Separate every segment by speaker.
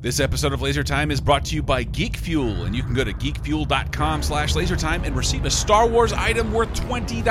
Speaker 1: This episode of Laser Time is brought to you by Geek Fuel, and you can go to geekfuel.com slash lasertime and receive a Star Wars item worth $20.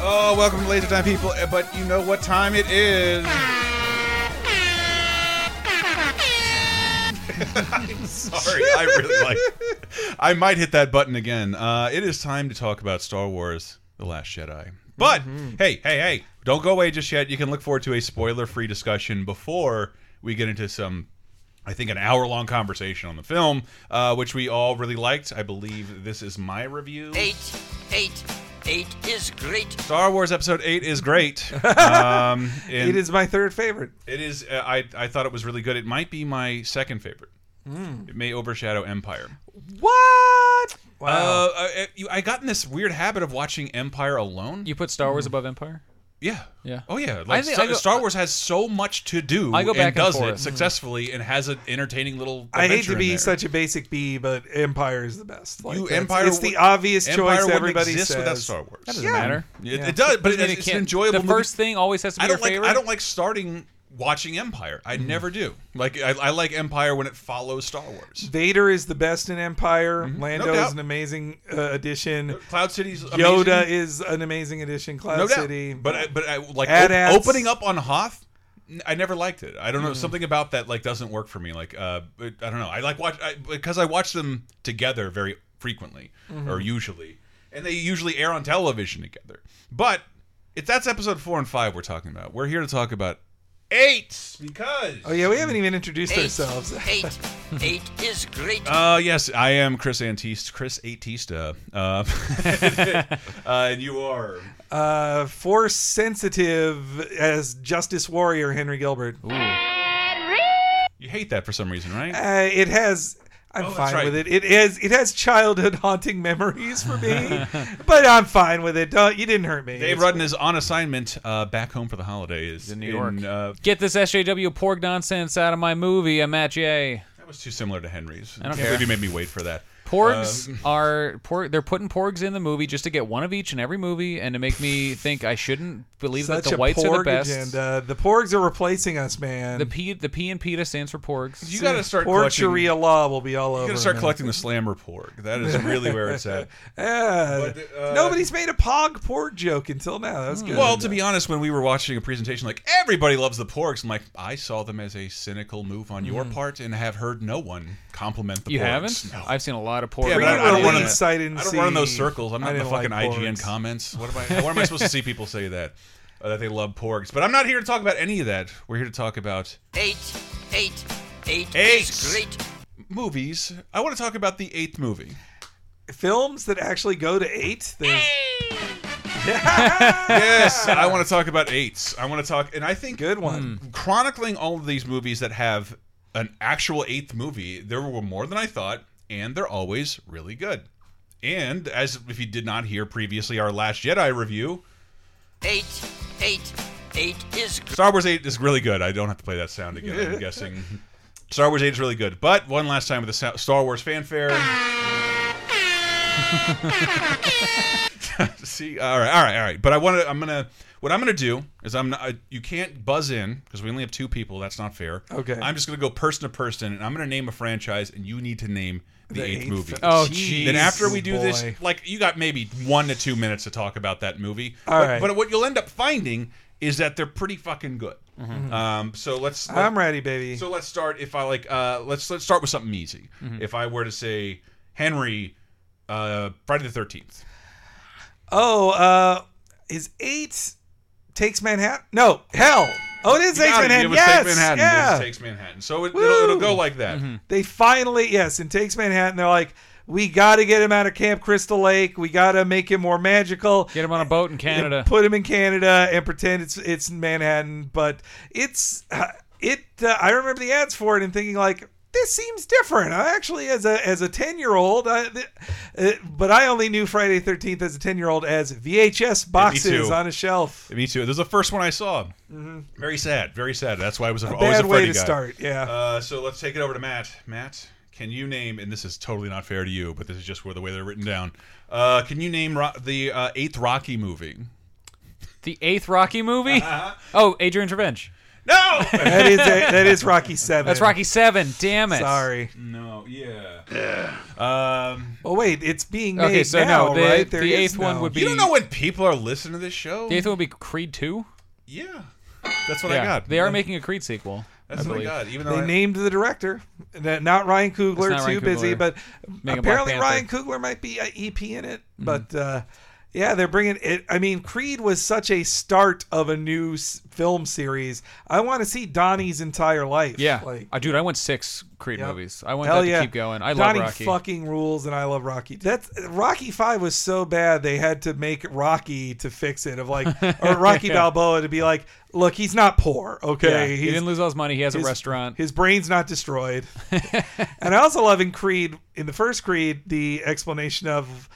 Speaker 1: Oh, welcome to Laser Time, people. eh, But you know what time it is.
Speaker 2: Sorry, I really like.
Speaker 1: I might hit that button again. Uh, it is time to talk about Star Wars The Last Jedi. But
Speaker 2: Mm-hmm.
Speaker 1: hey, hey, hey, don't go away just yet. You can look forward to a spoiler free discussion before we get into some. I think an hour long conversation on the film, uh, which we all really liked. I believe this is my review.
Speaker 3: Eight, eight, eight is great.
Speaker 1: Star Wars Episode Eight is great. Um, and
Speaker 2: It is my third favorite.
Speaker 1: It is. Uh, I I thought it was really good. It might be my second favorite.
Speaker 4: Hmm.
Speaker 1: It may overshadow Empire.
Speaker 2: What?
Speaker 1: Uh, I, I- you- I got in this weird habit of watching Empire alone.
Speaker 4: You put Star Wars
Speaker 1: Mm-hmm.
Speaker 4: above Empire?
Speaker 1: yeah.
Speaker 4: Yeah.
Speaker 1: Oh yeah. Like
Speaker 4: think
Speaker 1: Star,
Speaker 4: I go-
Speaker 1: Star Wars has so much to do.
Speaker 4: I go back
Speaker 1: and
Speaker 4: and
Speaker 1: does
Speaker 4: forth.
Speaker 1: it successfully and has an entertaining little.
Speaker 2: I hate
Speaker 1: adventure
Speaker 2: to
Speaker 1: in
Speaker 2: be
Speaker 1: there.
Speaker 2: such a basic B, but Empire is the best. Like,
Speaker 1: You
Speaker 2: that's-
Speaker 1: Empire.
Speaker 2: It's the
Speaker 1: would-
Speaker 2: obvious
Speaker 1: Empire
Speaker 2: choice.
Speaker 1: wouldn't
Speaker 2: Everybody
Speaker 1: exist
Speaker 2: says.
Speaker 1: without Star Wars.
Speaker 4: That doesn't
Speaker 2: Yeah.
Speaker 4: matter.
Speaker 1: It,
Speaker 2: Yeah.
Speaker 1: it does, but
Speaker 4: I mean,
Speaker 1: it's,
Speaker 4: it
Speaker 1: it's an
Speaker 4: can't-
Speaker 1: enjoyable.
Speaker 4: The
Speaker 1: movie.
Speaker 4: first thing always has to be
Speaker 1: I
Speaker 4: your
Speaker 1: don't like.
Speaker 4: favorite.
Speaker 1: I don't like starting watching Empire. I
Speaker 2: Mm-hmm.
Speaker 1: never do. Like I, I like Empire when it follows Star Wars.
Speaker 2: Vader is the best in Empire. Lando
Speaker 1: Mm-hmm. No doubt.
Speaker 2: is an amazing uh, addition.
Speaker 1: Cloud City's amazing.
Speaker 2: Yoda is an amazing addition. Cloud
Speaker 1: no doubt.
Speaker 2: City.
Speaker 1: But I, but I like
Speaker 2: Ad
Speaker 1: op-
Speaker 2: ads.
Speaker 1: opening up on Hoth. n- I never liked it. I don't
Speaker 2: Mm.
Speaker 1: know something about that like doesn't work for me. Like uh, it- I don't know. I like watch I, because I watch them together very frequently
Speaker 2: Mm-hmm.
Speaker 1: or usually, and they usually air on television together. But if that's episode four and five we're talking about, we're here to talk about eight because
Speaker 2: oh yeah, we haven't even introduced
Speaker 3: Eight,
Speaker 2: ourselves.
Speaker 3: eight, eight is great.
Speaker 1: Uh, yes, I am Chris Antista. Chris Atista. Uh, uh, and you are.
Speaker 2: Uh, force sensitive as Justice Warrior Henry Gilbert.
Speaker 1: You hate that for some reason, right?
Speaker 2: Uh, it has. I'm
Speaker 1: Oh, that's
Speaker 2: fine
Speaker 1: right.
Speaker 2: with it. It is. It has childhood haunting memories for me, but I'm fine with it. Don't, you didn't hurt me.
Speaker 1: Dave
Speaker 2: It's-
Speaker 1: Rudden is on assignment uh, back home for the holidays
Speaker 4: In New York.
Speaker 1: uh,
Speaker 4: Get this SJW porg nonsense out of my movie. I'm Matt J.
Speaker 1: that was too similar to Henry's. I
Speaker 4: don't
Speaker 1: believe you made me wait for that.
Speaker 4: Porgs
Speaker 1: Uh,
Speaker 4: are por- they're putting porgs in the movie just to get one of each in every movie and to make me think I shouldn't believe
Speaker 2: Such
Speaker 4: that the
Speaker 2: a
Speaker 4: whites
Speaker 2: porg
Speaker 4: are the best.
Speaker 2: agenda. The porgs are replacing us, man.
Speaker 4: The P the P and PETA stands for porgs.
Speaker 1: You got to start
Speaker 2: Porg
Speaker 1: collecting.
Speaker 2: Sharia law will be all over.
Speaker 1: You got to start
Speaker 2: man.
Speaker 1: collecting the slam report. That is really where it's at.
Speaker 2: Yeah.
Speaker 1: But, uh, Hmm.
Speaker 2: Nobody's made a pog porg joke until now. That's good.
Speaker 1: Well, to be honest, when we were watching a presentation, like everybody loves the porgs, I'm like, I saw them as a cynical move on your part, and have heard no one compliment the
Speaker 4: Mm. You
Speaker 1: porgs.
Speaker 4: haven't?
Speaker 1: No.
Speaker 4: I've seen a lot of porgs.
Speaker 1: Yeah, but I- I don't wanna-
Speaker 2: Pre-release, I didn't
Speaker 1: I don't run in those
Speaker 2: see-
Speaker 1: circles. I'm
Speaker 2: I
Speaker 1: not in the
Speaker 2: didn't like
Speaker 1: fucking IGN
Speaker 2: porgs.
Speaker 1: comments. What am I? Where am I supposed to see people say that uh, that they love porgs? But I'm not here to talk about any of that. We're here to talk about
Speaker 3: Eight, eight, eight,
Speaker 1: Eight.
Speaker 3: is great.
Speaker 1: movies. I want to talk about the eighth movie.
Speaker 2: films that actually go to eight. There's
Speaker 1: Yes, I want to talk about eights. I want to talk, and I think Hmm.
Speaker 2: good one.
Speaker 1: chronicling all of these movies that have an actual eighth movie, there were more than I thought, and they're always really good. And as if you did not hear previously our Last Jedi review,
Speaker 3: Eight, eight, eight is great.
Speaker 1: Star Wars 8 is really good. I don't have to play that sound again, I'm guessing. Star Wars 8 is really good. But one last time with the Sa- Star Wars fanfare. See, all right, all right, all right. But I want to, I'm going to, what I'm going to do is I'm not, I- you can't buzz in because we only have two people. That's not fair.
Speaker 2: Okay.
Speaker 1: I'm just going to go person to person and I'm going to name a franchise and you need to name the,
Speaker 2: The
Speaker 1: eighth,
Speaker 2: eighth
Speaker 1: movie.
Speaker 2: fi-
Speaker 4: Oh,
Speaker 2: Jeez.
Speaker 4: jeez.
Speaker 1: Then after we do
Speaker 2: boy.
Speaker 1: this, like you got maybe one to two minutes to talk about that movie.
Speaker 2: All
Speaker 1: but,
Speaker 2: right.
Speaker 1: but what you'll end up finding is that they're pretty fucking good. Um, so let's.
Speaker 2: I'm ready, baby.
Speaker 1: so let's start. If I like, uh, let's let's start with something easy. If I were to say Henry, uh, Friday the Thirteenth.
Speaker 2: Oh, uh, is eight takes Manhattan? No, hell. Oh, it is takes Manhattan.
Speaker 1: It was
Speaker 2: yes,
Speaker 1: Take Manhattan.
Speaker 2: yeah.
Speaker 1: It was takes Manhattan. So it, it'll, it'll go like that.
Speaker 2: they finally yes, and takes Manhattan. They're like, we got to get him out of Camp Crystal Lake. We got to make him more magical.
Speaker 4: Get him on a boat in Canada.
Speaker 2: And put him in Canada and pretend it's it's Manhattan. But it's uh, it. Uh, I remember the ads for it and thinking like, this seems different. I actually, as a as a ten year old, I, th- uh, but I only knew Friday Thirteenth as a ten year old as VHS boxes
Speaker 1: too.
Speaker 2: on a shelf.
Speaker 1: Me too. This is the first one I saw. Very sad. Very sad. That's why I was always a
Speaker 2: Mm-hmm. Bad way
Speaker 1: Freddy
Speaker 2: to
Speaker 1: guy.
Speaker 2: start. Yeah.
Speaker 1: Uh, so let's take it over to Matt. Matt, can you name? And this is totally not fair to you, but this is just where the way they're written down. Uh, can you name ro the uh, eighth Rocky movie?
Speaker 4: The eighth Rocky movie?
Speaker 1: Uh-huh.
Speaker 4: Oh, Adrian's Revenge.
Speaker 1: No.
Speaker 2: that is that is Rocky Seven.
Speaker 4: That's Rocky Seven. Damn it.
Speaker 2: Sorry.
Speaker 1: no. Yeah. Um,
Speaker 2: Well, Oh, wait, it's being made
Speaker 4: Okay, so
Speaker 2: now,
Speaker 4: no, the-
Speaker 2: right?
Speaker 4: the
Speaker 2: is
Speaker 4: eighth one
Speaker 2: no-
Speaker 4: would be-
Speaker 1: you don't know when people are listening to this show.
Speaker 4: The eighth one would be Creed Two.
Speaker 1: Oh Yeah. That's what I
Speaker 4: Yeah,
Speaker 1: got.
Speaker 4: they are making a Creed sequel.
Speaker 1: That's
Speaker 4: I
Speaker 1: what I
Speaker 4: believe.
Speaker 1: got. Even though
Speaker 2: They
Speaker 1: I-
Speaker 2: named the director, N- not Ryan Coogler.
Speaker 4: It's not
Speaker 2: too
Speaker 4: Ryan
Speaker 2: busy,
Speaker 4: Coogler.
Speaker 2: but
Speaker 4: Black
Speaker 2: apparently
Speaker 4: Panther. Mm-hmm.
Speaker 2: Ryan Coogler might be a EP in it. But uh, yeah, they're bringing it. I mean, Creed was such a start of a new s- film series. I want to see Donnie's entire life.
Speaker 4: Yeah,
Speaker 2: like
Speaker 4: Uh, dude, I went six Creed
Speaker 2: Yep.
Speaker 4: movies. I want
Speaker 2: hell
Speaker 4: that to
Speaker 2: yeah,
Speaker 4: keep going. I
Speaker 2: Donnie
Speaker 4: love Rocky.
Speaker 2: fucking rules, and I love Rocky. That's Rocky Five was so bad they had to make Rocky to fix it. Of like, or Rocky Balboa to be like, look, he's not poor.
Speaker 4: yeah,
Speaker 2: Okay,
Speaker 4: he
Speaker 2: he's
Speaker 4: didn't lose all his money. He has
Speaker 2: his-
Speaker 4: a restaurant.
Speaker 2: His brain's not destroyed. and I also love in Creed, in the first Creed, the explanation of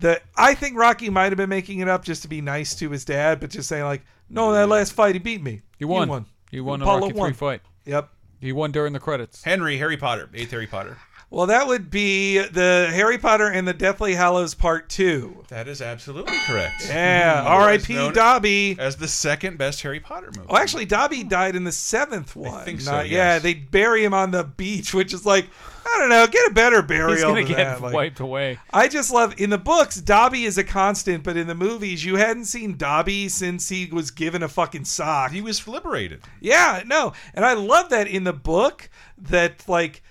Speaker 2: the. I think Rocky might have been making it up just to be nice to his dad, but just saying like, no, that last fight he beat me.
Speaker 4: you won.
Speaker 2: He won.
Speaker 4: You won a
Speaker 2: Apollo
Speaker 4: Rocky
Speaker 2: won.
Speaker 4: Three fight.
Speaker 2: Yep.
Speaker 4: He won during the credits.
Speaker 1: Henry Harry Potter, eighth Harry Potter.
Speaker 2: Well, that would be the Harry Potter and the Deathly Hallows Part Two.
Speaker 1: That is absolutely correct.
Speaker 2: Yeah.
Speaker 1: Otherwise
Speaker 2: R.I.P.
Speaker 1: known
Speaker 2: Dobby.
Speaker 1: As the second best Harry Potter movie.
Speaker 2: Oh, actually, Dobby died in the seventh one.
Speaker 1: think so,
Speaker 2: Yeah,
Speaker 1: yes.
Speaker 2: they bury him on the beach, which is like, I don't know, get a better burial.
Speaker 4: He's gonna
Speaker 2: than
Speaker 4: get
Speaker 2: that. Like,
Speaker 4: wiped away.
Speaker 2: I just love in the books Dobby is a constant, but in the movies you hadn't seen Dobby since he was given a fucking sock.
Speaker 1: he was liberated.
Speaker 2: Yeah, no, and I love that in the book that like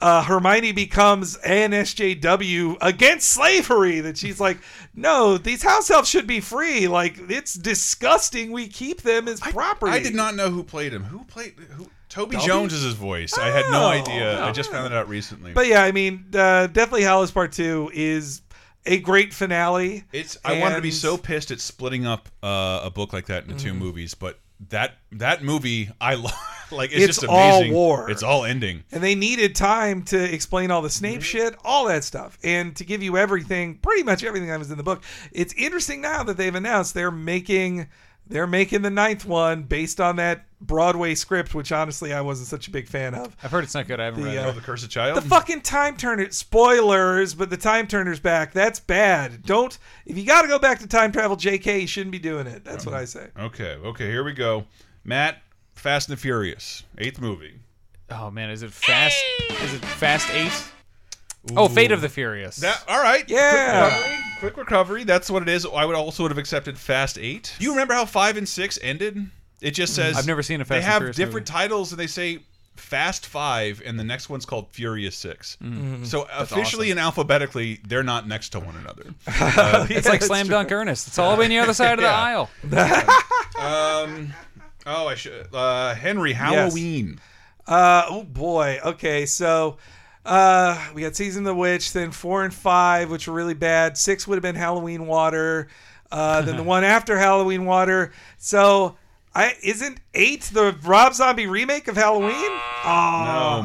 Speaker 2: uh, Hermione becomes an SJW against slavery. That she's like, no, these house elves should be free. Like it's disgusting. We keep them as property.
Speaker 1: I did not know who played him. Who played who? Toby
Speaker 2: Dobby?
Speaker 1: Jones is his voice. I had no
Speaker 2: Oh,
Speaker 1: idea. I just found that out recently.
Speaker 2: But yeah, I mean, uh, Deathly Hallows Part Two is a great finale.
Speaker 1: it's I wanted to be
Speaker 2: and- Mm-hmm.
Speaker 1: so pissed at splitting up uh, a book like that into two movies, but that that movie I lo- like. It's,
Speaker 2: It's
Speaker 1: just
Speaker 2: all
Speaker 1: amazing.
Speaker 2: war.
Speaker 1: It's all ending.
Speaker 2: And they needed time to explain all the Snape shit, all that stuff, and to give you everything, pretty much everything that was in the book. It's interesting now that they've announced they're making they're making the ninth one based on that Broadway script, which honestly I wasn't such a big fan of.
Speaker 4: I've heard it's not good. I haven't
Speaker 2: The,
Speaker 4: read
Speaker 2: uh,
Speaker 1: Oh, the Curse of Child.
Speaker 2: The fucking time turner spoilers, but the time turner's back. That's bad. Don't if you got to go back to time travel, J.K. You shouldn't be doing it. That's what I say.
Speaker 1: Okay, okay, here we go. Matt, Fast and the Furious, eighth movie.
Speaker 4: it. Oh man, is it fast? Is it Fast Eight? Oh, Fate of the Furious.
Speaker 1: That all right?
Speaker 2: Yeah.
Speaker 1: Quick recovery. Quick recovery. That's what it is. I would also would have accepted Fast Eight. You remember how five and six ended? It just says
Speaker 4: Mm, I've never seen a Fast
Speaker 1: They
Speaker 4: and
Speaker 1: have
Speaker 4: Furious
Speaker 1: different titles, and they say Fast Five, and the next one's called Furious 6
Speaker 4: Mm.
Speaker 1: So officially and alphabetically, they're not next to one another.
Speaker 4: it's like Slam Dunk Ernest. It's all the way on the other side of the
Speaker 1: Yeah.
Speaker 4: aisle.
Speaker 1: oh, I should. Uh, Henry Halloween.
Speaker 2: Uh, oh boy. Okay, so uh, we got season of the witch, then four and five, which were really bad. Six would have been Halloween water. Uh, then the one after Halloween water. So I isn't eight the Rob Zombie remake of Halloween? Oh,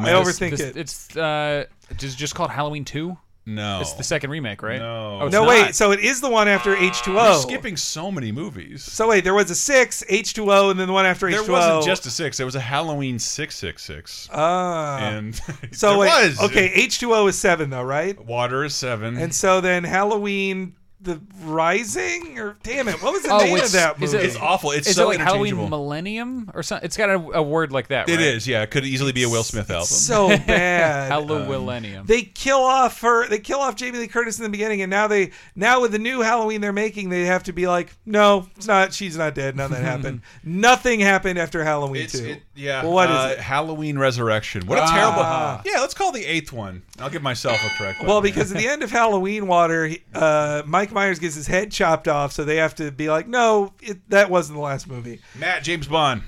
Speaker 2: I
Speaker 1: man.
Speaker 2: overthink
Speaker 4: This-
Speaker 2: it.
Speaker 4: It's uh, just just called Halloween Two.
Speaker 1: No,
Speaker 4: It's the second remake, right?
Speaker 1: No.
Speaker 4: Oh, it's
Speaker 2: no,
Speaker 4: not.
Speaker 2: wait. So it is the one after H two
Speaker 4: Oh.
Speaker 1: You're
Speaker 2: O.
Speaker 1: skipping so many movies.
Speaker 2: So wait, there was a six H two O, and then the one after H
Speaker 1: There
Speaker 2: two O.
Speaker 1: wasn't just a six. There was a Halloween six six six.
Speaker 4: Uh,
Speaker 1: and
Speaker 2: Ah. so
Speaker 1: there
Speaker 2: wait,
Speaker 1: was
Speaker 2: okay, H two O is seven though, right?
Speaker 1: Water is seven.
Speaker 2: And so then Halloween the Rising or damn it, what was the
Speaker 4: Oh,
Speaker 2: name of
Speaker 4: it's-
Speaker 2: that
Speaker 4: is
Speaker 2: movie?
Speaker 4: it-
Speaker 1: it's awful. It's
Speaker 4: Is
Speaker 1: so
Speaker 4: it like Halloween
Speaker 1: interchangeable.
Speaker 4: Millennium or something? It's got a, a word like that.
Speaker 1: It
Speaker 4: right?
Speaker 1: is, yeah. It could easily be a Will Smith album.
Speaker 2: so bad.
Speaker 1: Um,
Speaker 4: Halloween.
Speaker 2: they kill off her they kill off Jamie Lee Curtis in the beginning and now they now with the new Halloween they're making they have to be like no it's not she's not dead none of that happened nothing happened after Halloween
Speaker 1: it's,
Speaker 2: 2
Speaker 1: it, yeah.
Speaker 2: well, what is
Speaker 1: uh,
Speaker 2: it
Speaker 1: Halloween Resurrection. What a
Speaker 2: Ah.
Speaker 1: terrible. Yeah, let's call the eighth one. I'll give myself a correct.
Speaker 2: well
Speaker 1: one.
Speaker 2: because at the end of Halloween water he- uh, Mike Myers gets his head chopped off so they have to be like no it, that wasn't the last movie
Speaker 1: Matt James Bond.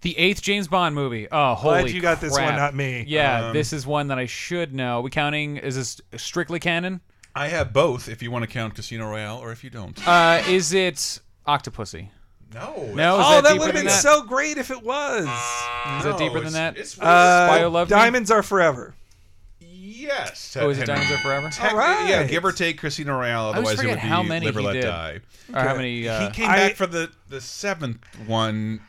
Speaker 4: the eighth James Bond movie. Oh, holy!
Speaker 2: you got this one,
Speaker 4: crap.
Speaker 2: not me.
Speaker 1: Um,
Speaker 4: Yeah, this is one that I should know. We counting? Is this strictly canon?
Speaker 1: I have both. If you want to count Casino Royale, or if you don't.
Speaker 4: Uh, is it Octopussy?
Speaker 1: No.
Speaker 4: No, is
Speaker 2: oh, that,
Speaker 4: that,
Speaker 2: would
Speaker 4: deeper
Speaker 2: have
Speaker 4: than
Speaker 2: been
Speaker 4: that?
Speaker 2: so great if it was.
Speaker 4: is that deeper
Speaker 1: it's-
Speaker 4: than that?
Speaker 1: It's,
Speaker 2: Uh,
Speaker 4: Why You Love Me?
Speaker 2: Diamonds are forever.
Speaker 1: yes.
Speaker 4: oh, is it
Speaker 1: Henry.
Speaker 4: Diamonds Are Forever?
Speaker 1: Tec-
Speaker 2: All right.
Speaker 1: Yeah, give or take Casino Royale.
Speaker 4: I always
Speaker 1: Otherwise, it would
Speaker 4: forget
Speaker 1: be
Speaker 4: how many
Speaker 1: Live or
Speaker 4: he
Speaker 1: Let
Speaker 4: did.
Speaker 1: Die.
Speaker 4: Or how many? Uh,
Speaker 1: he came
Speaker 2: I-
Speaker 1: back for the the seventh one,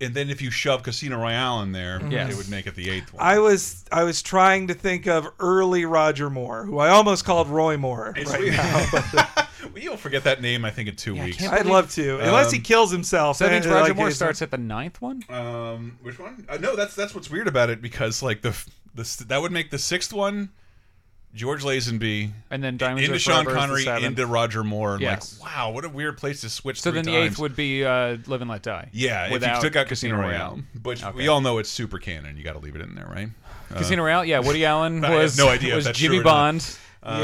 Speaker 1: and then if you shove Casino Royale in there,
Speaker 4: Mm-hmm. Yes.
Speaker 1: it would make it the eighth one.
Speaker 2: I was I was trying to think of early Roger Moore, who I almost called Roy Moore.
Speaker 1: It's
Speaker 2: right
Speaker 1: weird.
Speaker 2: now.
Speaker 1: Well, You'll forget that Um, name, I think, in two
Speaker 4: Yeah, I
Speaker 1: weeks.
Speaker 4: can't-
Speaker 2: I'd love to, unless he kills himself.
Speaker 4: so that
Speaker 2: then
Speaker 4: means
Speaker 2: it,
Speaker 4: Roger
Speaker 2: like,
Speaker 4: Moore
Speaker 2: is-
Speaker 4: starts at the ninth one.
Speaker 1: Um, which one? Uh, no, that's that's what's weird about it because like the the s- that would make the sixth one, George Lazenby,
Speaker 4: And then Diamonds
Speaker 1: into
Speaker 4: Are
Speaker 1: Sean
Speaker 4: Forever is the
Speaker 1: Connery,
Speaker 4: seventh.
Speaker 1: into Roger Moore, and
Speaker 4: Yes.
Speaker 1: like wow, what a weird place to switch.
Speaker 4: So
Speaker 1: three
Speaker 4: then the
Speaker 1: times.
Speaker 4: eighth would be uh, Live and Let Die.
Speaker 1: Yeah,
Speaker 4: without
Speaker 1: if you took out Casino Royale, but we
Speaker 4: Okay.
Speaker 1: all know it's super canon. You got to leave it in there, right? Uh,
Speaker 4: Casino Royale, yeah. Woody Allen
Speaker 1: I have
Speaker 4: was
Speaker 1: no idea if
Speaker 4: was
Speaker 1: that's
Speaker 4: Jimmy
Speaker 1: true or not.
Speaker 4: Bond.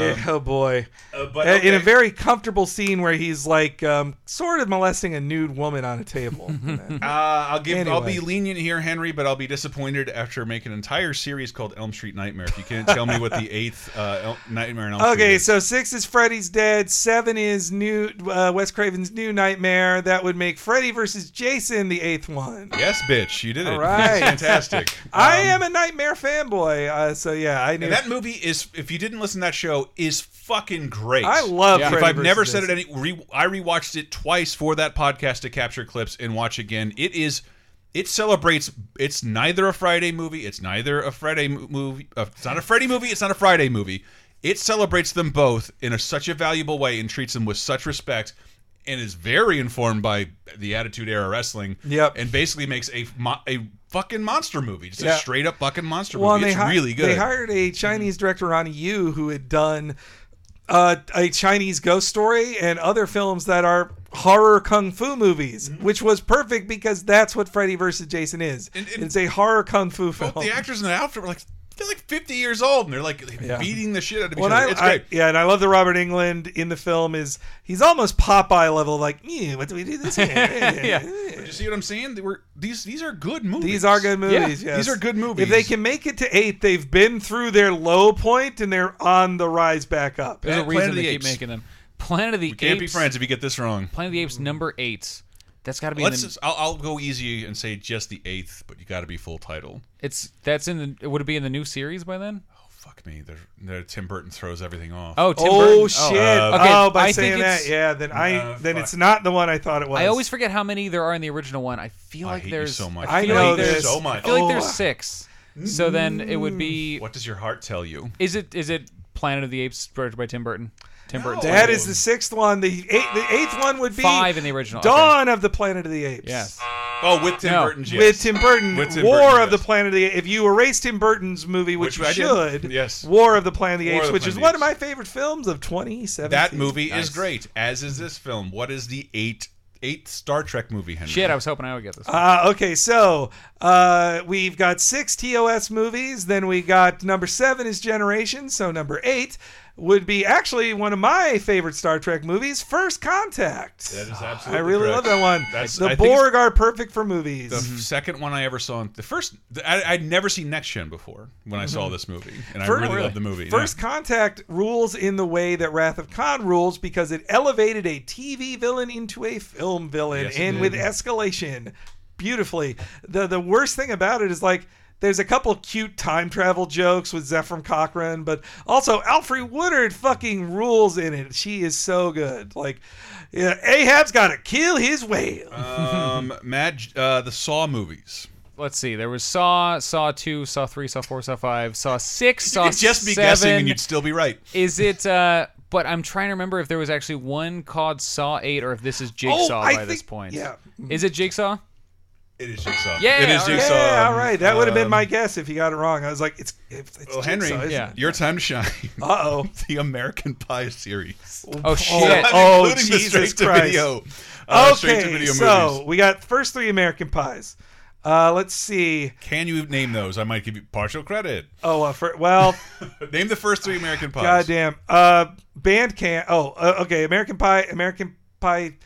Speaker 2: yeah, oh boy.
Speaker 1: Um, uh, but
Speaker 2: Uh, In
Speaker 1: okay.
Speaker 2: a very comfortable scene where he's like um, sort of molesting a nude woman on a table.
Speaker 1: Uh, I'll give. I'll be
Speaker 2: Anyway.
Speaker 1: lenient here, Henry, but I'll be disappointed after making an entire series called Elm Street Nightmare. If you can't tell me what the eighth uh, El- Nightmare on Elm Street
Speaker 2: okay,
Speaker 1: is.
Speaker 2: so six is Freddy's Dead, seven is new uh, Wes Craven's New Nightmare. That would make Freddy versus Jason the eighth one.
Speaker 1: yes, bitch, you did it.
Speaker 2: All right.
Speaker 1: fantastic.
Speaker 2: I
Speaker 1: Um,
Speaker 2: am a Nightmare fanboy, uh, so yeah, I knew.
Speaker 1: And that movie is, if you didn't listen to that show, is fucking great.
Speaker 2: I love
Speaker 4: Yeah.
Speaker 2: Freddy
Speaker 1: If I've
Speaker 2: versus
Speaker 1: never said
Speaker 2: Jason.
Speaker 1: it any, re, I rewatched it twice for that podcast to capture clips and watch again. It is, it celebrates. It's neither a Friday movie. It's neither a Friday mo- movie. Uh, it's not a Freddy movie. It's not a Friday movie. It celebrates them both in a, such a valuable way and treats them with such respect. And is very informed by the Attitude Era wrestling.
Speaker 2: Yep.
Speaker 1: And basically makes a mo- a fucking monster movie. Just
Speaker 2: Yeah.
Speaker 1: a straight up fucking monster
Speaker 2: Well, and
Speaker 1: movie.
Speaker 2: they
Speaker 1: It's
Speaker 2: hi-
Speaker 1: really good.
Speaker 2: They hired a Chinese director, Ronnie Yu, who had done uh, a Chinese ghost story and other films that are horror kung fu movies,
Speaker 1: Mm-hmm.
Speaker 2: which was perfect because that's what Freddy vs. Jason is.
Speaker 1: And- and-
Speaker 2: it's a horror kung fu film.
Speaker 1: both the actors in the outfit were like they're like 50 years old and they're like beating the shit out of each
Speaker 2: When
Speaker 1: other.
Speaker 2: I,
Speaker 1: It's
Speaker 2: I-
Speaker 1: great.
Speaker 2: yeah, and I love the Robert England in the film is he's almost Popeye level, like, "Eh, what do we do this here?
Speaker 4: Yeah.
Speaker 1: But you see what I'm saying? They were these these are good movies.
Speaker 2: These are good movies.
Speaker 1: Yeah,
Speaker 2: yes.
Speaker 1: these are good movies.
Speaker 2: If they can make it to eight, they've been through their low point and they're on the rise back up.
Speaker 4: There's a
Speaker 1: Planet
Speaker 4: reason
Speaker 1: of
Speaker 4: they
Speaker 1: the
Speaker 4: keep
Speaker 1: Apes.
Speaker 4: making them. Planet of the
Speaker 1: We can't be
Speaker 4: Apes-
Speaker 1: friends if you get this wrong.
Speaker 4: Planet of the Apes number eight. That's got to be. In
Speaker 1: Let's
Speaker 4: the,
Speaker 1: just, I'll, I'll go easy and say just the eighth, but you got to be full title.
Speaker 4: it's that's in the. Would it be in the new series by then?
Speaker 1: Oh fuck me, they're, they're, Tim Burton throws everything off.
Speaker 4: Oh, Tim Burton.
Speaker 2: oh shit!
Speaker 1: Uh,
Speaker 4: Okay,
Speaker 2: oh, by
Speaker 4: I think
Speaker 2: saying that,
Speaker 4: it's-
Speaker 2: yeah, then I
Speaker 1: Uh,
Speaker 2: then
Speaker 1: fuck.
Speaker 2: it's not the one I thought it was.
Speaker 4: I always forget how many there are in the original one. I feel
Speaker 1: I
Speaker 4: like
Speaker 1: hate you
Speaker 4: there's
Speaker 1: so much.
Speaker 4: I,
Speaker 2: I
Speaker 4: feel
Speaker 2: know
Speaker 4: like there's
Speaker 2: this.
Speaker 1: so much. Mm.
Speaker 4: I feel like
Speaker 2: Oh.
Speaker 4: there's six. So then it would be.
Speaker 1: What does your heart tell you?
Speaker 4: Is it is it Planet of the Apes directed by Tim Burton? Tim
Speaker 1: No.
Speaker 4: Burton.
Speaker 2: That is the sixth one. The eight, the eighth one would be
Speaker 4: Five in the original.
Speaker 2: Dawn of the Planet of the Apes.
Speaker 4: Yes.
Speaker 1: Oh, with Tim
Speaker 4: No.
Speaker 1: Burton, yes.
Speaker 2: With Tim Burton,
Speaker 1: With Tim
Speaker 2: War
Speaker 1: Burton,
Speaker 2: of the
Speaker 1: yes.
Speaker 2: Planet of the Apes. If you erase Tim Burton's movie, which,
Speaker 1: Which
Speaker 2: you
Speaker 1: I did.
Speaker 2: should,
Speaker 1: Yes.
Speaker 2: War of the Planet of the
Speaker 1: War of
Speaker 2: Apes,
Speaker 1: the
Speaker 2: which
Speaker 1: Planet
Speaker 2: is
Speaker 1: of the
Speaker 2: one of my
Speaker 1: Apes.
Speaker 2: favorite films of 2017.
Speaker 1: that movie
Speaker 4: Nice.
Speaker 1: is great, as is this film. What is the eight eighth Star Trek movie, Henry?
Speaker 4: Shit, I was hoping I would get this. One.
Speaker 2: Uh, okay, so uh, we've got six TOS movies. Then we got number seven is Generation. So number eight would be actually one of my favorite Star Trek movies, First Contact.
Speaker 1: That is
Speaker 2: I
Speaker 1: absolutely.
Speaker 2: really
Speaker 1: correct.
Speaker 2: love that one.
Speaker 1: That's-
Speaker 2: the
Speaker 1: I think it's-
Speaker 2: Borg are perfect for movies.
Speaker 1: The second one I ever saw, the first, the, I, I'd never seen Next Gen before when I saw this movie, and
Speaker 2: Mm-hmm. First-
Speaker 1: I really
Speaker 2: really?
Speaker 1: loved the movie.
Speaker 2: First Contact rules in the way that Wrath of Khan rules because it elevated a TV villain into a film villain
Speaker 1: Yes, it
Speaker 2: and
Speaker 1: did.
Speaker 2: with escalation beautifully. The the worst thing about it is like there's a couple cute time travel jokes with Zephyr Cochran, but also Alfre Woodard fucking rules in it. She is so good. Like, yeah, Ahab's got to kill his whale.
Speaker 1: Yeah. um, Mad, uh, the Saw movies.
Speaker 4: Let's see. There was Saw, Saw two, Saw three, Saw four, Saw five, Saw six, Saw
Speaker 1: You'd just be
Speaker 4: seven.
Speaker 1: guessing, and you'd still be right.
Speaker 4: Is it? uh But I'm trying to remember if there was actually one called Saw eight, or if this is
Speaker 1: Oh,
Speaker 4: Jigsaw
Speaker 2: I
Speaker 4: by this
Speaker 2: think-
Speaker 4: point.
Speaker 2: yeah.
Speaker 4: Is it Jigsaw?
Speaker 1: It is Jigsaw.
Speaker 4: Yeah,
Speaker 1: it is
Speaker 4: all right.
Speaker 1: Jigsaw.
Speaker 2: yeah, all right. That would have been
Speaker 1: Um,
Speaker 2: my guess if you got it wrong. I was like, it's it's, it's
Speaker 1: Well, Henry,
Speaker 2: Jigsaw, isn't
Speaker 4: yeah.
Speaker 2: it?
Speaker 1: your time to shine.
Speaker 2: Uh-oh.
Speaker 1: the American Pie series.
Speaker 4: Oh shit.
Speaker 2: I- Oh,
Speaker 1: Including the
Speaker 2: Jesus
Speaker 1: straight to
Speaker 2: Christ.
Speaker 1: video. Uh, straight to
Speaker 2: okay,
Speaker 1: video
Speaker 2: so
Speaker 1: movies.
Speaker 2: we got first three American Pies. Uh, let's see.
Speaker 1: Can you name those? I might give you partial credit.
Speaker 2: Oh, uh, for, well,
Speaker 1: Name the first three American Pies.
Speaker 2: goddamn. Uh, Bandcamp. Oh, uh, okay. American Pie, American Pie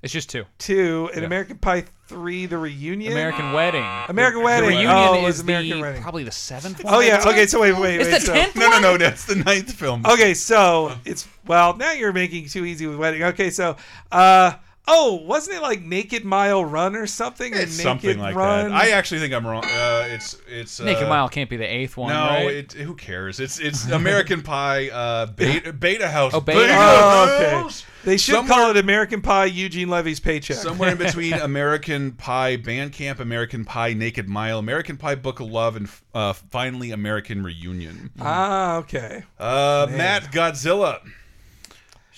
Speaker 4: It's just two.
Speaker 2: Two, and American Pie Three: The Reunion.
Speaker 4: American Wedding.
Speaker 2: American
Speaker 4: The
Speaker 2: Wedding.
Speaker 4: reunion
Speaker 2: Oh, it
Speaker 4: is
Speaker 2: was American
Speaker 4: the,
Speaker 2: Wedding.
Speaker 4: probably the seventh.
Speaker 2: Oh yeah. Okay. So wait, wait, wait.
Speaker 4: It's the
Speaker 2: so-
Speaker 4: tenth.
Speaker 1: uh, No, no, no. That's the ninth film.
Speaker 2: Okay, so it's well now you're making it too easy with wedding. Okay, so uh Oh, wasn't it like Naked Mile Run or something? Or
Speaker 1: It's
Speaker 2: Naked
Speaker 1: something like
Speaker 2: Run?
Speaker 1: that. I actually think I'm wrong. Uh, it's it's uh,
Speaker 4: Naked Mile can't be the eighth one,
Speaker 1: No,
Speaker 4: right?
Speaker 1: it, who cares? It's it's American Pie, uh, beta, beta House.
Speaker 4: Oh, Beta
Speaker 2: House. Oh, okay.
Speaker 1: House!
Speaker 2: They should
Speaker 1: somewhere,
Speaker 2: call it American Pie Eugene Levy's Paycheck.
Speaker 1: somewhere in between American Pie Bandcamp, American Pie Naked Mile, American Pie Book of Love, and uh, finally American Reunion.
Speaker 2: ah, okay.
Speaker 1: Uh, Matt Godzilla.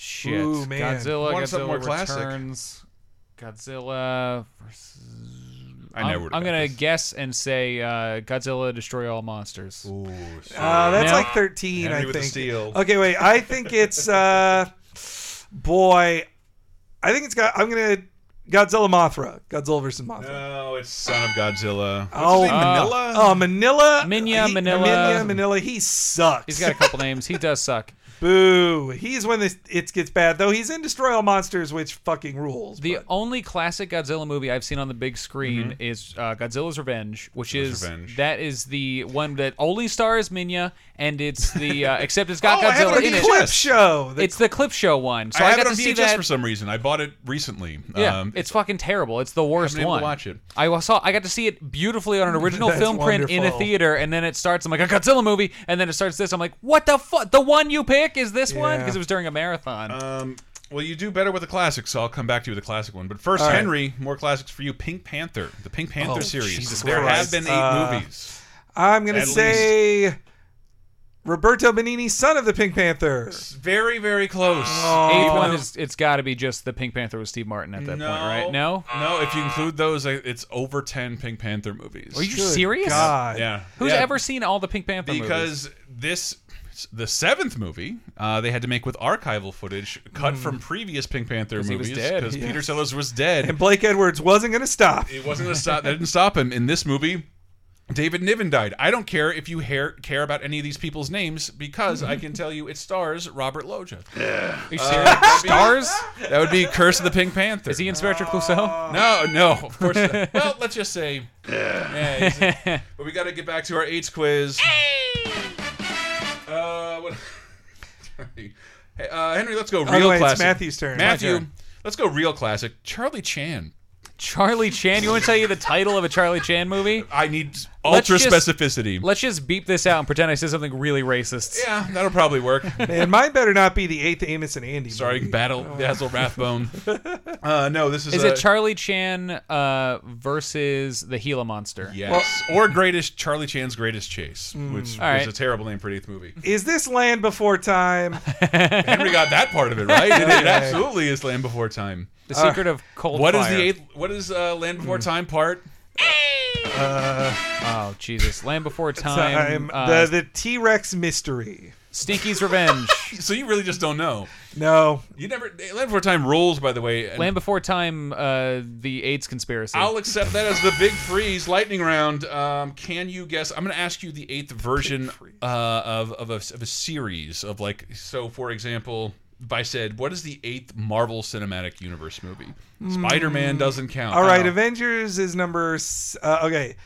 Speaker 4: Shit.
Speaker 2: Ooh, man.
Speaker 4: Godzilla,
Speaker 1: Want
Speaker 4: Godzilla
Speaker 1: something more classic.
Speaker 4: Returns. Godzilla versus.
Speaker 1: I never
Speaker 4: I'm,
Speaker 1: would.
Speaker 4: I'm gonna guess and say uh, Godzilla Destroy All Monsters.
Speaker 2: Uh, that's
Speaker 4: Now-
Speaker 2: like 13,
Speaker 1: Henry
Speaker 2: I
Speaker 1: with
Speaker 2: think.
Speaker 1: the steel.
Speaker 2: Okay, wait. I think it's uh boy, I think it's got I'm going to Godzilla Mothra. Godzilla versus Mothra.
Speaker 1: No, Oh, it's Son of Godzilla. What's
Speaker 2: Oh.
Speaker 1: his name?
Speaker 4: Oh.
Speaker 1: Manila.
Speaker 2: Oh, Manila.
Speaker 4: Minya,
Speaker 2: he,
Speaker 4: Manila.
Speaker 2: Minya, Manila. He sucks.
Speaker 4: He's got a couple names. He does suck.
Speaker 2: Boo. He's when this, it gets bad, though. He's in Destroy All Monsters, which fucking rules.
Speaker 4: The
Speaker 2: but-
Speaker 4: only classic Godzilla movie I've seen on the big screen is uh, Godzilla's Revenge, which is
Speaker 1: Mm-hmm. Revenge.
Speaker 4: that is the one that only stars Minya, and it's the uh, except it's got
Speaker 1: Oh, I have it
Speaker 4: Godzilla
Speaker 1: on
Speaker 4: in it.
Speaker 1: VHS.
Speaker 2: clip show. The
Speaker 4: It's the clip show one. So
Speaker 1: I
Speaker 4: I,
Speaker 1: have
Speaker 4: got
Speaker 1: it
Speaker 4: to
Speaker 1: on
Speaker 4: see
Speaker 1: VHS
Speaker 4: that.
Speaker 1: for some reason. I bought it recently.
Speaker 4: yeah,
Speaker 1: Um,
Speaker 4: it's, fucking terrible. It's the worst
Speaker 1: been able to
Speaker 4: one.
Speaker 1: watch it.
Speaker 4: I wa- saw. I got to see it beautifully on an original
Speaker 2: That's
Speaker 4: film print in a
Speaker 2: wonderful.
Speaker 4: theater, and then it starts. I'm like a Godzilla movie, and then it starts this. I'm like, what the fuck? The one you pick is this one
Speaker 2: Yeah.
Speaker 4: because it was during a marathon.
Speaker 1: Um, well, you do better with the classics, so I'll come back to you with the classic one. But first,
Speaker 2: right.
Speaker 1: Henry, more classics for you. Pink Panther, the Pink
Speaker 4: Oh,
Speaker 1: Panther series.
Speaker 2: Jesus
Speaker 1: there
Speaker 2: Christ.
Speaker 1: have been eight
Speaker 2: Uh,
Speaker 1: movies.
Speaker 2: I'm going to
Speaker 1: At
Speaker 2: say Roberto Benini, son of the Pink Panther.
Speaker 1: It's very, very close.
Speaker 4: Eighth
Speaker 2: Oh.
Speaker 4: one is it's got to be just the Pink Panther with Steve Martin at that
Speaker 1: no,
Speaker 4: point, right? No.
Speaker 1: no. If you include those, I- it's over ten Pink Panther movies.
Speaker 4: Are you
Speaker 2: Good
Speaker 4: serious?
Speaker 2: God.
Speaker 1: Yeah.
Speaker 4: Who's
Speaker 1: Yeah,
Speaker 4: ever seen all the Pink Panther movies?
Speaker 1: Because this, the seventh movie, uh, they had to make with archival footage cut from previous Pink Panther
Speaker 4: Hmm. he was
Speaker 1: movies
Speaker 4: dead.
Speaker 1: because
Speaker 4: Yes.
Speaker 1: Peter Sellers was dead.
Speaker 2: And Blake Edwards wasn't going to stop.
Speaker 1: It wasn't gonna stop. That didn't stop him in this movie. David Niven died. I don't care if you hair, care about any of these people's names because I can tell you it stars Robert Loggia.
Speaker 4: Are
Speaker 1: uh,
Speaker 4: you serious? Stars?
Speaker 1: That would be Curse of the Pink Panther.
Speaker 4: Is he Inspector Clouseau?
Speaker 1: no, no, of course not. Well, let's just say. Yeah, he's a- but we got to get back to our eights quiz. Uh, what? Sorry. Hey, uh, Henry, let's go real
Speaker 2: the way, Oh, it's
Speaker 1: classic.
Speaker 2: Matthew's turn. My
Speaker 1: Matthew,
Speaker 4: turn.
Speaker 1: let's go real classic. Charlie Chan.
Speaker 4: Charlie Chan. You want to tell you the title of a Charlie Chan movie?
Speaker 1: I need
Speaker 4: Let's
Speaker 1: ultra
Speaker 4: just-
Speaker 1: specificity.
Speaker 4: Let's just beep this out and pretend I said something really racist.
Speaker 1: yeah, that'll probably work.
Speaker 2: And mine better not be the eighth Amos and Andy.
Speaker 1: Sorry,
Speaker 2: movie.
Speaker 1: Battle Dazzle Wrathbone. Uh, no, this is
Speaker 4: Is
Speaker 1: a,
Speaker 4: it Charlie Chan uh, versus the Gila monster?
Speaker 1: yes or greatest Charlie Chan's greatest chase, which
Speaker 4: Mm. All right.
Speaker 1: is a terrible name for an eighth movie.
Speaker 2: Is this Land Before Time?
Speaker 1: Henry got that part of it right. It, it absolutely is Land Before Time.
Speaker 4: The Secret of Cold
Speaker 1: What is
Speaker 4: Fire. Mm.
Speaker 1: the eighth? What is uh, Land Before Time part?
Speaker 4: Oh Jesus! Land Before Time.
Speaker 2: Time.
Speaker 4: uh,
Speaker 2: the the T Rex mystery.
Speaker 4: Stinky's Revenge.
Speaker 1: So you really just don't know.
Speaker 2: No,
Speaker 1: You never Land Before Time rules, by the way. and
Speaker 4: Land Before Time. Uh, the AIDS conspiracy.
Speaker 1: I'll accept that as the big freeze lightning round. Um, can you guess? I'm going to ask you the eighth version uh, of of a, of a series of like. So, for example, if I said, "What is the eighth Marvel Cinematic Universe movie?" Spider-Man doesn't count.
Speaker 2: Hmm. All right,
Speaker 1: Oh.
Speaker 2: Avengers is number. s- Uh, okay,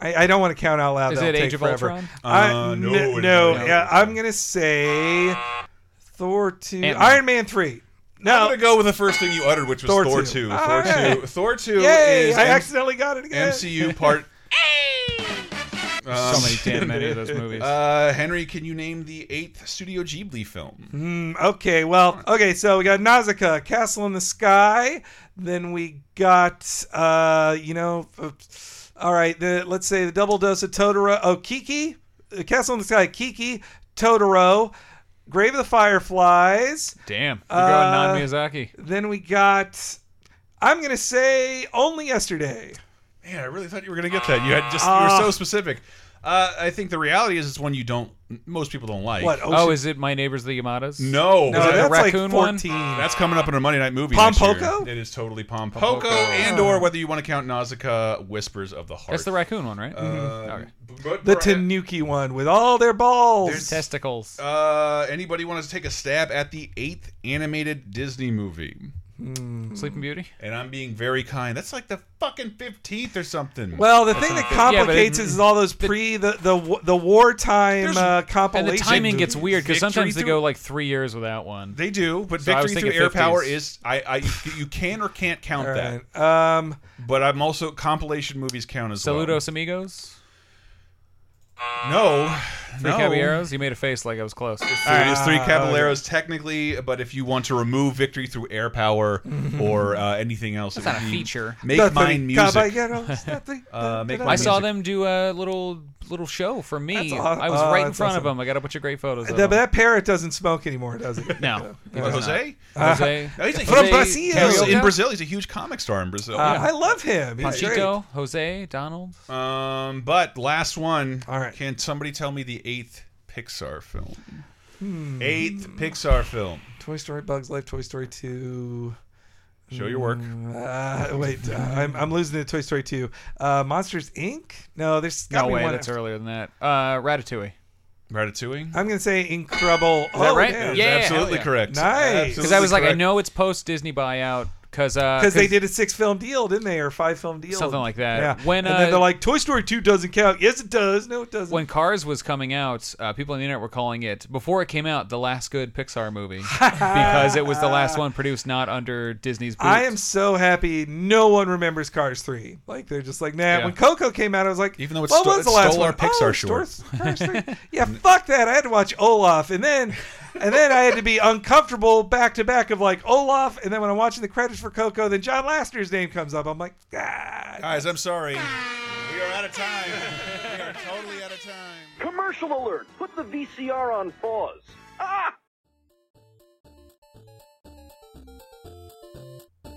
Speaker 2: I, I don't want to count out loud.
Speaker 4: Is
Speaker 2: That'll
Speaker 4: it Age
Speaker 2: take
Speaker 4: of
Speaker 2: forever.
Speaker 4: Ultron?
Speaker 2: I-
Speaker 1: Uh,
Speaker 2: n-
Speaker 1: no, it
Speaker 2: no,
Speaker 1: is not.
Speaker 2: yeah, I'm gonna say Thor two,
Speaker 4: Ant-Man.
Speaker 2: Iron Man three.
Speaker 1: I'm
Speaker 2: No,
Speaker 1: going to go with the first thing you uttered, which was Thor,
Speaker 2: Thor
Speaker 1: 2.
Speaker 2: two.
Speaker 1: Thor
Speaker 2: All
Speaker 1: 2.
Speaker 2: right.
Speaker 1: Thor 2
Speaker 2: yay!
Speaker 1: is
Speaker 2: I
Speaker 1: M-
Speaker 2: accidentally got it again.
Speaker 1: MCU part. Um,
Speaker 4: so many damn many of those movies.
Speaker 1: uh, Henry, can you name the eighth Studio Ghibli film?
Speaker 2: Mm, okay, well, okay, so we got Nausicaa, Castle in the Sky. Then we got, uh, you know, uh, all right, the, let's say the double dose of Totoro. Oh, Kiki, uh, Castle in the Sky, Kiki, Totoro, Grave of the Fireflies.
Speaker 4: Damn, we're going non
Speaker 2: Uh,
Speaker 4: Miyazaki.
Speaker 2: Then we got, I'm going to say, Only Yesterday.
Speaker 1: Man, I really thought you were going to get that. You had just you
Speaker 2: Ah.
Speaker 1: were so specific. Uh, I think the reality is it's one you don't. Most people don't like.
Speaker 2: What?
Speaker 4: Oh,
Speaker 2: Ocean-
Speaker 4: is it My Neighbors the Yamadas?
Speaker 1: No,
Speaker 2: no,
Speaker 1: is that-
Speaker 4: the
Speaker 2: that's like
Speaker 4: raccoon one?
Speaker 2: 14.
Speaker 1: that's coming up in a Monday night movie.
Speaker 2: Pom Ah.
Speaker 1: next year.
Speaker 2: Poko?
Speaker 1: It is totally Pom Poco,
Speaker 4: Poko.
Speaker 1: and or whether you want to count Nausicaa, Whispers of the Heart.
Speaker 4: That's the raccoon one, right? Mm-hmm.
Speaker 1: Uh,
Speaker 4: Okay.
Speaker 1: b- but-
Speaker 2: The Tanuki one with all their balls.
Speaker 4: Testicles.
Speaker 1: Uh, anybody want to take a stab at the eighth animated Disney movie?
Speaker 4: Sleeping Beauty.
Speaker 1: and I'm being very kind. That's like the fucking fifteenth or something.
Speaker 2: Well, the thing that
Speaker 4: Yeah, but it-
Speaker 2: complicates it is all those pre the the w- the wartime
Speaker 1: There's-
Speaker 2: uh,
Speaker 4: And
Speaker 2: compilation.
Speaker 4: the timing gets
Speaker 2: movies.
Speaker 4: weird because
Speaker 1: Victory
Speaker 4: sometimes they
Speaker 1: through-
Speaker 4: go like three years without one.
Speaker 1: they do, but
Speaker 4: So I was
Speaker 1: victory through
Speaker 4: thinking
Speaker 1: air
Speaker 4: 50s.
Speaker 1: power is I, I you can or can't count
Speaker 2: All
Speaker 1: that.
Speaker 2: right. Um,
Speaker 1: But I'm also compilation movies count as well.
Speaker 4: Saludos amigos.
Speaker 1: No,
Speaker 4: Three
Speaker 1: no.
Speaker 4: Caballeros. Ah, You made a face like I was close.
Speaker 1: It is three Caballeros technically, but if you want to remove victory through air power
Speaker 4: Mm-hmm.
Speaker 1: or uh, anything else,
Speaker 4: That's not a
Speaker 1: you
Speaker 4: feature.
Speaker 1: Make
Speaker 2: nothing
Speaker 1: mine music.
Speaker 2: caballeros, nothing-
Speaker 1: Uh, make
Speaker 4: I
Speaker 1: mine
Speaker 4: saw
Speaker 1: music.
Speaker 4: them do a little little show for me.
Speaker 2: That's aw-
Speaker 4: I was
Speaker 2: oh,
Speaker 4: right in
Speaker 2: that's
Speaker 4: front of
Speaker 2: awesome.
Speaker 4: them. I got a bunch of great photos. Of
Speaker 2: That,
Speaker 4: them.
Speaker 2: that parrot doesn't smoke anymore, does he?
Speaker 4: No, he
Speaker 1: Uh,
Speaker 4: does not.
Speaker 1: Jose?
Speaker 4: Jose.
Speaker 1: No, he's a-
Speaker 2: From
Speaker 4: Jose
Speaker 2: Brazil.
Speaker 1: He's
Speaker 4: Carioca?
Speaker 1: in Brazil. He's a huge comic star in Brazil.
Speaker 2: Uh, I love him. He's great.
Speaker 4: Panchito, Jose, Donald.
Speaker 1: Um, but last one.
Speaker 2: All right.
Speaker 1: Can somebody tell me the eighth Pixar film?
Speaker 2: Hmm.
Speaker 1: Eighth Pixar film.
Speaker 2: Toy Story, Bugs Life, Toy Story Two.
Speaker 1: Show your work.
Speaker 2: Uh, wait, uh, I'm, I'm losing to Toy Story Two. Uh, Monsters Inc. No, there's got
Speaker 4: No
Speaker 2: be
Speaker 4: way,
Speaker 2: one.
Speaker 4: that's earlier than that. Uh, Ratatouille.
Speaker 1: Ratatouille.
Speaker 2: I'm gonna say Incredible.
Speaker 4: that
Speaker 2: oh,
Speaker 4: right?
Speaker 2: damn.
Speaker 1: Is
Speaker 4: Yeah, hell
Speaker 1: absolutely
Speaker 4: yeah.
Speaker 1: correct.
Speaker 2: Nice.
Speaker 4: Because I was like, I
Speaker 1: correct.
Speaker 4: know it's post Disney buyout. uh, Because
Speaker 2: because Uh, they did a six film deal, didn't they, or five film deal,
Speaker 4: Something like that.
Speaker 2: Yeah.
Speaker 4: When,
Speaker 2: and then
Speaker 4: uh,
Speaker 2: they're like, Toy Story Two doesn't count. Yes, it does. No, it doesn't.
Speaker 4: when Cars was coming out, uh, people on the internet were calling it before it came out the last good Pixar movie because it was the last one produced not under Disney's. Boot.
Speaker 2: I am so happy no one remembers Cars Three. Like they're just like, nah. When Coco came out, I was like,
Speaker 1: Even though it
Speaker 2: what
Speaker 1: stole-
Speaker 2: was
Speaker 1: it
Speaker 2: the last
Speaker 1: stole our
Speaker 2: one?
Speaker 1: Pixar
Speaker 2: oh,
Speaker 1: short.
Speaker 2: stores- Cars 3. yeah, fuck that. I had to watch Olaf, and then, and then I had to be uncomfortable back to back of like Olaf, and then when I'm watching the credits for Coco, then John Lasseter's name comes up. I'm like, God.
Speaker 1: Guys, I'm sorry. We are out of time. We are totally out of time.
Speaker 5: Commercial alert! Put the VCR on pause. Ah!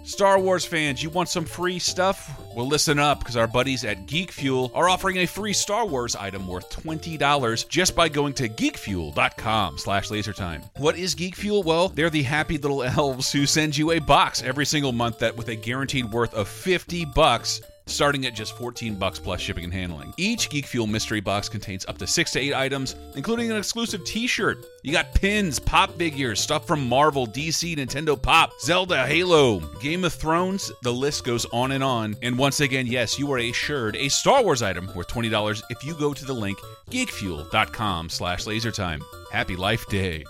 Speaker 1: Star Wars fans, you want some free stuff? Well, listen up, because our buddies at Geek Fuel are offering a free Star Wars item worth $20 just by going to geekfuel.com slash lasertime. What is Geek Fuel? Well, they're the happy little elves who send you a box every single month that with a guaranteed worth of 50 bucks starting at just 14 bucks plus shipping and handling. Each Geek Fuel mystery box contains up to 6 to 8 items, including an exclusive t-shirt. You got pins, pop figures, stuff from Marvel, DC, Nintendo Pop, Zelda, Halo, Game of Thrones, the list goes on and on. And once again, yes, you are assured a Star Wars item worth $20 if you go to the link geekfuel.com slash lasertime. Happy Life Day.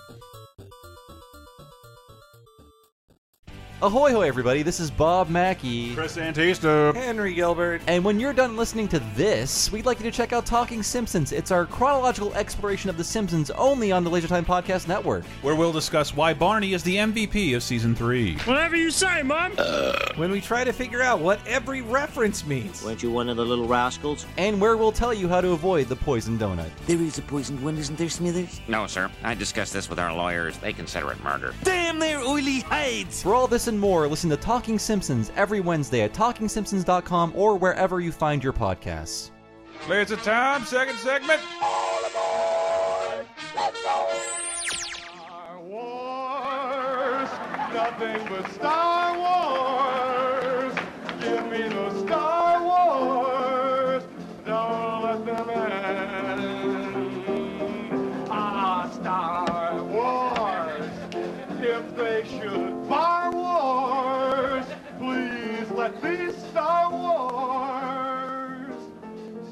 Speaker 6: Ahoy, hoy, everybody. This is Bob Mackey.
Speaker 2: Henry Gilbert.
Speaker 6: And when you're done listening to this, we'd like you to check out Talking Simpsons. It's our chronological exploration of The Simpsons only on the Laser Time Podcast Network.
Speaker 1: Where we'll discuss why Barney is the MVP of season 3.
Speaker 2: When we try to figure out what every reference means.
Speaker 7: Weren't you one of the little rascals?
Speaker 6: And where we'll tell you how to avoid the poison donut.
Speaker 8: There is a poisoned one, isn't there, Smithers?
Speaker 7: No, sir. I discussed this with our lawyers. They consider it murder.
Speaker 8: Damn their oily hides!
Speaker 6: For all this and more, listen to Talking Simpsons every Wednesday at TalkingSimpsons.com or wherever you find your podcasts.
Speaker 1: Clears the time, second segment.
Speaker 9: Star Wars, nothing but Star Wars. Give me the Star Wars. Don't let them in. Ah, Star Wars. If they should bar wars, please let these Star Wars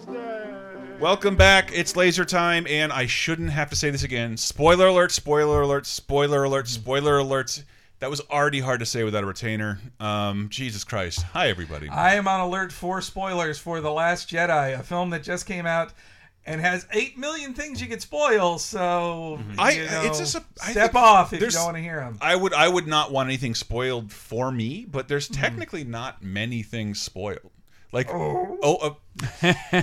Speaker 9: stay.
Speaker 1: Welcome back. It's laser time, and I shouldn't have to say this again. Spoiler alert, spoiler alert, spoiler alert, spoiler alert. That was already hard to say without a retainer. Um, Jesus Christ. Hi, everybody.
Speaker 2: I am on alert for spoilers for The Last Jedi, a film that just came out and has eight million things you could spoil. So
Speaker 1: Mm-hmm. I-
Speaker 2: you know,
Speaker 1: it's just a- I
Speaker 2: step
Speaker 1: think
Speaker 2: off if you
Speaker 1: there's-
Speaker 2: don't want to hear them.
Speaker 1: I would I would not want anything spoiled for me, but there's technically not many things spoiled. Like oh, uh,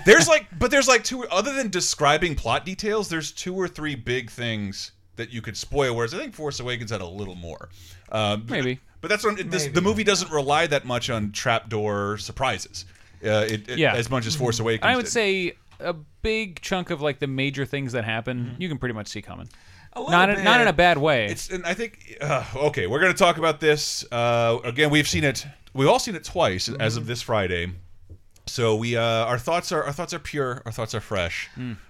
Speaker 1: there's like but there's like two other than describing plot details, there's two or three big things that you could spoil. Whereas I think Force Awakens had a little more. Um,
Speaker 4: Maybe.
Speaker 1: but that's what this,
Speaker 2: Maybe.
Speaker 1: the movie doesn't rely that much on trapdoor surprises. Uh, it, it-
Speaker 4: Yeah.
Speaker 1: as much
Speaker 2: Mm-hmm.
Speaker 1: as Force Awakens.
Speaker 4: I would
Speaker 1: did.
Speaker 4: say a big chunk of like the major things that happen,
Speaker 2: Mm-hmm.
Speaker 4: you can pretty much see coming.
Speaker 2: A little
Speaker 4: Not in,
Speaker 2: bit.
Speaker 4: not in a bad way.
Speaker 1: It's and I think uh, okay, we're going to talk about this uh, again. We've seen it. We've all seen it twice
Speaker 2: Mm-hmm.
Speaker 4: Mm.
Speaker 1: as of this Friday. So we uh, our thoughts are our thoughts are pure. Our thoughts are fresh.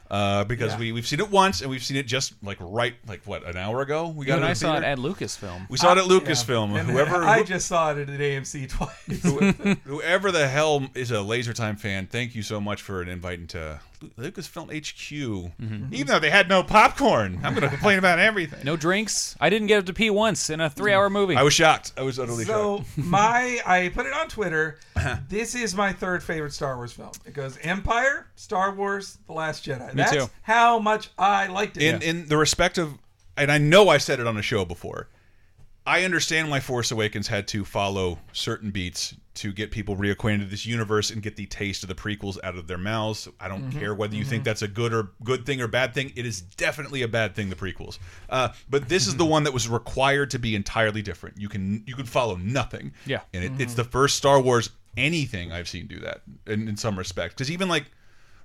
Speaker 1: uh, because we we've seen it once and we've seen it just like right like what an hour ago. We got
Speaker 4: When
Speaker 1: it
Speaker 4: I
Speaker 1: in
Speaker 4: saw it
Speaker 1: theater?
Speaker 4: at Lucasfilm.
Speaker 1: we saw it at Lucasfilm.
Speaker 2: And
Speaker 1: Whoever
Speaker 2: I
Speaker 1: who-
Speaker 2: just saw it at an AMC twice.
Speaker 1: who- whoever the hell is a Laser Time fan, thank you so much for an invite into Lucasfilm HQ. Even though they had no popcorn, I'm going to complain about everything.
Speaker 4: No drinks. I didn't get up to pee once in a three-hour movie.
Speaker 1: I was shocked. I was utterly
Speaker 2: so
Speaker 1: shocked.
Speaker 2: my I put it on Twitter.
Speaker 1: Uh-huh.
Speaker 2: this is my third favorite Star Wars film. It goes Empire, Star Wars, The Last Jedi. That's
Speaker 4: too.
Speaker 2: how much I liked it.
Speaker 1: In in the respect of, and I know I said it on a show before. I understand why Force Awakens had to follow certain beats to get people reacquainted to this universe and get the taste of the prequels out of their mouths. I don't care whether you think that's a good or good thing or bad thing. It is definitely a bad thing, the prequels. Uh, but this is the one that was required to be entirely different. You can you can follow nothing.
Speaker 4: Yeah.
Speaker 1: and it, it's the first Star Wars anything I've seen do that in, in some respect. Because even like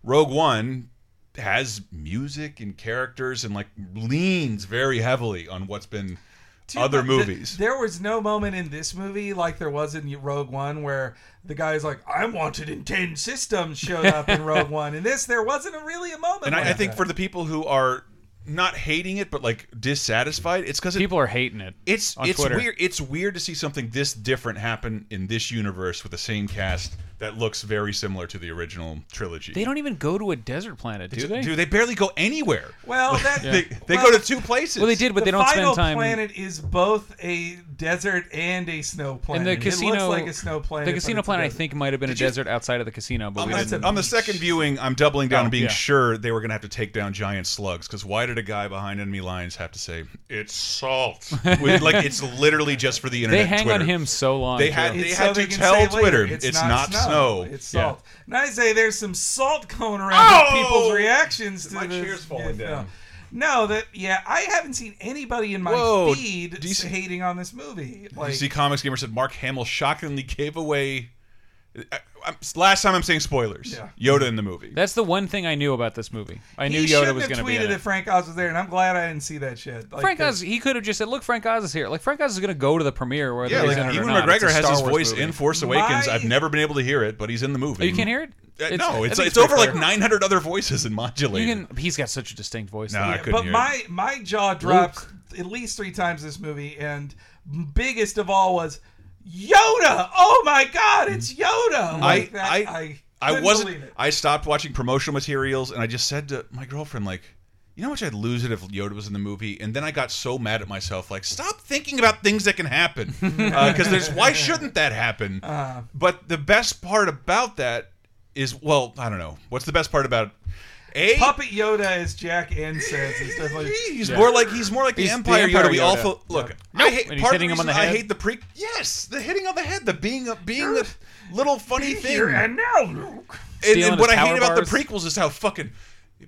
Speaker 1: Rogue One has music and characters and like leans very heavily on what's been
Speaker 2: Dude,
Speaker 1: other
Speaker 2: but th-
Speaker 1: movies.
Speaker 2: there was no moment in this movie like there was in Rogue One where the guy's like, "I'm wanted in ten systems," showed up in Rogue One. In this, there wasn't a, really a moment.
Speaker 1: and I,
Speaker 2: like
Speaker 1: I think
Speaker 2: that.
Speaker 1: for the people who are not hating it but like dissatisfied, it's because it,
Speaker 4: People are hating it.
Speaker 1: it's
Speaker 4: on
Speaker 1: it's
Speaker 4: Twitter.
Speaker 1: weird. It's weird to see something this different happen in this universe with the same cast that looks very similar to the original trilogy.
Speaker 4: They don't even go to a desert planet, do they?
Speaker 1: Do they barely go anywhere?
Speaker 2: well, that
Speaker 1: They, they
Speaker 2: well,
Speaker 1: go to two places.
Speaker 4: well, they did, but
Speaker 2: the
Speaker 4: they don't
Speaker 2: final
Speaker 4: spend time.
Speaker 2: planet is both a desert and a snow planet.
Speaker 4: and the casino,
Speaker 2: it looks like a snow planet.
Speaker 4: The
Speaker 2: but
Speaker 4: casino
Speaker 2: it's a
Speaker 4: planet, I
Speaker 2: desert.
Speaker 4: think, might have been a
Speaker 1: you- Oh,
Speaker 4: desert outside of the casino, but
Speaker 1: On
Speaker 4: we
Speaker 2: that's
Speaker 1: the,
Speaker 4: didn't.
Speaker 2: a-
Speaker 1: on the second viewing, I'm doubling down
Speaker 4: Oh,
Speaker 1: and being
Speaker 4: yeah.
Speaker 1: sure they were going to have to take down giant slugs. Because why did a guy behind enemy lines have to say it's salt? With- like it's literally just for the internet.
Speaker 4: They hang
Speaker 1: Twitter.
Speaker 4: on him so long.
Speaker 1: They
Speaker 4: too.
Speaker 1: had-
Speaker 2: It's
Speaker 1: had
Speaker 2: so
Speaker 1: to
Speaker 2: can
Speaker 1: tell
Speaker 2: say later,
Speaker 1: Twitter, it's not snow.
Speaker 2: It's
Speaker 1: Yeah.
Speaker 2: salt. And I say there's some salt going around
Speaker 1: Oh!
Speaker 2: with people's reactions to
Speaker 1: My
Speaker 2: this.
Speaker 1: chair's falling
Speaker 2: yeah,
Speaker 1: down.
Speaker 2: No, that yeah, I haven't seen anybody in my
Speaker 1: Whoa,
Speaker 2: feed
Speaker 1: do you see-
Speaker 2: hating on this movie. Like,
Speaker 1: You see, comics gamer said Mark Hamill shockingly gave away. I, I'm, last time I'm saying spoilers.
Speaker 2: Yeah.
Speaker 1: Yoda in the movie.
Speaker 4: That's the one thing I knew about this movie. I
Speaker 2: he
Speaker 4: knew Yoda
Speaker 2: shouldn't
Speaker 4: was
Speaker 2: have
Speaker 4: going to be
Speaker 2: tweeted
Speaker 4: in
Speaker 2: that
Speaker 4: it.
Speaker 2: Frank Oz was there, and I'm glad I didn't see that shit. Like,
Speaker 4: Frank
Speaker 2: the-
Speaker 4: Oz, he could have just said, "Look, Frank Oz is here." Like Frank Oz is going to go to the premiere, whether
Speaker 1: yeah,
Speaker 4: he's
Speaker 1: like
Speaker 4: in it or
Speaker 1: Ewan
Speaker 4: not. It's a
Speaker 1: McGregor has
Speaker 4: Star
Speaker 1: his
Speaker 4: Wars
Speaker 1: voice
Speaker 4: movie.
Speaker 1: in Force Awakens.
Speaker 2: My-
Speaker 1: I've never been able to hear it, but he's in the movie.
Speaker 4: Oh, you can't hear it?
Speaker 1: Uh,
Speaker 4: It's- I
Speaker 1: no,
Speaker 4: think
Speaker 1: it's it's,
Speaker 4: pretty
Speaker 1: over like
Speaker 4: clear.
Speaker 1: 900 other voices in modulated.
Speaker 4: You can. He's got such a distinct voice.
Speaker 1: No,
Speaker 4: though.
Speaker 1: I
Speaker 2: Yeah,
Speaker 1: couldn't
Speaker 2: but
Speaker 1: hear
Speaker 2: my
Speaker 1: it.
Speaker 2: my jaw dropped at least three times this movie, and biggest of all was Yoda. Oh my God, it's Yoda!
Speaker 1: I,
Speaker 2: Like that,
Speaker 1: I, I,
Speaker 2: couldn't
Speaker 1: wasn't.
Speaker 2: believe it.
Speaker 1: I stopped watching promotional materials, and I just said to my girlfriend, like, you know how much I'd lose it if Yoda was in the movie. And then I got so mad at myself, like, stop thinking about things that can happen, because there's why shouldn't that happen?
Speaker 2: Uh.
Speaker 1: but the best part about that is, well, I don't know. What's the best part about a
Speaker 2: Puppet Yoda, as Jack N says, is definitely.
Speaker 1: He's more like he's more like the
Speaker 4: He's the
Speaker 1: Empire
Speaker 4: Empire
Speaker 1: Yoda. We all
Speaker 4: Yoda.
Speaker 1: feel, look. I hate,
Speaker 4: And he's
Speaker 1: part of
Speaker 4: hitting
Speaker 1: the
Speaker 4: him on the
Speaker 1: reason I
Speaker 4: head.
Speaker 1: hate the pre. Yes, the hitting on the head, the being a being a little funny thing.
Speaker 2: now,
Speaker 1: And,
Speaker 2: Luke.
Speaker 4: Stealing
Speaker 1: and what I
Speaker 4: his
Speaker 1: hate
Speaker 4: power
Speaker 1: about the
Speaker 4: bars.
Speaker 1: prequels is how fucking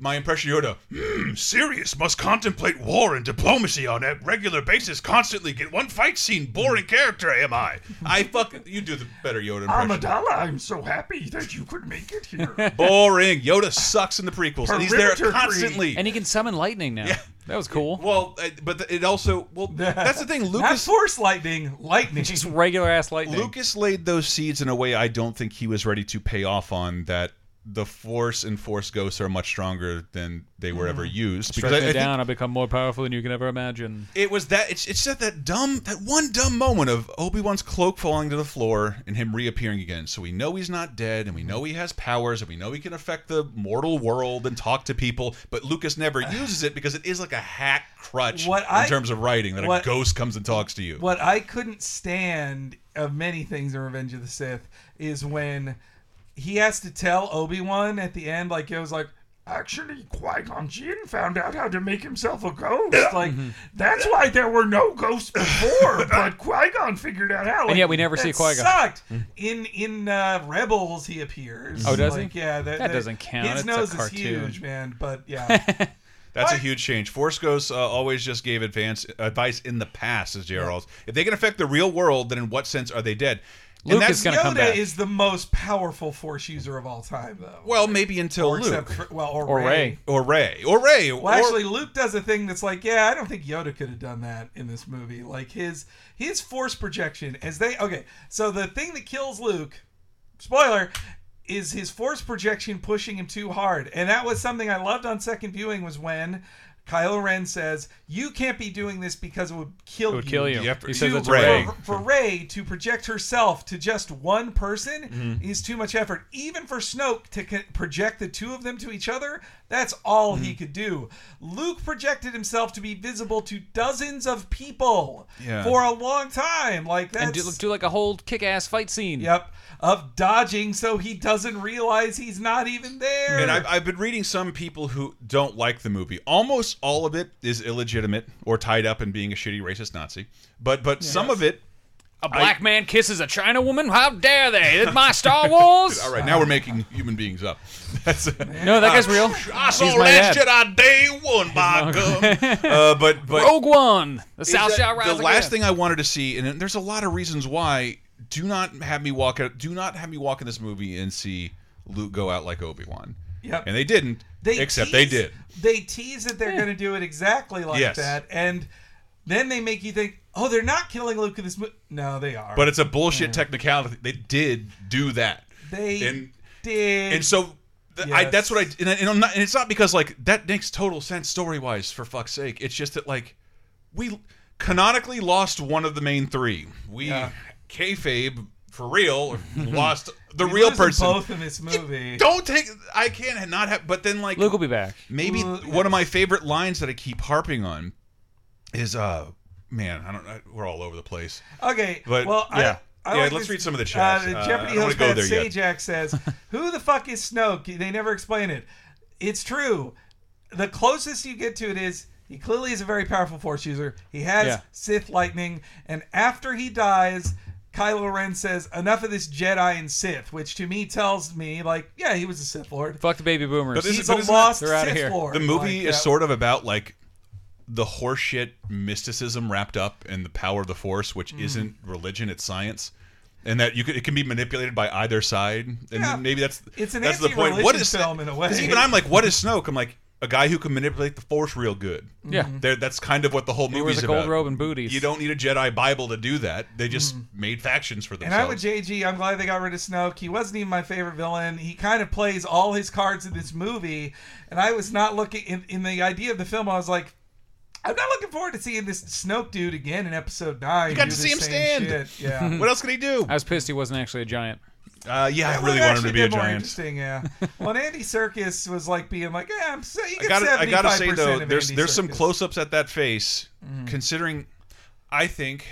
Speaker 1: my impression of Yoda. Hmm, Sirius must contemplate war and diplomacy on a regular basis, constantly. Get one fight scene, boring character. Am I? I fucking you do the better Yoda impression.
Speaker 2: I'm so happy that you could make it here.
Speaker 1: boring. Yoda sucks in the prequels, and he's there
Speaker 2: Perimeter creep.
Speaker 1: constantly.
Speaker 4: And he can summon lightning now. That was cool.
Speaker 1: well, uh, but it also well that's the thing.
Speaker 2: Not
Speaker 1: Lucas
Speaker 2: Force Lightning, Lightning.
Speaker 4: Just regular ass lightning.
Speaker 1: Lucas laid those seeds in a way I don't think he was ready to pay off on that the force and force ghosts are much stronger than they were ever used
Speaker 4: Strike
Speaker 1: I-
Speaker 4: me
Speaker 1: I think
Speaker 4: down. I become more powerful than you can ever imagine.
Speaker 1: it was that it's it's just that dumb that one dumb moment of Obi-Wan's cloak falling to the floor and him reappearing again. So we know he's not dead and we know he has powers and we know he can affect the mortal world and talk to people, but Lucas never uses it because it is like a hack crutch
Speaker 2: What
Speaker 1: in
Speaker 2: I-
Speaker 1: terms of writing that
Speaker 2: what-
Speaker 1: a ghost comes and talks to you.
Speaker 2: What I couldn't stand of many things in Revenge of the Sith is when he has to tell Obi Wan at the end, like it was like, actually, Qui Gon Jinn found out how to make himself a ghost. like that's why there were no ghosts before, but Qui Gon figured out how. Like,
Speaker 4: yet we never
Speaker 2: that
Speaker 4: see Qui-Gon. Mm-hmm.
Speaker 2: Sucked. In in uh, Rebels, he appears.
Speaker 4: Oh, does he?
Speaker 2: like, Yeah, that,
Speaker 4: That doesn't count.
Speaker 2: His
Speaker 4: It's a
Speaker 2: nose is
Speaker 4: cartoon.
Speaker 2: huge, man. But yeah.
Speaker 1: That's a huge change. Force Ghosts uh, always just gave advance advice in the past, as J.R. Rawls. If they can affect the real world, then in what sense are they dead? And
Speaker 4: Luke
Speaker 1: that's-
Speaker 4: is gonna come
Speaker 2: Yoda
Speaker 4: back.
Speaker 2: is the most powerful Force user of all time, though.
Speaker 1: well, maybe until
Speaker 2: Or
Speaker 1: Luke
Speaker 2: except for, well, or,
Speaker 4: Or
Speaker 2: Rey.
Speaker 4: Ray.
Speaker 1: or Ray or Ray.
Speaker 2: Well, actually, Luke does a thing that's like, yeah, I don't think Yoda could have done that in this movie. Like his his force projection as they okay. So the thing that kills Luke, spoiler, is his force projection pushing him too hard? And that was something I loved on second viewing was when Kylo Ren says, "You can't be doing this because it would kill
Speaker 4: It would kill you.
Speaker 1: Yeah,
Speaker 4: he
Speaker 1: for-
Speaker 4: says
Speaker 1: you
Speaker 4: it's
Speaker 1: Ray.
Speaker 4: Ray.
Speaker 2: For, for Ray to project herself to just one person
Speaker 4: Mm-hmm.
Speaker 2: is too much effort. Even for Snoke to co- project the two of them to each other, that's all
Speaker 4: Mm-hmm.
Speaker 2: he could do. Luke projected himself to be visible to dozens of people
Speaker 1: Yeah.
Speaker 2: for a long time. Like that's
Speaker 4: And do, do like a whole kick-ass fight scene.
Speaker 2: yep of dodging so he doesn't realize he's not even there.
Speaker 1: And I've, I've been reading some people who don't like the movie. Almost all of it is illegitimate or tied up in being a shitty racist Nazi. But but some of it.
Speaker 4: A black man kisses a China woman. How dare they? It's my Star Wars.
Speaker 1: All right, now we're making human beings up. That's uh,
Speaker 4: No, that guy's real.
Speaker 1: I saw
Speaker 4: He's my
Speaker 1: Last
Speaker 4: dad.
Speaker 1: Jedi Day One by gum. Uh, but but
Speaker 4: Rogue One. The
Speaker 1: is
Speaker 4: South
Speaker 1: that
Speaker 4: shall rise
Speaker 1: the last
Speaker 4: again.
Speaker 1: thing I wanted to see, and there's a lot of reasons why. Do not have me walk out. Do not have me walk in this movie and see Luke go out like Obi Wan.
Speaker 2: Yep.
Speaker 1: And they didn't. except they
Speaker 2: tease-
Speaker 1: did.
Speaker 2: They tease that they're going to do it exactly like
Speaker 1: Yes.
Speaker 2: that, and then they make you think, oh, they're not killing Luke in this movie. No, they are.
Speaker 1: But it's a bullshit technicality. They did do that.
Speaker 2: they
Speaker 1: and
Speaker 2: did.
Speaker 1: and so th- I,
Speaker 2: Yes.
Speaker 1: that's what I and, I- and I'm not and it's not because like that makes total sense story wise for fuck's sake. It's just that like we canonically lost one of the main three. We kayfabe for real lost the
Speaker 2: We
Speaker 1: real
Speaker 2: lose them
Speaker 1: person.
Speaker 2: Both in this movie.
Speaker 1: Don't take. I can't not have. But then like
Speaker 4: Luke will be back.
Speaker 1: maybe
Speaker 2: Well,
Speaker 1: one of my favorite lines that I keep harping on is uh man I don't I, we're all over the place.
Speaker 2: Okay.
Speaker 1: But,
Speaker 2: well, I-
Speaker 1: yeah.
Speaker 2: I,
Speaker 1: Yeah,
Speaker 2: like
Speaker 1: let's
Speaker 2: this-
Speaker 1: read some of the chats. Uh,
Speaker 2: Uh,
Speaker 1: I
Speaker 2: Jeopardy
Speaker 1: don't
Speaker 2: host
Speaker 1: wanna go
Speaker 2: Matt
Speaker 1: there yet.
Speaker 2: Sajak says, "Who the fuck is Snoke?" They never explain it. It's true. The closest you get to it is he clearly is a very powerful Force user. He has
Speaker 4: Yeah.
Speaker 2: Sith lightning, and after he dies. Kylo Ren says, "Enough of this Jedi and Sith," which to me tells me, like, yeah, he was a Sith Lord.
Speaker 4: Fuck the baby boomers.
Speaker 1: But this
Speaker 2: He's
Speaker 1: is-
Speaker 2: a
Speaker 1: isn't-
Speaker 2: lost
Speaker 4: they're outta
Speaker 2: Sith
Speaker 4: here.
Speaker 2: Lord.
Speaker 1: The movie
Speaker 2: Like,
Speaker 1: is
Speaker 2: that-
Speaker 1: sort of about like the horseshit mysticism wrapped up in the power of the force,
Speaker 2: Hmm.
Speaker 1: which isn't religion; it's science, and that you could, it can be manipulated by either side. And
Speaker 2: Yeah.
Speaker 1: maybe that's
Speaker 2: It's an
Speaker 1: that's the point.
Speaker 2: anti-religion
Speaker 1: What is
Speaker 2: film in a way.
Speaker 1: 'cause Even I'm like, what is Snoke? I'm like a guy who can manipulate the force real good.
Speaker 2: Mm-hmm.
Speaker 4: Yeah.
Speaker 1: There, that's kind of what the whole
Speaker 4: He
Speaker 1: movie
Speaker 4: wears
Speaker 1: is
Speaker 4: a gold
Speaker 1: about.
Speaker 4: robe and booties.
Speaker 1: You don't need a Jedi Bible to do that. They just made factions for
Speaker 2: Mm. And
Speaker 1: themselves.
Speaker 2: I'm with JG. I'm glad they got rid of Snoke. He wasn't even my favorite villain. He kind of plays all his cards in this movie. And I was not looking in, in the idea of the film. I was like, I'm not looking forward to seeing this Snoke dude again in Episode Nine. You
Speaker 1: got to see him stand.
Speaker 2: Yeah.
Speaker 1: what else could he do?
Speaker 4: I was pissed he wasn't actually a giant.
Speaker 1: Uh, yeah, I really want him
Speaker 2: Would've
Speaker 1: to
Speaker 2: actually
Speaker 1: be a
Speaker 2: been more
Speaker 1: giant.
Speaker 2: Interesting, yeah. well, and Andy Circus was like being like, "Yeah, I'm so you
Speaker 1: I
Speaker 2: get
Speaker 1: gotta, I
Speaker 2: 75
Speaker 1: gotta say though,
Speaker 2: of
Speaker 1: there's
Speaker 2: Andy
Speaker 1: there's some
Speaker 2: Serkis.
Speaker 1: close-ups at that face.
Speaker 4: Mm-hmm.
Speaker 1: Considering, I think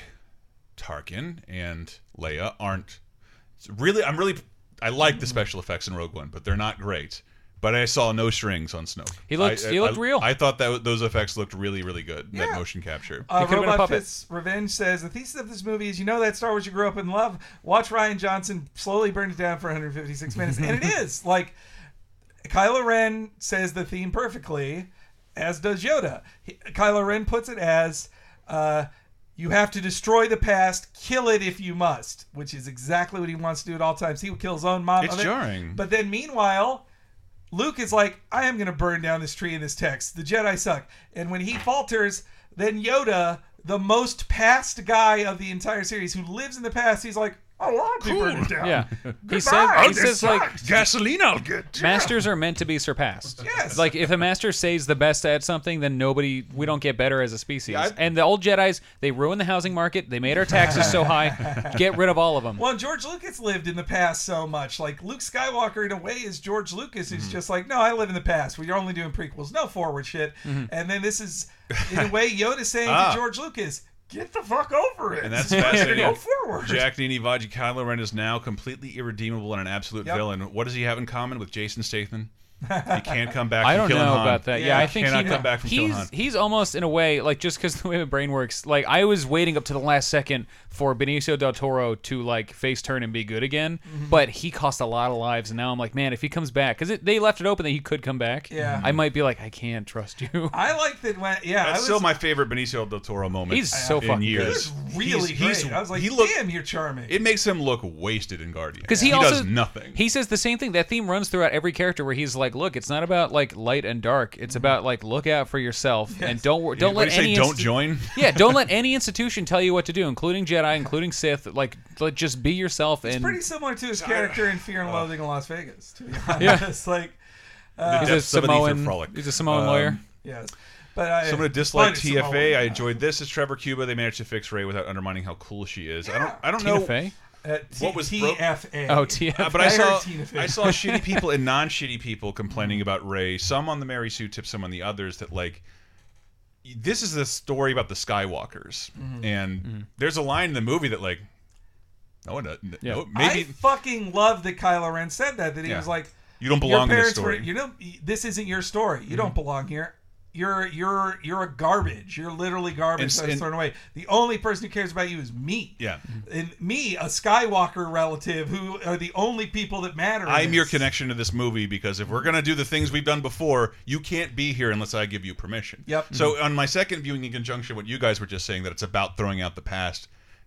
Speaker 1: Tarkin and Leia aren't it's really. I'm really. I like
Speaker 4: Mm-hmm.
Speaker 1: the special effects in Rogue One, but they're not great. But I saw no strings on Snoke.
Speaker 4: He looked-
Speaker 1: I,
Speaker 4: he looked
Speaker 1: I-
Speaker 4: real.
Speaker 1: I thought that those effects looked really, really good.
Speaker 2: Yeah.
Speaker 1: That motion capture.
Speaker 2: Uh,
Speaker 4: It could've been a
Speaker 2: Robot
Speaker 4: puppet.
Speaker 2: Fist Revenge says the thesis of this movie is you know that Star Wars you grew up in love. Watch Ryan Johnson slowly burn it down for 156 minutes, and it is like Kylo Ren says the theme perfectly, as does Yoda. He, Kylo Ren puts it as. Uh, you have to destroy the past, kill it if you must, which is exactly what he wants to do at all times. He will kill his own mom.
Speaker 1: It's
Speaker 2: of it.
Speaker 1: jarring.
Speaker 2: But then, meanwhile, Luke is like, I am going to burn down this tree in this text. The Jedi suck. And when he falters, then Yoda, the most past guy of the entire series who lives in the past, he's like, oh, I'll be burning it down.
Speaker 4: Yeah. He said he says like
Speaker 1: gasoline, I'll get.
Speaker 4: masters are meant to be surpassed.
Speaker 2: Yes.
Speaker 4: Like if a master says the best at something, then nobody we don't get better as a species.
Speaker 1: I-
Speaker 4: and the old Jedi's they ruined the housing market. They made our taxes so high. Get rid of all of them.
Speaker 2: Well, and George Lucas lived in the past so much. Like Luke Skywalker, in a way, is George Lucas, who's
Speaker 1: Mm-hmm.
Speaker 2: just like, no, I live in the past. We're only doing prequels, no forward shit. And then this is, in a way, Yoda saying
Speaker 1: Mm-hmm. Ah.
Speaker 2: to George Lucas, get the fuck over it.
Speaker 1: And that's
Speaker 2: go
Speaker 1: fascinating.
Speaker 2: forward.
Speaker 1: Jack Nini Vaji Kylo Ren is now completely irredeemable and an absolute
Speaker 2: Yep.
Speaker 1: villain. What does he have in common with Jason Statham? He can't come back.
Speaker 4: I
Speaker 1: from
Speaker 4: don't know
Speaker 1: killing Han.
Speaker 4: about that. Yeah,
Speaker 2: Yeah.
Speaker 4: I think
Speaker 1: Cannot
Speaker 4: he,
Speaker 1: come back from killing
Speaker 4: he's
Speaker 1: Han.
Speaker 4: he's almost in a way like just because the way my brain works. Like I was waiting up to the last second for Benicio del Toro to like face turn and be good again,
Speaker 1: Mm-hmm.
Speaker 4: but he cost a lot of lives, and now I'm like, man, if he comes back, because they left it open that he could come back.
Speaker 2: Yeah.
Speaker 4: I might be like, I can't trust you.
Speaker 2: I like that when, yeah. I
Speaker 1: That's
Speaker 2: was,
Speaker 1: still my favorite Benicio del Toro moment.
Speaker 4: He's so
Speaker 1: in
Speaker 4: fucking
Speaker 2: He
Speaker 1: years.
Speaker 2: was really
Speaker 1: he's, he's-
Speaker 2: great. I was like,
Speaker 1: he looked,
Speaker 2: damn, you're charming.
Speaker 1: It makes him look wasted in Guardian
Speaker 4: Because he, also
Speaker 1: does nothing.
Speaker 4: He says the same thing. That theme runs throughout every character where he's like, like, look, it's not about like light and dark. It's about like look out for yourself and don't wor- don't
Speaker 1: What
Speaker 4: let
Speaker 1: do Mm. you
Speaker 4: any
Speaker 1: say? Don't
Speaker 4: insti-
Speaker 1: join.
Speaker 4: yeah, don't let any institution tell you what to do, including Jedi, including Sith. Like, let, just be yourself and
Speaker 2: It's pretty similar to his character in Fear
Speaker 1: uh,
Speaker 2: and Loathing in Las Vegas. To be honest, like
Speaker 1: the
Speaker 4: he's a
Speaker 1: depths of an ether
Speaker 4: Samoan.
Speaker 1: frolic.
Speaker 4: He's a Samoan
Speaker 1: Um,
Speaker 4: lawyer.
Speaker 2: yes. But I,
Speaker 1: So I'm gonna dislike
Speaker 2: but it's
Speaker 1: TFA.
Speaker 2: uh,
Speaker 1: I
Speaker 2: Samoan.
Speaker 1: enjoyed this as Trevor Cuba. They managed to fix Ray without undermining how cool she is. I don't. I don't
Speaker 4: Tina
Speaker 1: know.
Speaker 4: Fey?
Speaker 2: Uh, T-
Speaker 1: What was broke-
Speaker 2: TFA?
Speaker 4: Oh, Tia.
Speaker 1: Uh, but I,
Speaker 2: I heard
Speaker 1: saw
Speaker 2: Tina Fey.
Speaker 1: I saw shitty people and non shitty people complaining about Ray. Some on the Mary Sue tip, some on the others. That like this is the story about the Skywalkers,
Speaker 2: Mm-hmm.
Speaker 1: and there's a line in the movie that like no one no,
Speaker 4: Yeah.
Speaker 1: maybe
Speaker 2: I fucking love that Kylo Ren said that. That he
Speaker 1: Yeah.
Speaker 2: was like,
Speaker 1: you don't belong in
Speaker 2: your
Speaker 1: this
Speaker 2: parents
Speaker 1: story. Mm-hmm.
Speaker 2: were you know this isn't your story. You don't belong here. You're you're you're a garbage. You're literally garbage
Speaker 1: And-
Speaker 2: that was
Speaker 1: and-
Speaker 2: thrown away. The only person who cares about you is me.
Speaker 1: Yeah.
Speaker 2: And me, a Skywalker relative, who are the only people that matter. in
Speaker 1: I'm your
Speaker 2: this.
Speaker 1: connection to this movie because if we're gonna do the things we've done before, you can't be here unless I give you permission.
Speaker 2: Yep.
Speaker 1: So on my second viewing, in conjunction with what you guys were just saying, that it's about throwing out the past.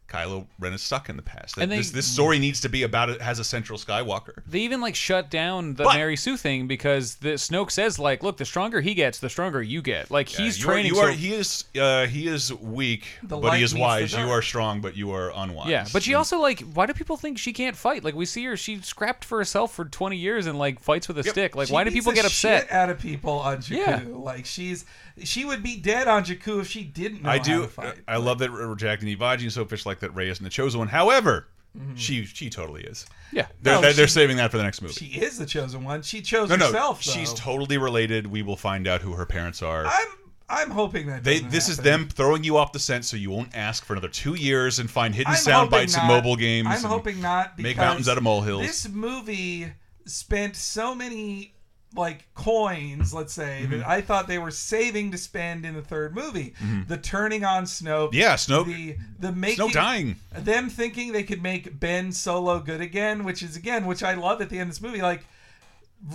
Speaker 1: Kylo Ren is stuck in the past. That
Speaker 4: And they-
Speaker 1: this, this story needs to be about it has a central Skywalker.
Speaker 4: They even like shut down the
Speaker 1: But-
Speaker 4: Mary Sue thing because the Snoke says like, look, the stronger he gets, the stronger you get. Like he's
Speaker 1: Uh, you
Speaker 4: training.
Speaker 1: Are, you are,
Speaker 4: so-
Speaker 1: he is uh, he is weak, but
Speaker 2: light
Speaker 1: he is
Speaker 2: meets the
Speaker 1: wise. You
Speaker 2: dark.
Speaker 1: are strong, but you are unwise.
Speaker 4: yeah, but she also like. Why do people think she can't fight? Like we see her, she scrapped for herself for twenty years and like fights with a stick. Like
Speaker 2: She
Speaker 4: why do
Speaker 2: beats
Speaker 4: people
Speaker 2: the
Speaker 4: get upset?
Speaker 2: shit out of people on Jakku?
Speaker 4: Yeah.
Speaker 2: Like she's she would be dead on Jakku if she didn't. Know
Speaker 1: I
Speaker 2: how
Speaker 1: do. uh,
Speaker 2: to fight.
Speaker 1: I love that we're rejecting Ivaji and Sofish like that. Ray isn't the chosen one. However, she she totally is.
Speaker 4: Yeah.
Speaker 1: They're,
Speaker 2: No,
Speaker 1: they're, they're
Speaker 2: she-
Speaker 1: saving that for the next movie.
Speaker 2: She is the chosen one. She chose
Speaker 1: no, no,
Speaker 2: herself.
Speaker 1: she's
Speaker 2: though.
Speaker 1: totally related. We will find out who her parents are.
Speaker 2: I'm I'm hoping that
Speaker 1: they
Speaker 2: doesn't
Speaker 1: this is
Speaker 2: happen.
Speaker 1: them throwing you off the scent so you won't ask for another two years and find hidden
Speaker 2: I'm
Speaker 1: sound
Speaker 2: hoping
Speaker 1: bites
Speaker 2: not.
Speaker 1: in mobile games.
Speaker 2: I'm
Speaker 1: and
Speaker 2: hoping not.
Speaker 1: make
Speaker 2: because
Speaker 1: mountains out of molehills.
Speaker 2: This movie spent so many like coins, let's say,
Speaker 1: Mm-hmm.
Speaker 2: that I thought they were saving to spend in the third movie. The turning on Snoke.
Speaker 1: Yeah, Snoke-
Speaker 2: The the making
Speaker 1: Snoke dying.
Speaker 2: Them thinking they could make Ben Solo good again, which is again, which I love at the end of this movie, like.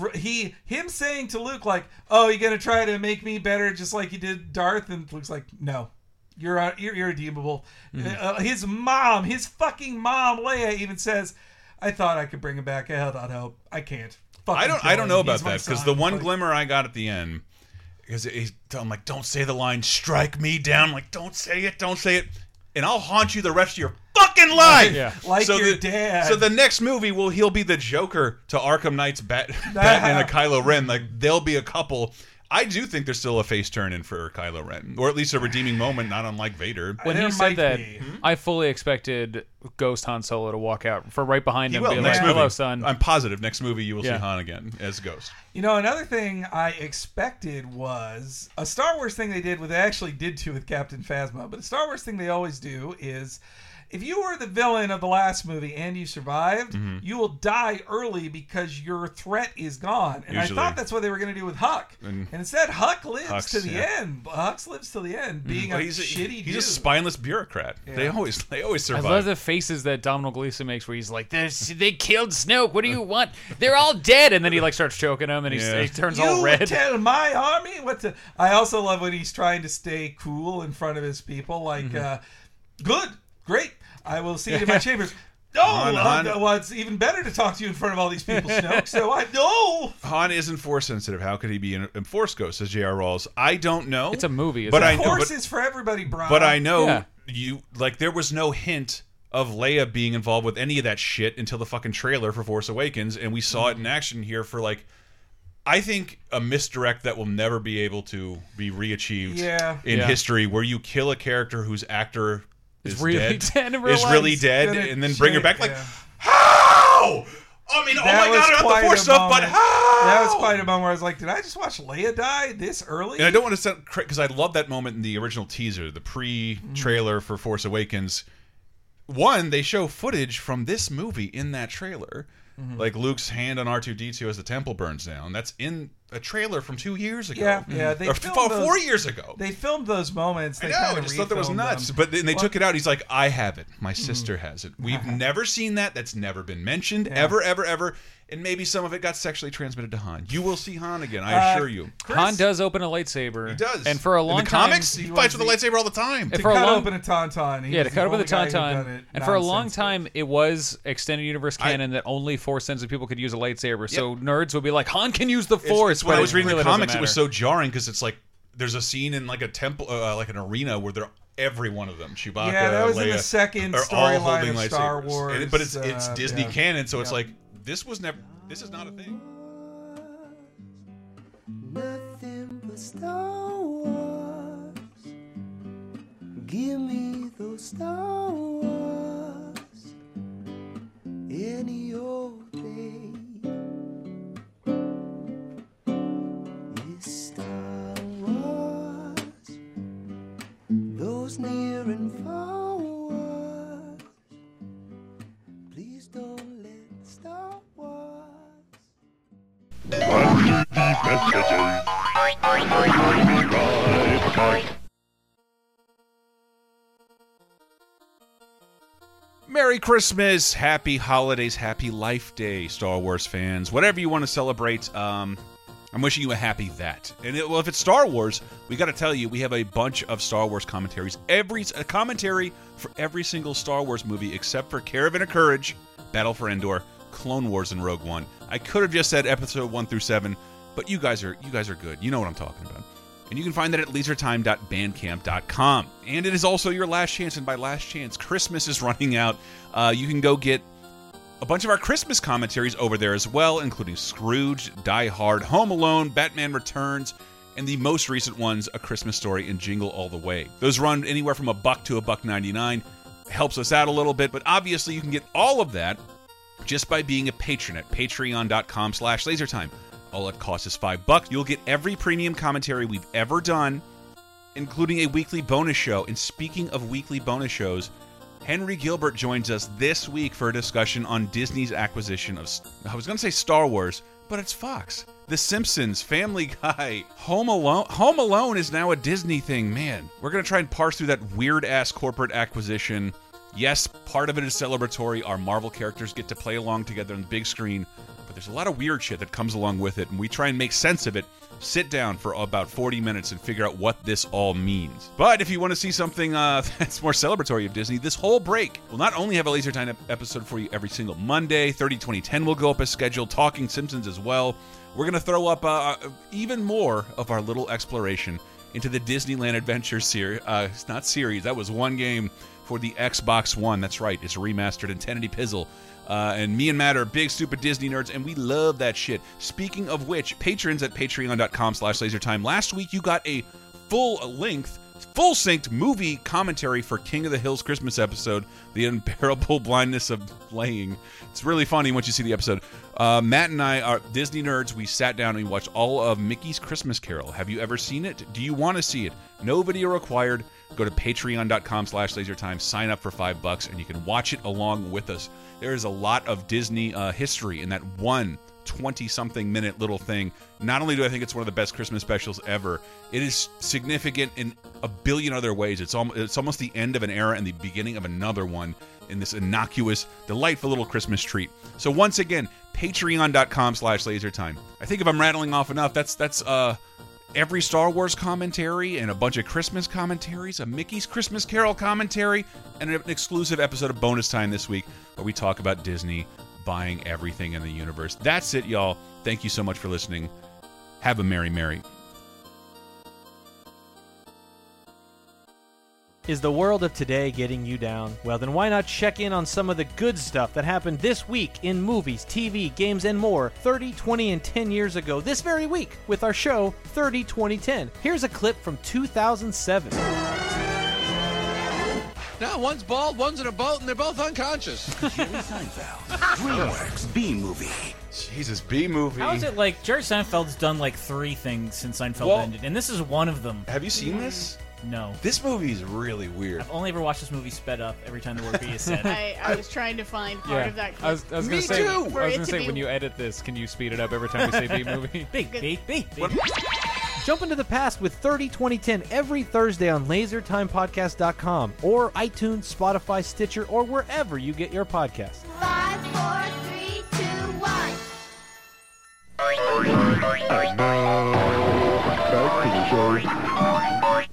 Speaker 2: r- He him saying to Luke like, "Oh, you're gonna try to make me better, just like you did Darth," and Luke's like, "No, you're uh, you're irredeemable.
Speaker 1: Hmm.
Speaker 2: Uh, his mom, his fucking mom, Leia, even says, "I thought I could bring him back. I held out hope. I can't. Fucking
Speaker 1: I don't.
Speaker 2: kill
Speaker 1: I don't
Speaker 2: him.
Speaker 1: know
Speaker 2: He's
Speaker 1: about
Speaker 2: my
Speaker 1: that because
Speaker 2: son."
Speaker 1: the one
Speaker 2: Like,
Speaker 1: glimmer I got at the end, because I'm like, don't say the line, strike me down. I'm like, don't say it, don't say it, and I'll haunt you the rest of your fucking life.
Speaker 4: Yeah.
Speaker 2: Like your
Speaker 1: the,
Speaker 2: dad.
Speaker 1: So the next movie, will he'll be the Joker to Arkham Knight's Bat, Batman and Kylo Ren. Like they'll be a couple. I do think there's still a face turn in for Kylo Ren, or at least a redeeming moment, not unlike Vader.
Speaker 4: when
Speaker 2: There
Speaker 4: he said
Speaker 2: might
Speaker 4: that,
Speaker 2: be.
Speaker 1: Hmm?
Speaker 4: I fully expected Ghost Han Solo to walk out for right behind
Speaker 1: He
Speaker 4: him,
Speaker 1: will
Speaker 4: be like,
Speaker 1: next movie.
Speaker 4: "Hello, son."
Speaker 1: I'm positive next movie you will
Speaker 4: Yeah.
Speaker 1: see Han again as Ghost.
Speaker 2: you know, another thing I expected was a Star Wars thing they did, what they actually did too with Captain Phasma. But a Star Wars thing they always do is. If you were the villain of the last movie and you survived,
Speaker 1: Mm-hmm.
Speaker 2: you will die early because your threat is gone. And
Speaker 1: Usually.
Speaker 2: I thought that's what they were going to do with Huck. And, instead, Huck lives
Speaker 1: Hux,
Speaker 2: to the
Speaker 1: yeah. Mm-hmm.
Speaker 2: end. Huck lives to the end, being
Speaker 1: Well,
Speaker 2: a
Speaker 1: he's a,
Speaker 2: shitty
Speaker 1: he's
Speaker 2: dude.
Speaker 1: a spineless bureaucrat. They always they always
Speaker 4: I
Speaker 1: survive.
Speaker 4: love the faces that Domhnall Gleeson makes, where he's like, "There's- "They killed Snoke. What do you want? They're all dead." And then he like starts choking him, and he's,
Speaker 1: Yeah.
Speaker 4: he turns
Speaker 2: you
Speaker 4: all red.
Speaker 2: tell my army what to. I also love when he's trying to stay cool in front of his people. Like,
Speaker 1: Mm-hmm.
Speaker 2: uh, good, great. I will see you in my chambers. No,
Speaker 1: On,
Speaker 2: uh,
Speaker 1: on.
Speaker 2: well, it's even better to talk to you in front of all these people, Snoke. So I no.
Speaker 1: Han isn't force sensitive. How could he be an enforce ghost? Says J.R. Rawls. I don't know.
Speaker 4: It's a movie, isn't
Speaker 1: but
Speaker 4: it?
Speaker 1: I know.
Speaker 2: Force
Speaker 1: But,
Speaker 2: is for everybody, Brian.
Speaker 1: but I know
Speaker 4: Yeah.
Speaker 1: you like there was no hint of Leia being involved with any of that shit until the fucking trailer for Force Awakens, and we saw
Speaker 2: Mm-hmm.
Speaker 1: it in action here for like. I think a misdirect that will never be able to be reachieved
Speaker 2: Yeah.
Speaker 1: in
Speaker 4: Yeah.
Speaker 1: history, where you kill a character whose actor
Speaker 4: Is
Speaker 1: is,
Speaker 4: really
Speaker 1: dead,
Speaker 4: dead in real
Speaker 1: is really
Speaker 4: life.
Speaker 1: dead,
Speaker 2: Gonna
Speaker 1: and then bring her
Speaker 2: shit,
Speaker 1: back. Like,
Speaker 2: yeah.
Speaker 1: how? I mean,
Speaker 2: That
Speaker 1: oh my
Speaker 2: was
Speaker 1: god, about
Speaker 2: quite
Speaker 1: the Force
Speaker 2: a
Speaker 1: stuff, but
Speaker 2: moment.
Speaker 1: how?
Speaker 2: That was quite a moment where I was like, did I just watch Leia die this early?
Speaker 1: And I don't want to sound because I love that moment in the original teaser, the
Speaker 2: Mm.
Speaker 1: pre-trailer for Force Awakens. One, they show footage from this
Speaker 2: Mm-hmm.
Speaker 1: movie in that trailer, like Luke's hand on R two D two as the temple burns down. That's in a trailer from two years ago.
Speaker 2: Yeah, yeah, they
Speaker 1: or
Speaker 2: filmed
Speaker 1: four,
Speaker 2: those-
Speaker 1: four years ago.
Speaker 2: They filmed those moments. They
Speaker 1: I know.
Speaker 2: kinda
Speaker 1: I just thought that was
Speaker 2: refilmed
Speaker 1: nuts.
Speaker 2: them.
Speaker 1: But then they
Speaker 2: Well, Mm-hmm.
Speaker 1: took it out. He's like, I have it. My sister has it. We've never seen that. That's never been mentioned ever, ever, ever. And maybe some of it got sexually transmitted to Han. You will see Han again. I
Speaker 2: Uh,
Speaker 1: assure you.
Speaker 4: Han does open a lightsaber.
Speaker 1: He does.
Speaker 4: And for a long
Speaker 1: In the
Speaker 4: time,
Speaker 1: comics, he
Speaker 2: he
Speaker 1: fights
Speaker 2: was
Speaker 1: with a lightsaber all the time.
Speaker 4: If
Speaker 2: to
Speaker 4: for a
Speaker 2: cut
Speaker 4: long-
Speaker 2: open a tauntaun. He
Speaker 4: Yeah,
Speaker 2: was
Speaker 4: to cut
Speaker 2: the
Speaker 4: up with the
Speaker 2: only guy who'd
Speaker 4: tauntaun,
Speaker 2: done it
Speaker 4: and for a long
Speaker 2: nonsense.
Speaker 4: time, it was extended universe canon that only four sense of people could use a lightsaber. So nerds would be like, "Han can use the
Speaker 1: It's-
Speaker 4: force."
Speaker 1: it's when
Speaker 4: but
Speaker 1: I was
Speaker 4: it
Speaker 1: reading
Speaker 4: really
Speaker 1: the
Speaker 4: doesn't
Speaker 1: comics, it was
Speaker 4: matter.
Speaker 1: so jarring because it's like there's a scene in like a temple, uh, like an arena where they're every one of them, Chewbacca,
Speaker 2: Yeah, that was in
Speaker 1: Leia,
Speaker 2: the second
Speaker 1: are all
Speaker 2: storyline
Speaker 1: holding
Speaker 2: of Star
Speaker 1: lightsabers. And it- but it's it's
Speaker 2: Wars, uh,
Speaker 1: Disney
Speaker 2: yeah.
Speaker 1: canon, so it's
Speaker 2: Yeah.
Speaker 1: like this was never. This is not a thing.
Speaker 10: Nothing but Star Wars. Give me those Star Wars any old day. Yes, Star Wars. Those near and far wars. Please don't let Star Wars.
Speaker 1: Merry Christmas, Happy Holidays, Happy Life Day, Star Wars fans. Whatever you want to celebrate, um, I'm wishing you a happy that. And it, well, if it's Star Wars, we got to tell you we have a bunch of Star Wars commentaries. Every a commentary for every single Star Wars movie except for Caravan of Courage, Battle for Endor, Clone Wars, and Rogue One. I could have just said Episode One through Seven, but you guys are you guys are good. You know what I'm talking about. And you can find that at leisuretime.bandcamp.com. And it is also your last chance, and by last chance, Christmas is running out. Uh, you can go get a bunch of our Christmas commentaries over there as well, including Scrooge, Die Hard, Home Alone, Batman Returns, and the most recent ones, A Christmas Story and Jingle All the Way. Those run anywhere from a buck to a buck 99. Helps us out a little bit, but obviously you can get all of that just by being a patron at patreon.com slash lasertime. All it costs is five bucks. You'll get every premium commentary we've ever done, including a weekly bonus show. And speaking of weekly bonus shows, Henry Gilbert joins us this week for a discussion on Disney's acquisition of, I was going to say Star Wars, but it's Fox. The Simpsons, Family Guy, Home Alone. Home Alone is now a Disney thing, man. We're going to try and parse through that weird ass corporate acquisition. Yes, part of it is celebratory. Our Marvel characters get to play along together on the big screen, but there's a lot of weird shit that comes along with it, and we try and make sense of it. Sit down for about 40 minutes and figure out what this all means. But if you want to see something uh, that's more celebratory of Disney, this whole break will not only have a Laser Time ep- episode for you every single Monday, 30 2010 will go up as scheduled, Talking Simpsons as well. We're going to throw up uh, even more of our little exploration into the Disneyland Adventure series. Uh, it's not series, that was one game for the Xbox One. That's right, it's remastered in 1080 Pizzle. Uh, and me and Matt are big stupid Disney nerds, and we love that shit. Speaking of which, patrons at patreon.com slash lasertime. Last week you got a full length, full synced movie commentary for King of the Hills Christmas episode, The Unbearable Blindness of Playing. It's really funny once you see the episode. Uh, Matt and I are Disney nerds. We sat down and we watched all of Mickey's Christmas Carol. Have you ever seen it? Do you want to see it? No video required. Go to patreon.com slash lasertime, sign up for five bucks, and you can watch it along with us. There is a lot of Disney uh, history in that one 20 something minute little thing. Not only do I think it's one of the best Christmas specials ever, it is significant in a billion other ways. It's, almost it's almost the end of an era and the beginning of another one in this innocuous, delightful little Christmas treat. So once again, patreon.com slash lasertime. I think if I'm rattling off enough, that's that's uh every Star Wars commentary and a bunch of Christmas commentaries, a Mickey's Christmas Carol commentary, and an exclusive episode of Bonus Time this week where we talk about Disney buying everything in the universe. That's it, y'all. Thank you so much for listening. Have a merry merry.
Speaker 11: Is the world of today getting you down? Well, then why not check in on some of the good stuff that happened this week in movies, TV, games, and more 30, 20, and 10 years ago this very week with our show 30, 20, 10. Here's a clip from 2007.
Speaker 10: No, one's bald, one's in a boat, and they're both unconscious.
Speaker 8: DreamWorks B movie.
Speaker 1: Jesus, B movie.
Speaker 12: How is it like Jerry Seinfeld's done like three things since Seinfeld
Speaker 1: Well-
Speaker 12: ended, and this is one of them.
Speaker 1: Have you seen this?
Speaker 12: No.
Speaker 1: This movie is really weird.
Speaker 12: I've only ever watched this movie sped up every time the word B is said.
Speaker 13: I, I was trying to find part of that. Clip
Speaker 4: I was, I was gonna
Speaker 13: for
Speaker 4: say, I
Speaker 13: it
Speaker 4: was gonna
Speaker 13: to
Speaker 4: say
Speaker 13: be-
Speaker 4: when you edit this, can you speed it up every time we say B movie?
Speaker 12: Big, big, big, big.
Speaker 11: Jump into the past with 30 2010 every Thursday on lasertimepodcast.com or iTunes, Spotify, Stitcher, or wherever you get your podcasts.
Speaker 10: Five, four, three, two, one.
Speaker 2: Uh,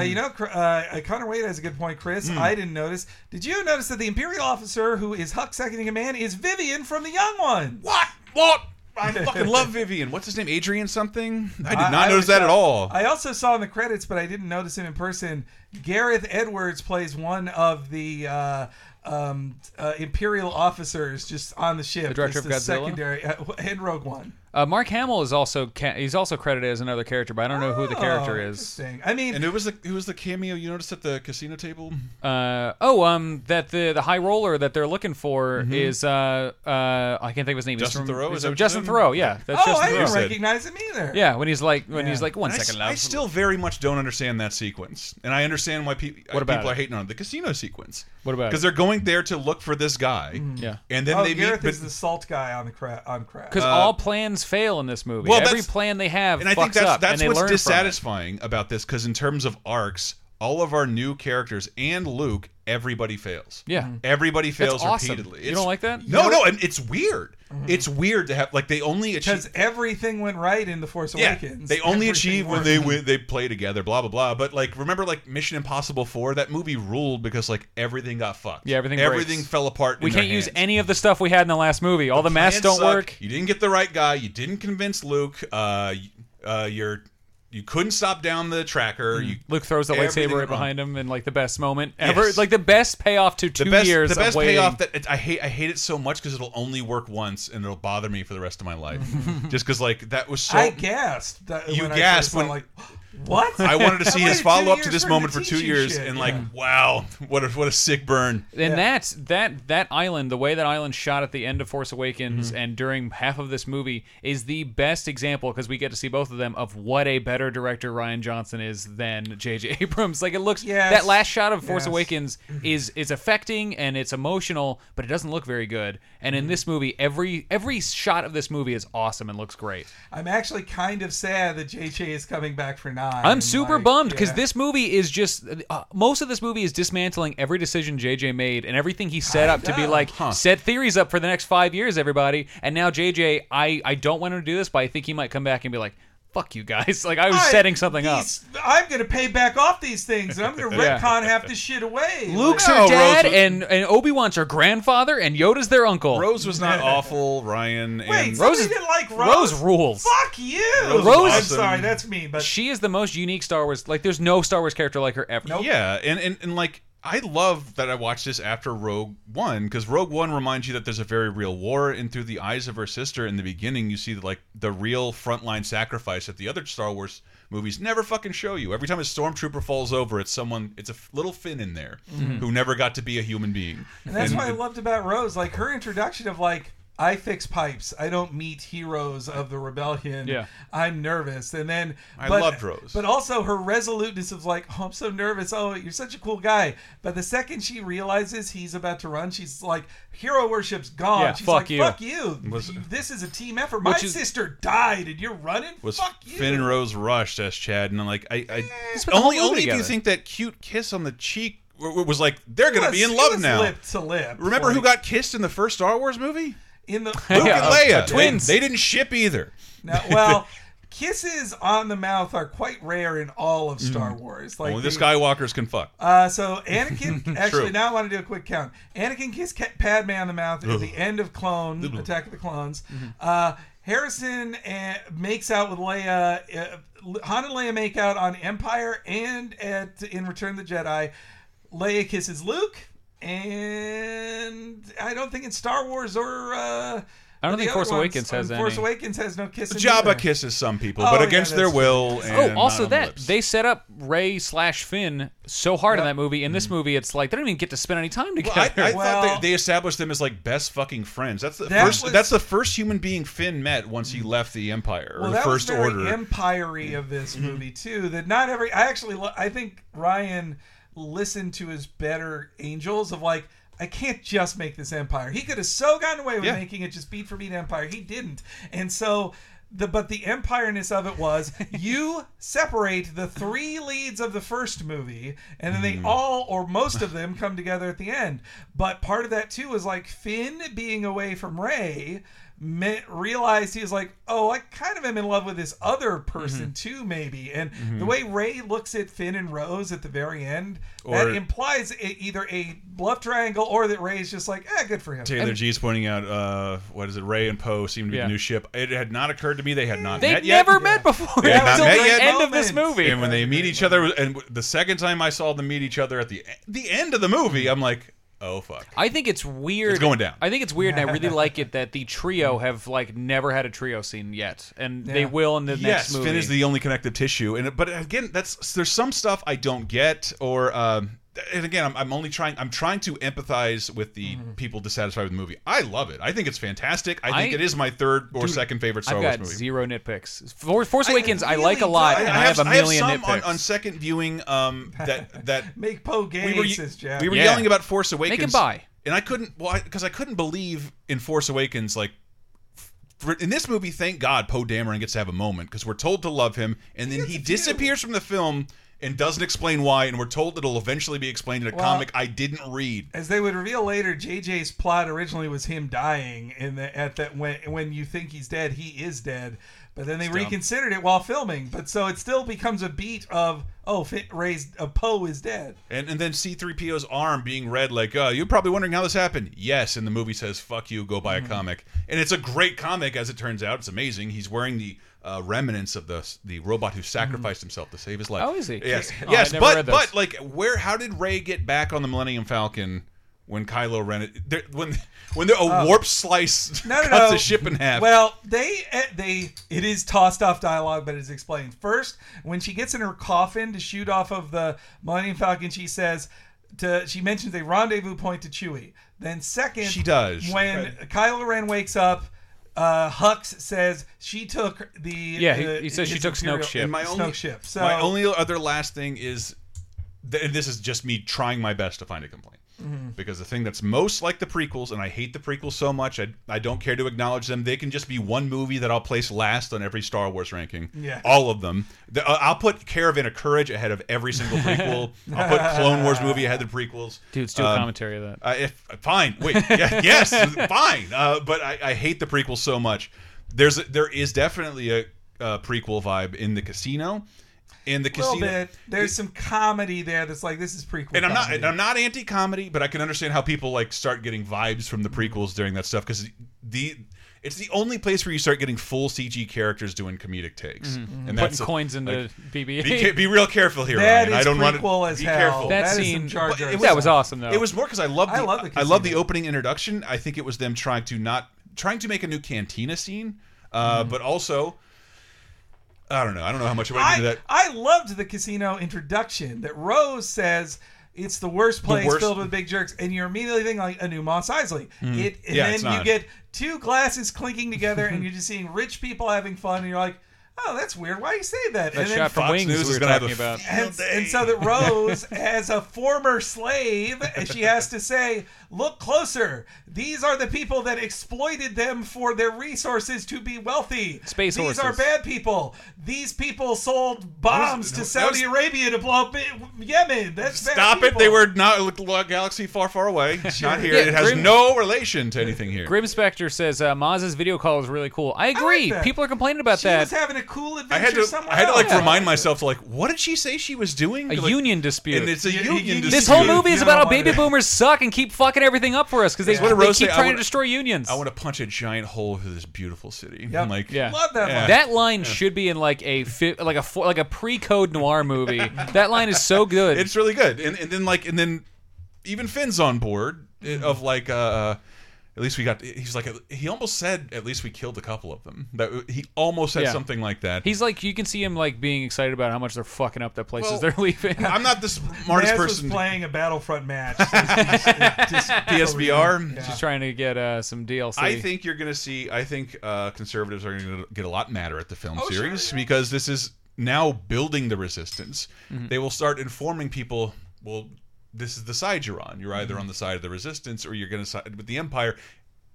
Speaker 1: Hmm.
Speaker 2: you know, Cr- uh, Connor Wade has a good point, Chris. I didn't notice. Did you notice that the Imperial officer who is Huck seconding a man is Vivian from The Young Ones?
Speaker 1: What? What? I fucking love Vivian. What's his name? Adrian something? I did not notice
Speaker 2: always
Speaker 1: that at
Speaker 2: thought-
Speaker 1: all.
Speaker 2: I also saw in the credits, but I didn't notice him in person. Gareth Edwards plays one of the uh, um, uh, Imperial officers just on the ship.
Speaker 4: The director
Speaker 2: It's
Speaker 4: of Godzilla?
Speaker 2: secondary uh, and Rogue One.
Speaker 4: Uh, Mark Hamill is also ca- he's also credited as another character, but I don't know who the character
Speaker 11: Oh,
Speaker 4: is.
Speaker 2: Oh, I mean,
Speaker 1: and it was the who was the cameo you noticed at the casino table?
Speaker 4: Uh, oh, um, that the the high roller that they're looking for
Speaker 1: Mhm.
Speaker 4: is uh uh I can't think of his name. He's
Speaker 1: Justin
Speaker 4: from-
Speaker 1: Theroux,
Speaker 4: he's
Speaker 1: is
Speaker 4: from
Speaker 1: that what
Speaker 4: Justin
Speaker 1: his name?
Speaker 4: Thoreau. Yeah, that's
Speaker 2: oh,
Speaker 4: Justin
Speaker 2: I didn't
Speaker 4: Theroux.
Speaker 2: recognize him either.
Speaker 4: Yeah, when he's like when he's like one
Speaker 1: And I
Speaker 4: second
Speaker 1: s- I, still very much don't understand that sequence, and I understand why peop
Speaker 4: What about
Speaker 1: people
Speaker 4: it?
Speaker 1: are hating on it. the casino sequence.
Speaker 4: What about
Speaker 1: Because
Speaker 4: it? Mm-hmm.
Speaker 1: they're going there to look for this guy,
Speaker 4: Yeah.
Speaker 1: and then
Speaker 2: oh,
Speaker 1: they
Speaker 2: Gareth
Speaker 1: meet.
Speaker 2: is the salt guy on the cra- on craft.
Speaker 4: because all plans fail in this movie.
Speaker 1: uh, Well,
Speaker 4: Every
Speaker 1: that's-
Speaker 4: plan they have,
Speaker 1: and I think
Speaker 4: fucks
Speaker 1: that's
Speaker 4: up,
Speaker 1: that's
Speaker 4: and they
Speaker 1: what's
Speaker 4: learn from it.
Speaker 1: dissatisfying about this. Because in terms of arcs, all of our new characters and Luke, everybody fails.
Speaker 4: Yeah.
Speaker 1: everybody
Speaker 4: That's
Speaker 1: fails
Speaker 4: awesome.
Speaker 1: repeatedly.
Speaker 4: You don't like that?
Speaker 1: No,
Speaker 4: You
Speaker 1: no,
Speaker 4: know-
Speaker 1: and it's weird.
Speaker 4: Mm-hmm.
Speaker 1: It's weird to have like they only achieve
Speaker 2: because everything went right in the Force Awakens.
Speaker 1: They only
Speaker 2: Everything
Speaker 1: achieve when
Speaker 2: worked.
Speaker 1: they win, they play together, blah blah blah. But like, remember like Mission Impossible Four? That movie ruled because like everything got fucked.
Speaker 4: Yeah, everything
Speaker 1: everything
Speaker 4: breaks.
Speaker 1: fell apart.
Speaker 4: We
Speaker 1: in
Speaker 4: can't
Speaker 1: their
Speaker 4: use
Speaker 1: hands.
Speaker 4: any of the stuff we had in the last movie. All the masks
Speaker 1: Plans
Speaker 4: don't
Speaker 1: suck.
Speaker 4: work.
Speaker 1: You didn't get the right guy. You didn't convince Luke. Uh, y- uh, you're you couldn't stop down the tracker. You,
Speaker 4: Luke throws the
Speaker 1: everything
Speaker 4: lightsaber right
Speaker 1: went wrong.
Speaker 4: behind him in like the best moment ever,
Speaker 1: Yes.
Speaker 4: like the best payoff to two
Speaker 1: The best,
Speaker 4: years
Speaker 1: the best
Speaker 4: of waiting.
Speaker 1: payoff that it, I hate. I hate it so much because it'll only work once and it'll bother me for the rest of my life.
Speaker 4: Mm-hmm.
Speaker 1: Just because like that was so.
Speaker 2: I gasped. That,
Speaker 1: you
Speaker 2: when I
Speaker 1: gasped
Speaker 2: first saw it,
Speaker 1: when
Speaker 2: like what?
Speaker 1: I wanted
Speaker 2: I
Speaker 1: to see his
Speaker 2: waited two
Speaker 1: follow up to
Speaker 2: years
Speaker 1: this
Speaker 2: for him
Speaker 1: moment
Speaker 2: to
Speaker 1: for two
Speaker 2: teach you
Speaker 1: years,
Speaker 2: shit.
Speaker 1: and like, wow, what a what a sick burn.
Speaker 4: And that's that that island, the way that island shot at the end of Force
Speaker 2: Mm-hmm.
Speaker 4: Awakens and during half of this movie is the best example because we get to see both of them of what a better director Ryan Johnson is than J.J. Abrams. Like it looks
Speaker 2: Yes.
Speaker 4: that last shot of Force
Speaker 2: Yes. Mm-hmm.
Speaker 4: Awakens is is affecting and it's emotional, but it doesn't look very good. And
Speaker 2: Mm-hmm.
Speaker 4: in this movie, every every shot of this movie is awesome and looks great.
Speaker 2: I'm actually kind of sad that JJ is coming back for nine.
Speaker 4: I'm super
Speaker 2: like,
Speaker 4: bummed because
Speaker 2: yeah.
Speaker 4: this movie is just uh, most of this movie is dismantling every decision JJ made and everything he set up to be
Speaker 2: know.
Speaker 4: like set theories up for the next five years, everybody. And now JJ, I I don't want him to do this, but I think he might come back and be like, "Fuck you guys!" Like I was
Speaker 2: I-
Speaker 4: setting something up.
Speaker 2: these- I'm gonna pay back off these things, and I'm gonna
Speaker 4: Yeah.
Speaker 2: retcon half this shit away.
Speaker 4: Luke's
Speaker 2: Like,
Speaker 4: her dad,
Speaker 1: Rose was-
Speaker 4: and and Obi Wan's her grandfather, and Yoda's their uncle.
Speaker 1: Rose was not awful, Ryan. And
Speaker 2: Wait,
Speaker 4: Rose
Speaker 2: somebody
Speaker 4: is-
Speaker 2: didn't like
Speaker 4: Rose
Speaker 2: Rose.
Speaker 4: rules.
Speaker 2: Fuck you.
Speaker 1: Rose is
Speaker 2: I'm
Speaker 1: awesome.
Speaker 2: sorry, that's mean, but
Speaker 4: She is the most unique Star Wars. Like, there's no Star Wars character like her ever.
Speaker 1: yeah, and, and and like I love that I watched this after Rogue One because Rogue One reminds you that there's a very real war, and through the eyes of her sister in the beginning, you see like the real frontline sacrifice that the other Star Wars movies never fucking show you. Every time a stormtrooper falls over, it's someone, it's a f- little Finn in there
Speaker 2: Mhm.
Speaker 1: who never got to be a human being.
Speaker 2: And that's
Speaker 1: And-
Speaker 2: what I loved about Rose, like her introduction of like I fix pipes. I don't meet heroes of the rebellion.
Speaker 1: Yeah.
Speaker 2: I'm nervous. And then
Speaker 1: I loved Rose.
Speaker 2: But also her resoluteness of like, oh, I'm so nervous. Oh, you're such a cool guy. But the second she realizes he's about to run, she's like, hero worship's gone.
Speaker 4: Yeah,
Speaker 2: she's
Speaker 4: fuck
Speaker 2: like,
Speaker 4: you.
Speaker 2: fuck you.
Speaker 1: Was-
Speaker 2: this is a team effort. My
Speaker 4: Which is-
Speaker 2: sister died and you're running?
Speaker 1: was
Speaker 2: fuck you.
Speaker 1: Finn and Rose rushed as Chad, and I'm like, I, I
Speaker 4: put the
Speaker 1: only
Speaker 4: whole movie
Speaker 1: only if you
Speaker 4: together.
Speaker 1: think that cute kiss on the cheek w- w- was like they're
Speaker 2: It
Speaker 1: gonna
Speaker 2: was-
Speaker 1: be in
Speaker 2: it
Speaker 1: love
Speaker 2: was
Speaker 1: now.
Speaker 2: Lip to lip.
Speaker 1: Remember who
Speaker 2: Like,
Speaker 1: got kissed in the first Star Wars movie?
Speaker 2: in the
Speaker 1: Luke
Speaker 4: Yeah,
Speaker 1: and
Speaker 4: uh,
Speaker 1: Leia,
Speaker 4: twins.
Speaker 1: They, they didn't ship either.
Speaker 2: Now, well, kisses on the mouth are quite rare in all of Star
Speaker 4: Mm-hmm.
Speaker 1: Mm.
Speaker 2: Wars. Like
Speaker 1: Only the
Speaker 2: they-
Speaker 1: Skywalkers can fuck.
Speaker 2: Uh, so Anakin,
Speaker 1: True.
Speaker 2: actually, now I want to do a quick count. Anakin kissed Ca- Padme on the mouth at the end of Clone Attack of the Clones.
Speaker 4: Mm-hmm.
Speaker 2: Uh, Harrison uh, makes out with Leia. Uh, Han and Leia make out on Empire and at in Return of the Jedi. Leia kisses Luke, and I don't think in Star Wars or uh,
Speaker 4: I don't
Speaker 2: But
Speaker 4: think
Speaker 2: the
Speaker 4: Force
Speaker 2: other ones,
Speaker 4: Awakens has
Speaker 2: um, Force
Speaker 4: any.
Speaker 2: Awakens has no kissing. either.
Speaker 1: Jabba kisses some people,
Speaker 2: Oh,
Speaker 1: but
Speaker 2: yeah,
Speaker 1: against their
Speaker 2: that's-
Speaker 1: will. And
Speaker 4: oh,
Speaker 1: not on
Speaker 4: also
Speaker 1: the
Speaker 4: that
Speaker 1: lips.
Speaker 4: they set up Ray slash Finn so hard in that movie. In this movie, it's like they don't even get to spend any time
Speaker 1: Well,
Speaker 4: together.
Speaker 1: I, I thought they, they established them as like best fucking friends. That's the
Speaker 4: That
Speaker 1: first.
Speaker 4: was-
Speaker 1: that's the first human being Finn met once he left the Empire or
Speaker 2: Well,
Speaker 1: the
Speaker 2: that
Speaker 1: First
Speaker 2: was very
Speaker 1: Order. Mm-hmm.
Speaker 2: empire-y of this movie too. That not every. I actually. li- I think Ryan listened to his better angels of like. I can't just make this empire. He could have so gotten away with
Speaker 1: Yeah.
Speaker 2: making it just beat for beat empire. He didn't, and so. The, but the empireness of it was you separate the three leads of the first movie and
Speaker 1: Mm.
Speaker 2: then they all or most of them come together at the end but part of that too is like finn being away from ray me realized he was like, oh, I kind of am in love with this other person
Speaker 1: Mm-hmm.
Speaker 2: too, maybe. And the way Ray looks at Finn and Rose at the very end, that
Speaker 1: Or-
Speaker 2: implies a, either a love triangle or that Ray's just like, eh, good for him.
Speaker 1: Taylor G's pointing out, uh, what is it? Ray and Poe seem to be
Speaker 4: Yeah.
Speaker 1: the new ship. It had not occurred to me they had not
Speaker 4: They'd
Speaker 1: met yet.
Speaker 4: never met before
Speaker 1: They had not
Speaker 4: until
Speaker 1: met
Speaker 4: the
Speaker 1: yet.
Speaker 4: end of this movie.
Speaker 1: And when they meet each other, and the second time I saw them meet each other at the the end of the movie, I'm like, oh fuck.
Speaker 4: I think it's weird.
Speaker 1: It's going down.
Speaker 4: I think it's weird, and I really like it that the trio have like never had a trio scene yet, and they
Speaker 1: Yeah.
Speaker 4: will in the
Speaker 1: yes,
Speaker 4: next movie.
Speaker 1: Finn is the only connective tissue, and but again, that's there's some stuff I don't get, or um, and again, I'm, I'm only trying I'm trying to empathize with the
Speaker 4: Mm-hmm.
Speaker 1: people dissatisfied with the movie. I love it. I think it's fantastic. I think
Speaker 4: I-
Speaker 1: it is my third or
Speaker 4: Dude,
Speaker 1: second favorite Star
Speaker 4: I've
Speaker 1: Wars
Speaker 4: got
Speaker 1: movie.
Speaker 4: zero nitpicks. For, Force Awakens, I, like a lot, and I have, a million
Speaker 1: I have some
Speaker 4: nitpicks.
Speaker 1: on, on second viewing. Um, that that
Speaker 2: Make Poe gay,
Speaker 1: we were,
Speaker 2: says Jack.
Speaker 1: we were
Speaker 4: Yeah.
Speaker 1: yelling about Force
Speaker 4: Make
Speaker 1: Awakens.
Speaker 4: him buy.
Speaker 1: And I couldn't, well, because I, couldn't believe in Force Awakens, like. For, in this movie, thank God Poe Dameron gets to have a moment because we're told to love him, and then he disappears from the film and doesn't explain why, and we're told it'll eventually be explained in a
Speaker 2: Well-
Speaker 1: comic I didn't read.
Speaker 2: As they would reveal later, JJ's plot originally was him dying, and that at that when when you think he's dead, he is dead. But then they
Speaker 1: It's dumb.
Speaker 2: reconsidered it while filming, but so it still becomes a beat of oh, Finn, Ray's uh, Poe is dead.
Speaker 1: And and then C-3PO's arm being read like, uh, you're probably wondering how this happened. Yes, and the movie says, "Fuck you, go buy
Speaker 4: Mm-hmm.
Speaker 1: a comic." And it's a great comic, as it turns out. It's amazing. He's wearing the uh, remnants of the the robot who sacrificed himself to save his life.
Speaker 4: Mm-hmm. Oh, is he?
Speaker 1: Yes,
Speaker 4: Oh, I
Speaker 1: yes.
Speaker 4: never
Speaker 1: But
Speaker 4: read those.
Speaker 1: but like, where? How did Ray get back on the Millennium Falcon? When Kylo Ren, there- when when there, a
Speaker 2: Oh.
Speaker 1: warp slice
Speaker 2: No, no,
Speaker 1: cuts
Speaker 2: no.
Speaker 1: a ship in half.
Speaker 2: Well, they eh, they it is tossed off dialogue, but it's explained. First, when she gets in her coffin to shoot off of the Millennium Falcon, she says to she mentions a rendezvous point to Chewie. Then second,
Speaker 1: She does.
Speaker 2: when Kylo Ren wakes up. Uh, Hux says she took the
Speaker 1: Yeah, he-
Speaker 2: the-
Speaker 1: he says she
Speaker 2: his
Speaker 1: took Snoke's
Speaker 2: Imperial-
Speaker 1: ship. And my
Speaker 2: Snoke's
Speaker 1: only-
Speaker 2: ship. So
Speaker 1: My only other last thing is, th and this is just me trying my best to find a complaint.
Speaker 2: Mhm.
Speaker 1: Because the thing that's most like the prequels, and I hate the prequels so much, I, I don't care to acknowledge them. They can just be one movie that I'll place last on every Star Wars ranking.
Speaker 2: Yeah.
Speaker 1: All of them. The, uh, I'll put Caravan of Courage ahead of every single prequel. I'll put Clone Wars movie ahead of the prequels.
Speaker 4: Dude, let's do a commentary of that.
Speaker 1: Uh, if, fine. Wait. Yeah, yes. fine. Uh, but I, I hate the prequel so much. There's a, there is definitely a, uh prequel vibe in the casino. In the
Speaker 2: little
Speaker 1: casino,
Speaker 2: bit. There's some comedy there that's like this is prequel.
Speaker 1: and I'm not
Speaker 2: comedy.
Speaker 1: and I'm not anti comedy, but I can understand how people like start getting vibes from the prequels during that stuff because the it's the only place where you start getting full CG characters doing comedic takes
Speaker 2: Mm-hmm.
Speaker 4: Mhm.
Speaker 1: and
Speaker 4: Putting
Speaker 1: that's
Speaker 4: coins into
Speaker 1: like, Be,
Speaker 4: BB-8.
Speaker 1: ca- be real careful here,
Speaker 2: That
Speaker 1: Ryan.
Speaker 2: is
Speaker 1: I don't want
Speaker 2: prequel
Speaker 1: to
Speaker 2: as
Speaker 1: be
Speaker 2: hell.
Speaker 1: careful.
Speaker 2: That That is scene- some Jar
Speaker 1: But
Speaker 2: Jar
Speaker 1: it
Speaker 2: That was awesome, though.
Speaker 1: It was more because I love the I
Speaker 2: I love
Speaker 1: love
Speaker 2: the
Speaker 1: the, opening introduction. I think it was them trying to not trying to make a new cantina scene, uh,
Speaker 4: Mm-hmm.
Speaker 1: but also. I don't know. I don't know how much I went
Speaker 2: I,
Speaker 1: into that.
Speaker 2: I loved the casino introduction that Rose says it's the worst place
Speaker 1: worst-
Speaker 2: filled with big jerks, and you're immediately thinking like a new Moss Isley.
Speaker 1: Mm.
Speaker 2: It and
Speaker 1: Yeah,
Speaker 2: then
Speaker 1: it's
Speaker 2: you
Speaker 1: not.
Speaker 2: get two glasses clinking together, and you're just seeing rich people having fun, and you're like, oh, that's weird. Why you say that?
Speaker 4: That
Speaker 2: and then
Speaker 4: shot from
Speaker 1: Fox
Speaker 4: Wings
Speaker 1: News
Speaker 4: we
Speaker 1: is
Speaker 4: were
Speaker 1: gonna have
Speaker 4: talking
Speaker 1: a
Speaker 4: about.
Speaker 2: and, and so that Rose, as a former slave, she has to say, "Look closer. These are the people that exploited them for their resources to be wealthy.
Speaker 4: Space
Speaker 2: These
Speaker 4: horses.
Speaker 2: are bad people. These people sold bombs
Speaker 1: That
Speaker 2: to
Speaker 1: was-
Speaker 2: Saudi
Speaker 1: that was-
Speaker 2: Arabia to blow up I- Yemen. That's bad
Speaker 1: Stop it!
Speaker 2: people.
Speaker 1: They were not look, look, galaxy far, far away. Not here.
Speaker 4: Yeah,
Speaker 1: it has
Speaker 4: Grim-
Speaker 1: no relation to anything here.
Speaker 4: Grim Spector says uh, Maz's video call is really cool. I agree.
Speaker 2: that.
Speaker 4: People are complaining about
Speaker 2: She
Speaker 4: that.
Speaker 2: was having a cool adventure
Speaker 1: I had to,
Speaker 2: somewhere
Speaker 1: I had to like
Speaker 2: else.
Speaker 1: remind myself to like, what did she say she was doing?
Speaker 4: a
Speaker 1: Like-
Speaker 4: union dispute.
Speaker 1: and it's a
Speaker 4: Yeah,
Speaker 1: union dispute.
Speaker 4: This whole movie is
Speaker 2: You
Speaker 4: about
Speaker 2: don't
Speaker 4: how baby
Speaker 2: wanna-
Speaker 4: boomers suck and keep fucking everything up for us because they,
Speaker 1: What did
Speaker 4: they
Speaker 1: Rose
Speaker 4: keep
Speaker 1: say? I
Speaker 4: trying
Speaker 1: wanna-
Speaker 4: to destroy unions.
Speaker 1: I want to punch a giant hole through this beautiful city.
Speaker 4: Yep.
Speaker 1: I'm like,
Speaker 4: Yeah.
Speaker 2: Love that line.
Speaker 4: That line should be in like a fi- like a fo- like a pre-code noir movie. that line is so good.
Speaker 1: it's
Speaker 2: Mm-hmm.
Speaker 1: really good. And and then like and then even Finn's on board eh, of like uh At least we got. He's like he almost said. At least we killed a couple of them. That he almost said
Speaker 4: Yeah.
Speaker 1: something like that.
Speaker 4: He's like, you can see him like being excited about how much they're fucking up the places
Speaker 1: Well,
Speaker 4: they're leaving.
Speaker 1: I'm not the smartest
Speaker 2: Maz
Speaker 1: person.
Speaker 2: was playing a Battlefront match.
Speaker 1: PSVR.
Speaker 2: Yeah.
Speaker 4: Just trying to get uh, some DLC.
Speaker 1: I think you're going to see. I think uh, conservatives are going to get a lot madder at the film series because this is now building the resistance.
Speaker 2: Mm-hmm.
Speaker 9: Mhm.
Speaker 1: They will start informing people. Well, this is the side you're on. You're either on
Speaker 2: Mm-hmm.
Speaker 1: the side of the resistance or you're going to side with the empire.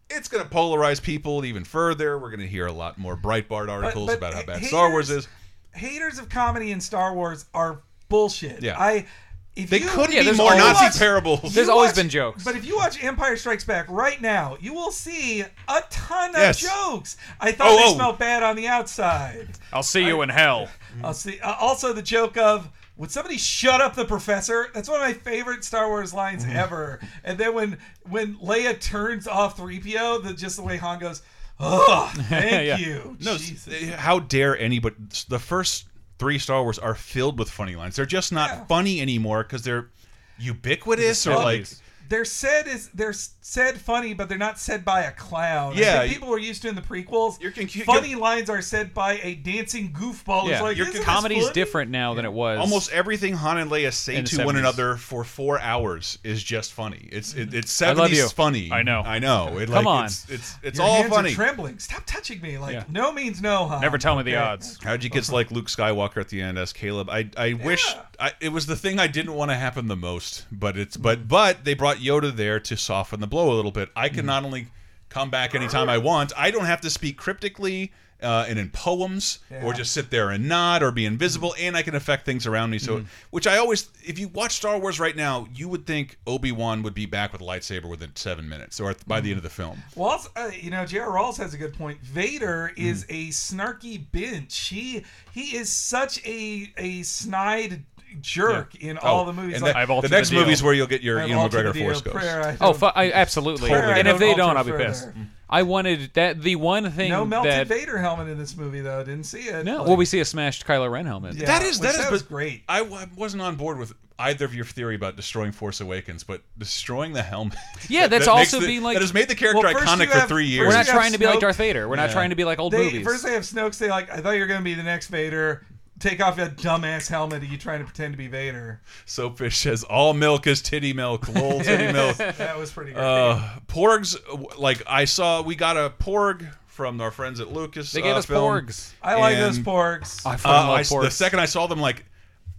Speaker 1: It's going to polarize people even further. We're going to hear a lot more Breitbart articles
Speaker 2: but
Speaker 1: about how bad
Speaker 2: haters-
Speaker 1: Star Wars is.
Speaker 2: Haters of comedy in Star Wars are bullshit.
Speaker 1: Yeah.
Speaker 2: I. If
Speaker 1: They
Speaker 2: you,
Speaker 1: couldn't Yeah, be there's
Speaker 2: Oh,
Speaker 1: more always- Nazi parables.
Speaker 2: you
Speaker 1: There's always
Speaker 2: watch-
Speaker 1: been jokes.
Speaker 2: But if you watch Empire Strikes Back right now, you will see a ton of
Speaker 4: Yes.
Speaker 2: jokes. I thought
Speaker 4: Oh,
Speaker 2: they
Speaker 4: oh.
Speaker 2: smelled bad on the outside.
Speaker 4: I'll see you in hell.
Speaker 1: Mm-hmm.
Speaker 2: I'll see. Uh, also, the joke of would somebody shut up the professor? That's one of my favorite Star Wars lines
Speaker 1: Mm-hmm.
Speaker 2: ever. And then when when Leia turns off three PO, the just the way Han goes, "Oh, thank
Speaker 1: Yeah.
Speaker 2: you."
Speaker 1: No, eh,
Speaker 2: Jesus.
Speaker 1: how dare anybody? The first three Star Wars are filled with funny lines. They're just not funny anymore because they're ubiquitous or
Speaker 2: Well,
Speaker 1: like
Speaker 2: they're said is they're said funny, but they're not said by a clown. I
Speaker 1: Yeah,
Speaker 2: think
Speaker 1: you-
Speaker 2: people were used to in the prequels.
Speaker 1: confu-
Speaker 2: funny lines are said by a dancing goofball.
Speaker 4: yeah.
Speaker 2: It's like "Isn't this
Speaker 4: comedy's
Speaker 2: funny?"
Speaker 4: different now than it was.
Speaker 1: almost everything Han and Leia say
Speaker 4: In the
Speaker 1: to one
Speaker 4: 70s.
Speaker 1: another for four hours is just funny. It's it, it's
Speaker 4: I love you.
Speaker 1: seventies funny. I know. I know. It,
Speaker 4: Come
Speaker 1: like,
Speaker 4: on.
Speaker 1: it's it's, it's
Speaker 2: Your
Speaker 1: all
Speaker 2: hands
Speaker 1: funny.
Speaker 2: Are trembling. Stop touching me. Like
Speaker 1: Yeah.
Speaker 2: no means no. Han. Okay.
Speaker 1: How'd you get like Luke Skywalker at the end as Caleb? I I wish I, it was the thing I didn't want to happen the most, but it's but but they brought Yoda there to soften the blow a little bit. I
Speaker 2: Mm.
Speaker 1: can not only come back anytime I want. I don't have to speak cryptically uh, and in poems, or
Speaker 9: Yeah.
Speaker 1: just sit there and nod or be invisible,
Speaker 2: Mm.
Speaker 1: and I can affect things around me. So, which I always, if you watch Star Wars right now, you would think Obi Wan would be back with a lightsaber within seven minutes or by
Speaker 2: Mm.
Speaker 1: the end of the film.
Speaker 2: Well, also, uh, you know, J.R. Rawls has a good point. Vader
Speaker 1: Mm.
Speaker 2: is a snarky bitch. He he is such a a snide jerk in all
Speaker 1: Oh,
Speaker 2: the movies.
Speaker 1: and
Speaker 2: Like-
Speaker 1: the- I've altered the next the deal. movie's where you'll get your
Speaker 2: I've
Speaker 1: Ian
Speaker 2: altered
Speaker 1: McGregor
Speaker 2: the deal.
Speaker 1: Force Ghost.
Speaker 2: Prayer, I
Speaker 4: Oh,
Speaker 2: don't-
Speaker 4: fu- I, absolutely.
Speaker 2: Prayer, I
Speaker 4: and if they don't, I'll be
Speaker 2: alter
Speaker 4: pissed. Mm.
Speaker 2: further.
Speaker 4: I wanted that the one thing
Speaker 2: No melted
Speaker 4: that
Speaker 2: Vader helmet in this movie, though. I Didn't see it.
Speaker 4: no,
Speaker 2: Like,
Speaker 4: well, we see a smashed Kylo Ren helmet.
Speaker 2: Yeah,
Speaker 1: that is
Speaker 2: which
Speaker 1: that is
Speaker 2: sounds
Speaker 1: but
Speaker 2: great.
Speaker 1: I w- wasn't on board with either of your theory about destroying Force Awakens, but destroying the helmet.
Speaker 4: Yeah,
Speaker 1: that-
Speaker 4: that's
Speaker 1: that makes
Speaker 4: also
Speaker 1: the-
Speaker 4: being like
Speaker 1: that has made the character
Speaker 2: Well, first
Speaker 1: iconic
Speaker 2: you
Speaker 1: for
Speaker 2: have-
Speaker 1: three
Speaker 2: first
Speaker 1: years.
Speaker 4: We're not
Speaker 2: you have
Speaker 4: trying to be like
Speaker 2: Snoke.
Speaker 4: Darth Vader. We're not
Speaker 1: Yeah.
Speaker 4: trying to be like old
Speaker 2: they,
Speaker 4: movies.
Speaker 2: First, they have Snoke say like, "I thought you were going to be the next Vader." Take off that dumbass helmet. Are you trying to pretend to be Vader?
Speaker 1: Soapfish says all milk is titty milk. Lol, titty milk.
Speaker 2: That was pretty great.
Speaker 1: Uh, porgs, like I saw, we got a porg from our friends at Lucas.
Speaker 2: They gave
Speaker 1: uh,
Speaker 2: us
Speaker 1: Film,
Speaker 2: porgs. I like those porgs. I fucking
Speaker 1: uh,
Speaker 2: love
Speaker 1: I s- The
Speaker 2: porgs.
Speaker 1: second I saw them, like,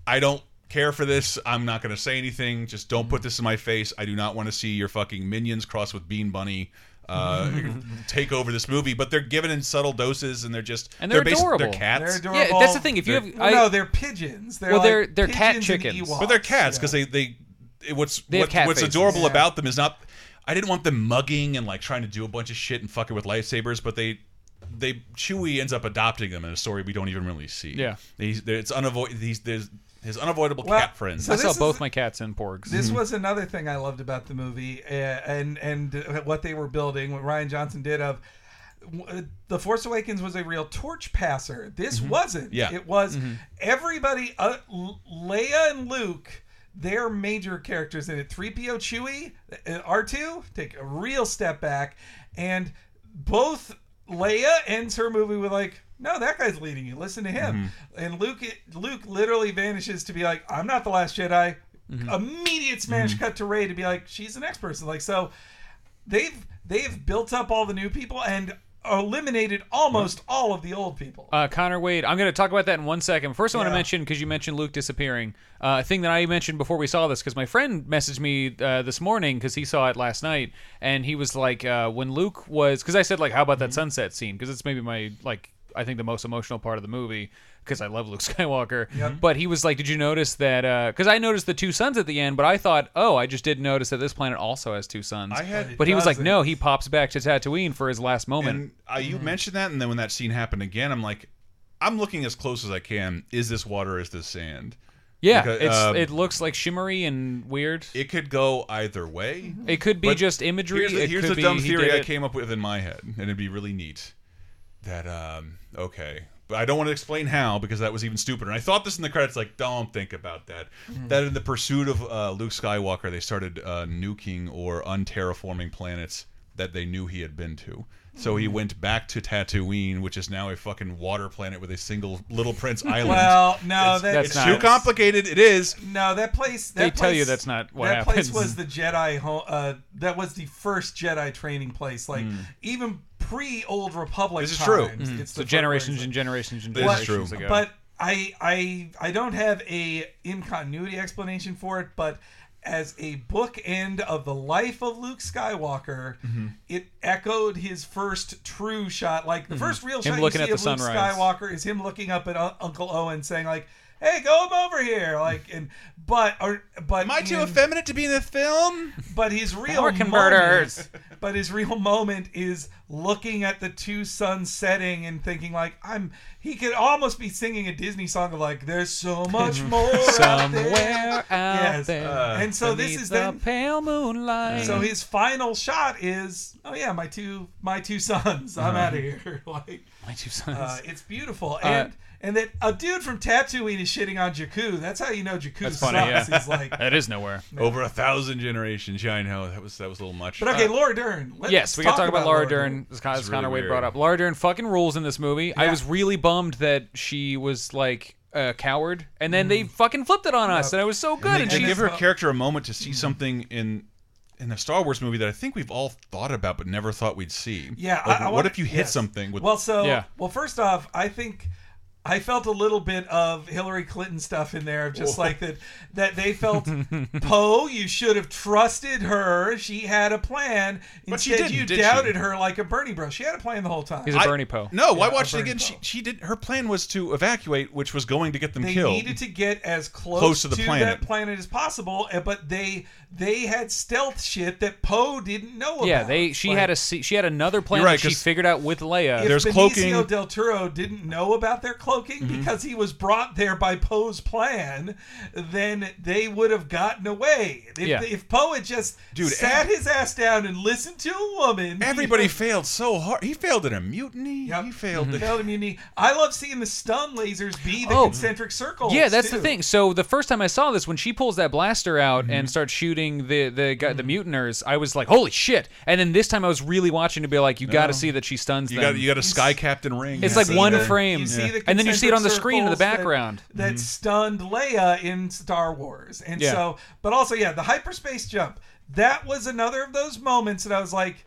Speaker 1: I don't care for this. I'm not going to say anything. Just don't put this in my face. I do not want to see your fucking minions cross with Bean Bunny. Uh, take over this movie, but they're given in subtle doses, and they're just
Speaker 4: And they're
Speaker 1: basi-
Speaker 4: adorable.
Speaker 1: They're cats.
Speaker 2: They're adorable.
Speaker 4: Yeah, that's the thing. If you
Speaker 1: They're-
Speaker 4: have,
Speaker 2: Well,
Speaker 4: I,
Speaker 2: no, they're pigeons. They're
Speaker 4: well,
Speaker 2: like
Speaker 4: they're they're cat
Speaker 2: pigeons and
Speaker 4: chickens.
Speaker 2: Ewoks.
Speaker 1: But they're cats because they they it, what's
Speaker 4: They have
Speaker 1: what-
Speaker 4: cat
Speaker 1: what's
Speaker 4: faces.
Speaker 1: adorable
Speaker 4: Yeah.
Speaker 1: about them is not. I didn't want them mugging and like trying to do a bunch of shit and fucking with lightsabers, but they they Chewie ends up adopting them in a story we don't even really see.
Speaker 4: Yeah.
Speaker 1: He's- there- it's unavoidable. These there's his unavoidable
Speaker 2: Well,
Speaker 1: cat friends.
Speaker 2: so I saw this both is-
Speaker 4: my cats and porgs.
Speaker 2: This was another thing I loved about the movie uh, and and uh, what they were building, what Ryan Johnson did of uh, the Force Awakens was a real torch passer. This wasn't.
Speaker 1: Yeah.
Speaker 2: It was
Speaker 1: Mhm.
Speaker 2: everybody. Uh, L- Leia and Luke, they're major characters in it. Three PO Chewie, uh, R two, take a real step back, and both Leia ends her movie with like. No, that guy's leading you. Listen to him. And Luke, Luke literally vanishes to be like, "I'm not the last Jedi." Immediate smash cut to Ray to be like, "She's the next person." Like so, they've they've built up all the new people and eliminated almost all of the old people.
Speaker 1: Oh,
Speaker 4: Uh, Connor Wade, I'm going to talk about that in one second. First, I want
Speaker 2: Yeah.
Speaker 4: to mention because you mentioned Luke disappearing, uh, a thing that I mentioned before we saw this because my friend messaged me uh, this morning because he saw it last night, and he was like, uh, when Luke was, because I said like, how about
Speaker 1: Mm-hmm.
Speaker 4: that sunset scene? Because it's maybe my like, I think the most emotional part of the movie because I love Luke Skywalker. But he was like, did you notice that? Because I noticed the two suns at the end, but I thought, oh, I just didn't notice that this planet also has two suns.
Speaker 1: I had-
Speaker 4: but he was like,
Speaker 1: Doesn't.
Speaker 4: no, he pops back to Tatooine for his last moment.
Speaker 1: And uh, you mentioned that, and then when that scene happened again, I'm like, I'm looking as close as I can. Is this water? Is this sand?
Speaker 4: Yeah,
Speaker 1: Because,
Speaker 4: it's,
Speaker 1: uh,
Speaker 4: it looks like shimmery and weird.
Speaker 1: It could go either way.
Speaker 4: It could be
Speaker 1: But
Speaker 4: just imagery.
Speaker 1: Here's the,
Speaker 4: It
Speaker 1: here's
Speaker 4: could
Speaker 1: the
Speaker 4: be
Speaker 1: dumb
Speaker 4: he
Speaker 1: theory
Speaker 4: did
Speaker 1: I
Speaker 4: it-
Speaker 1: came up with in my head, and it'd be really neat. That um, okay, but I don't want to explain how because that was even stupider. And I thought this in the credits, like don't think about that.
Speaker 2: Mm-hmm.
Speaker 9: Mhm.
Speaker 1: That in the pursuit of uh, Luke Skywalker, they started uh, nuking or unterraforming planets that they knew he had been to. So
Speaker 2: Mm-hmm.
Speaker 1: he went back to Tatooine, which is now a fucking water planet with a single Little Prince island.
Speaker 2: Well, no,
Speaker 1: it's,
Speaker 2: that-
Speaker 1: it's
Speaker 2: That's
Speaker 1: too
Speaker 2: not-
Speaker 1: complicated. It is.
Speaker 2: No, that place. That
Speaker 1: They tell
Speaker 2: place-
Speaker 1: you that's not what
Speaker 2: that
Speaker 1: happens.
Speaker 2: place was the Jedi home. Uh, that was the first Jedi training place. Like
Speaker 1: Hmm.
Speaker 4: Mm.
Speaker 2: even pre Old Republic.
Speaker 4: This is
Speaker 2: times,
Speaker 4: true.
Speaker 2: It's
Speaker 4: Mhm.
Speaker 2: the
Speaker 4: So
Speaker 2: first
Speaker 4: generations
Speaker 2: place.
Speaker 4: and generations and
Speaker 2: But-
Speaker 4: generations ago.
Speaker 2: But I I I don't have a in continuity explanation for it, but. As a bookend of the life of Luke Skywalker,
Speaker 4: Mhm.
Speaker 2: it echoed his first true shot. Like the
Speaker 4: Mhm.
Speaker 2: first real
Speaker 4: Him
Speaker 2: shot
Speaker 4: looking
Speaker 2: you
Speaker 4: at
Speaker 2: see
Speaker 4: the
Speaker 2: of Luke
Speaker 4: sunrise.
Speaker 2: Skywalker is him looking up at Un- Uncle Owen saying like, "Hey, go over here!" Like, and but or but am I
Speaker 1: too effeminate to be in the film?
Speaker 2: But his real
Speaker 4: Power converters.
Speaker 2: moment- but his real moment is looking at the two suns setting and thinking like, "I'm." He could almost be singing a Disney song of like, "There's so much more out there."
Speaker 4: Somewhere out
Speaker 2: Yes. Uh,
Speaker 4: there
Speaker 2: and so this
Speaker 4: beneath
Speaker 2: is
Speaker 4: the
Speaker 2: then
Speaker 4: pale moonlight.
Speaker 2: So his final shot is, "Oh yeah, my two my two sons. I'm
Speaker 4: Uh-huh.
Speaker 2: out of here." like.
Speaker 4: my two sons.
Speaker 2: Uh, it's beautiful,
Speaker 4: Uh,
Speaker 2: and and that a dude from Tatooine is shitting on Jakku. That's how you know Jakku
Speaker 4: That's
Speaker 2: sucks.
Speaker 4: funny. Yeah,
Speaker 2: He's like,
Speaker 4: that is nowhere.
Speaker 1: Over a thousand generations. Yeah, I know that was that was a little much.
Speaker 2: but okay, Laura Dern. Let's
Speaker 4: yes, we got to talk about, Laura Dern. As
Speaker 1: It's
Speaker 4: Con- as
Speaker 1: really
Speaker 4: Connor Wade
Speaker 1: weird.
Speaker 4: brought up, Laura Dern fucking rules in this movie. I
Speaker 2: Yeah.
Speaker 4: was really bummed that she was like a coward, and then they fucking flipped it on us, and it was so good.
Speaker 1: Mm. And
Speaker 4: And,
Speaker 1: they, they
Speaker 4: she
Speaker 1: give her character a moment to see
Speaker 2: Hmm.
Speaker 1: something in in a Star Wars movie that I think we've all thought about but never thought we'd see.
Speaker 2: Yeah.
Speaker 1: Like,
Speaker 2: I- I
Speaker 1: what
Speaker 2: wanna-
Speaker 1: if you hit
Speaker 2: yes.
Speaker 1: something with?
Speaker 2: Well, so
Speaker 1: yeah.
Speaker 2: well, first off, I think I felt a little bit of Hillary Clinton stuff in there, of just
Speaker 1: Whoa.
Speaker 2: like that. That they felt Poe, you should have trusted her. She had a plan.
Speaker 1: But she
Speaker 2: Instead,
Speaker 1: didn't,
Speaker 2: you
Speaker 1: did she?
Speaker 2: doubted her like a Bernie bro. She had a plan the whole time.
Speaker 4: He's a Bernie Poe.
Speaker 1: No,
Speaker 2: Yeah,
Speaker 1: I
Speaker 2: a
Speaker 1: watched it
Speaker 2: Bernie
Speaker 1: again. She she did. Her plan was to evacuate, which was going to get them
Speaker 2: they
Speaker 1: killed.
Speaker 2: needed to get as close,
Speaker 1: Close to the planet.
Speaker 2: that planet as possible, and- but they they had stealth shit that Poe didn't know about.
Speaker 4: yeah, they. She
Speaker 2: Like,
Speaker 4: had a se- she had another plan
Speaker 1: You're right,
Speaker 4: that she
Speaker 1: 'cause
Speaker 4: figured out with Leia.
Speaker 2: if Benicio del Toro didn't know about their cloaking
Speaker 4: Mm-hmm.
Speaker 2: because he was brought there by Poe's plan, then they would have gotten away. If,
Speaker 1: Yeah.
Speaker 2: if Poe had just
Speaker 1: Dude,
Speaker 2: sat his ass down and listened to a woman,
Speaker 1: Everybody failed so hard. He failed in a mutiny. He failed.
Speaker 2: He
Speaker 4: Mm-hmm.
Speaker 1: in-
Speaker 2: failed immunity. I love seeing the stun lasers be the
Speaker 4: Oh.
Speaker 2: concentric circles.
Speaker 4: Yeah, that's
Speaker 2: too.
Speaker 4: the thing. So the first time I saw this, when she pulls that blaster out and starts shooting the the guy, the mutineers, I was like, "Holy shit!" And then this time, I was really watching to be like, "You got to
Speaker 1: No.
Speaker 4: see that she stuns
Speaker 1: You
Speaker 4: them."
Speaker 1: got you got a sky captain ring.
Speaker 4: It's
Speaker 1: You
Speaker 4: like
Speaker 1: see
Speaker 4: one
Speaker 1: the-
Speaker 4: frame,
Speaker 2: You see the
Speaker 4: and then you see it on the
Speaker 2: concentric
Speaker 4: screen in the
Speaker 2: circles that-
Speaker 4: background. Mm-hmm.
Speaker 2: That, stunned Leia in Star Wars. And
Speaker 4: Yeah.
Speaker 2: so, but also, yeah, the hyperspace jump. That was another of those moments that I was like,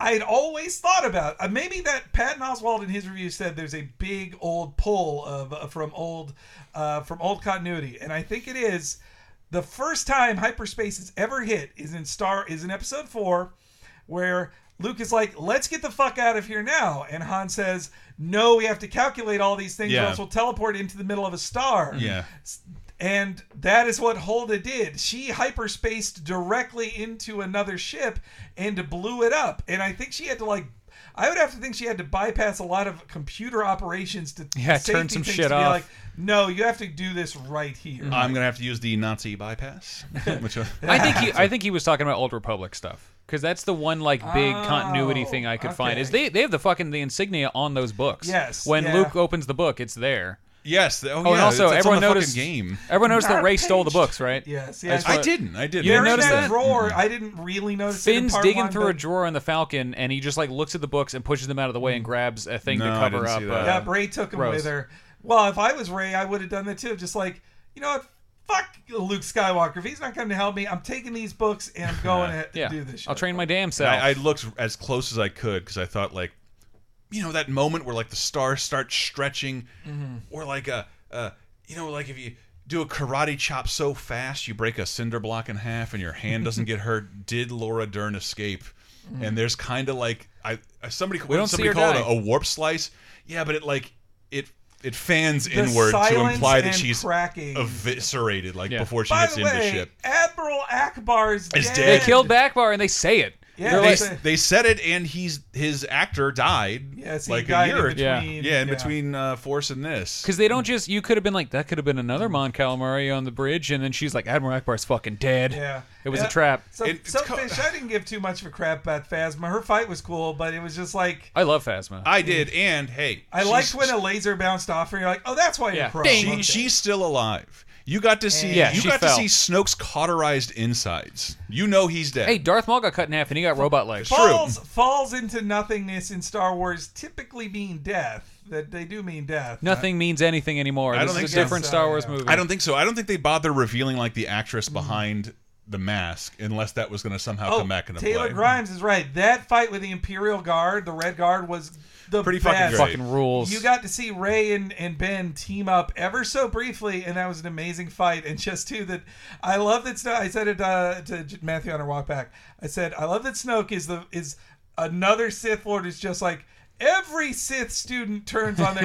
Speaker 2: I had always thought about. Uh, maybe that Patton Oswald in his review said there's a big old pull of uh, from old uh, from old continuity, and I think it is. The first time hyperspace is ever hit is in Star is in Episode Four, where Luke is like, "Let's get the fuck out of here now," and Han says, "No, we have to calculate all these things,
Speaker 1: Yeah.
Speaker 2: or else we'll teleport into the middle of a star."
Speaker 1: Yeah.
Speaker 2: And that is what Holda did. She hyperspaced directly into another ship and blew it up. And I think she had to like I would have to think she had to bypass a lot of computer operations to
Speaker 4: Yeah,
Speaker 2: safety
Speaker 4: turn some
Speaker 2: things
Speaker 4: shit
Speaker 2: to be
Speaker 4: off. Mm-hmm.
Speaker 2: like, no, you have to do this right here.
Speaker 1: I'm gonna have to use the Nazi bypass. Which, uh,
Speaker 4: I think he, I think he was talking about Old Republic stuff because that's the one like big
Speaker 2: Oh,
Speaker 4: continuity thing I could find is they they have the fucking the insignia on those books.
Speaker 2: Yes,
Speaker 4: When
Speaker 2: yeah.
Speaker 4: Luke opens the book, it's there.
Speaker 1: Yes. the- Oh,
Speaker 4: and
Speaker 1: yeah,
Speaker 4: also
Speaker 1: it's- it's
Speaker 4: everyone
Speaker 1: on the fucking
Speaker 4: noticed
Speaker 1: game.
Speaker 4: Everyone noticed
Speaker 2: Not
Speaker 4: that
Speaker 2: a
Speaker 4: Ray stole the
Speaker 2: page.
Speaker 4: books, right?
Speaker 2: Yes,
Speaker 4: That's
Speaker 2: yes.
Speaker 1: I didn't, I didn't.
Speaker 4: You
Speaker 2: They're in
Speaker 4: didn't notice
Speaker 2: that,
Speaker 4: that?
Speaker 2: drawer. I didn't really notice it in
Speaker 4: Finn's
Speaker 2: part
Speaker 4: digging
Speaker 2: one,
Speaker 4: through a
Speaker 2: but-
Speaker 4: drawer in the Falcon, and he just like looks at the books and pushes them out of the way and grabs a thing
Speaker 1: No,
Speaker 4: to
Speaker 1: I
Speaker 4: cover
Speaker 1: didn't
Speaker 4: up.
Speaker 1: see
Speaker 4: uh,
Speaker 1: that.
Speaker 2: Mm. Yeah, Ray took him
Speaker 4: Rose.
Speaker 2: with her. Well, if I was Ray, I would have done that too. Just like, you know what? Fuck Luke Skywalker. If he's not coming to help me, I'm taking these books and I'm going
Speaker 1: Uh,
Speaker 2: to
Speaker 4: Yeah,
Speaker 2: do this shit.
Speaker 4: I'll train my damn self.
Speaker 1: I, I looked as close as I could because I thought like, you know, that moment where like the stars start stretching,
Speaker 2: Mm-hmm.
Speaker 9: Mhm.
Speaker 1: or like a, uh, you know, like if you do a karate chop so fast you break a cinder block in half and your hand doesn't get hurt. Did Laura Dern escape?
Speaker 2: Mm-hmm.
Speaker 9: Mhm.
Speaker 1: And there's kind of like I I- somebody
Speaker 4: We don't see
Speaker 1: somebody
Speaker 4: her
Speaker 1: called
Speaker 4: die.
Speaker 1: it a, a warp slice. Yeah, but it like it it fans
Speaker 2: The
Speaker 1: inward to
Speaker 2: silence
Speaker 1: imply that
Speaker 2: and
Speaker 1: she's
Speaker 2: cracking.
Speaker 1: eviscerated like before she
Speaker 2: By
Speaker 1: hits
Speaker 2: the
Speaker 1: into
Speaker 2: way,
Speaker 1: ship.
Speaker 2: Admiral Akbar's
Speaker 1: Is
Speaker 2: dead.
Speaker 1: dead.
Speaker 4: they killed Backbar, and they say it.
Speaker 2: Yeah,
Speaker 4: They're
Speaker 1: they,
Speaker 4: like-
Speaker 1: they said it, and he's his actor died.
Speaker 2: Yes, he
Speaker 1: like
Speaker 2: died
Speaker 1: a year
Speaker 2: in
Speaker 1: or two.
Speaker 2: between,
Speaker 1: Yeah, in
Speaker 2: yeah.
Speaker 1: between uh, Force and this.
Speaker 4: Because they don't just. You could have been like, that could have been another Mon Calamari on the bridge, and then she's like, Admiral Akbar's fucking dead.
Speaker 2: Yeah.
Speaker 4: It was
Speaker 2: Yeah.
Speaker 4: a trap.
Speaker 2: So, so Fish, I didn't give too much of a crap about Phasma. Her fight was cool, but it was just like
Speaker 4: I love Phasma.
Speaker 1: I did, and hey,
Speaker 2: I
Speaker 1: she's-
Speaker 2: liked when a laser bounced off her. You're like, oh, that's why you're pro.
Speaker 1: She,
Speaker 2: Okay.
Speaker 1: She's still alive. You got to see.
Speaker 4: Yeah,
Speaker 1: you
Speaker 4: she
Speaker 1: got
Speaker 4: fell.
Speaker 1: to see Snoke's cauterized insides. You know he's dead.
Speaker 4: Hey, Darth Maul got cut in half and he got robot legs.
Speaker 2: falls falls into nothingness in Star Wars typically mean death. That they do mean death.
Speaker 4: Nothing means anything anymore.
Speaker 1: I don't
Speaker 4: this
Speaker 1: think
Speaker 4: is a
Speaker 1: so.
Speaker 4: different Star Wars movie.
Speaker 1: I don't think so. I don't think they bother revealing like the actress behind the mask unless that was going to somehow
Speaker 2: Mm. oh,
Speaker 1: come back into
Speaker 2: Taylor
Speaker 1: play.
Speaker 2: Grimes is right. That fight with the Imperial Guard, the Red Guard, was the
Speaker 1: Pretty fucking
Speaker 2: best.
Speaker 1: great. Fucking
Speaker 4: rules.
Speaker 2: You got to see Ray and, and Ben team up ever so briefly, and that was an amazing fight. And just too that I love that. Snoke, I said it uh, to J- Matthew on our walk back. I said I love that Snoke is the is another Sith Lord is just like. Every Sith student turns on their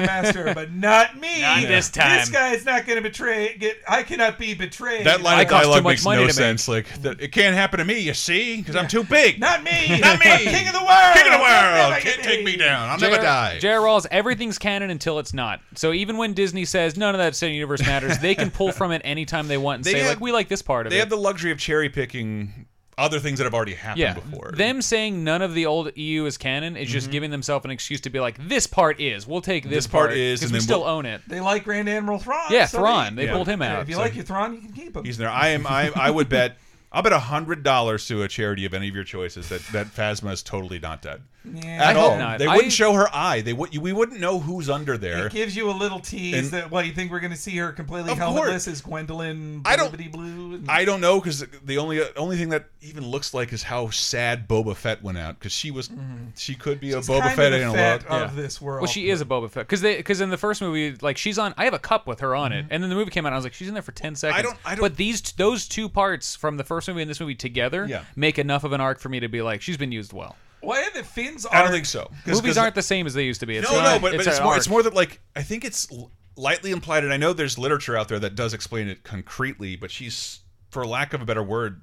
Speaker 2: master, but not me.
Speaker 4: Not this time.
Speaker 2: This guy is not going to betray. Get, I cannot be betrayed.
Speaker 1: That line
Speaker 4: I
Speaker 1: of
Speaker 4: cost too
Speaker 1: dialogue
Speaker 4: much
Speaker 1: makes
Speaker 4: money
Speaker 1: no
Speaker 4: to make.
Speaker 1: sense. Like that, it can't happen to me. You see, because I'm too big.
Speaker 2: Not me.
Speaker 1: Not me.
Speaker 2: King of the world.
Speaker 1: King of the world.
Speaker 2: Never
Speaker 1: Can't
Speaker 2: get
Speaker 1: take me down. I'll
Speaker 4: J.R.
Speaker 1: never die.
Speaker 4: J.R. Rawls, everything's canon until it's not. So even when Disney says none of that cinematic universe matters, they can pull from it anytime they want and
Speaker 1: They
Speaker 4: say,
Speaker 1: have-
Speaker 4: like, we like this part of
Speaker 1: They
Speaker 4: it.
Speaker 1: have the luxury of cherry picking other things that have already happened
Speaker 4: yeah.
Speaker 1: before. Mm-hmm.
Speaker 4: Them saying none of the old EU is canon is just giving themselves an excuse to be like, this part is. We'll take this,
Speaker 1: This part is,
Speaker 4: because
Speaker 1: and
Speaker 4: we
Speaker 1: then
Speaker 4: still
Speaker 1: we'll-
Speaker 4: own it.
Speaker 2: They like Grand Admiral Thrawn.
Speaker 4: Yeah,
Speaker 2: so
Speaker 4: Thrawn. They pulled him
Speaker 2: Yeah,
Speaker 4: out.
Speaker 2: If you
Speaker 4: So-
Speaker 2: like your Thrawn, you can keep him.
Speaker 1: He's in there. I am. I. I would bet. I'll bet hundred dollars to a charity of any of your choices that that Phasma is totally not dead
Speaker 2: Yeah.
Speaker 1: at
Speaker 2: I
Speaker 1: all.
Speaker 2: hope not.
Speaker 1: They
Speaker 2: I-
Speaker 1: wouldn't show her eye. They would. We wouldn't know who's under there.
Speaker 2: It gives you a little tease
Speaker 1: And-
Speaker 2: that well, you think we're going to see her completely
Speaker 1: Of course.
Speaker 2: helmetless as Gwendolyn.
Speaker 1: I don't-
Speaker 2: blibbity Blue. and-
Speaker 1: I don't know because the only only thing that even looks like is how sad Boba Fett went out because she was she could be a Boba
Speaker 2: Mm-hmm. kind
Speaker 1: Fett
Speaker 2: of
Speaker 1: in
Speaker 2: the
Speaker 1: a
Speaker 2: Fett
Speaker 1: look.
Speaker 2: of this world.
Speaker 4: Well, she is a Boba Fett because they because in the first movie, like she's on. I have a cup with her on it, and then the movie came out. and I was like, she's in there for ten seconds.
Speaker 1: don't- Mm-hmm. I don't-
Speaker 4: but these t- those two parts from the first movie and this movie together
Speaker 1: Yeah.
Speaker 4: make enough of an arc for me to be like, she's been used well.
Speaker 2: Why are the Finns?
Speaker 1: I
Speaker 2: Are,
Speaker 1: don't think so. 'Cause-
Speaker 4: Movies
Speaker 1: 'cause-
Speaker 4: aren't the same as they used to be. It's
Speaker 1: no,
Speaker 4: not-
Speaker 1: no, but, but it's,
Speaker 4: an
Speaker 1: more,
Speaker 4: arc.
Speaker 1: it's more that like I think it's l- lightly implied, and I know there's literature out there that does explain it concretely, but she's, for lack of a better word,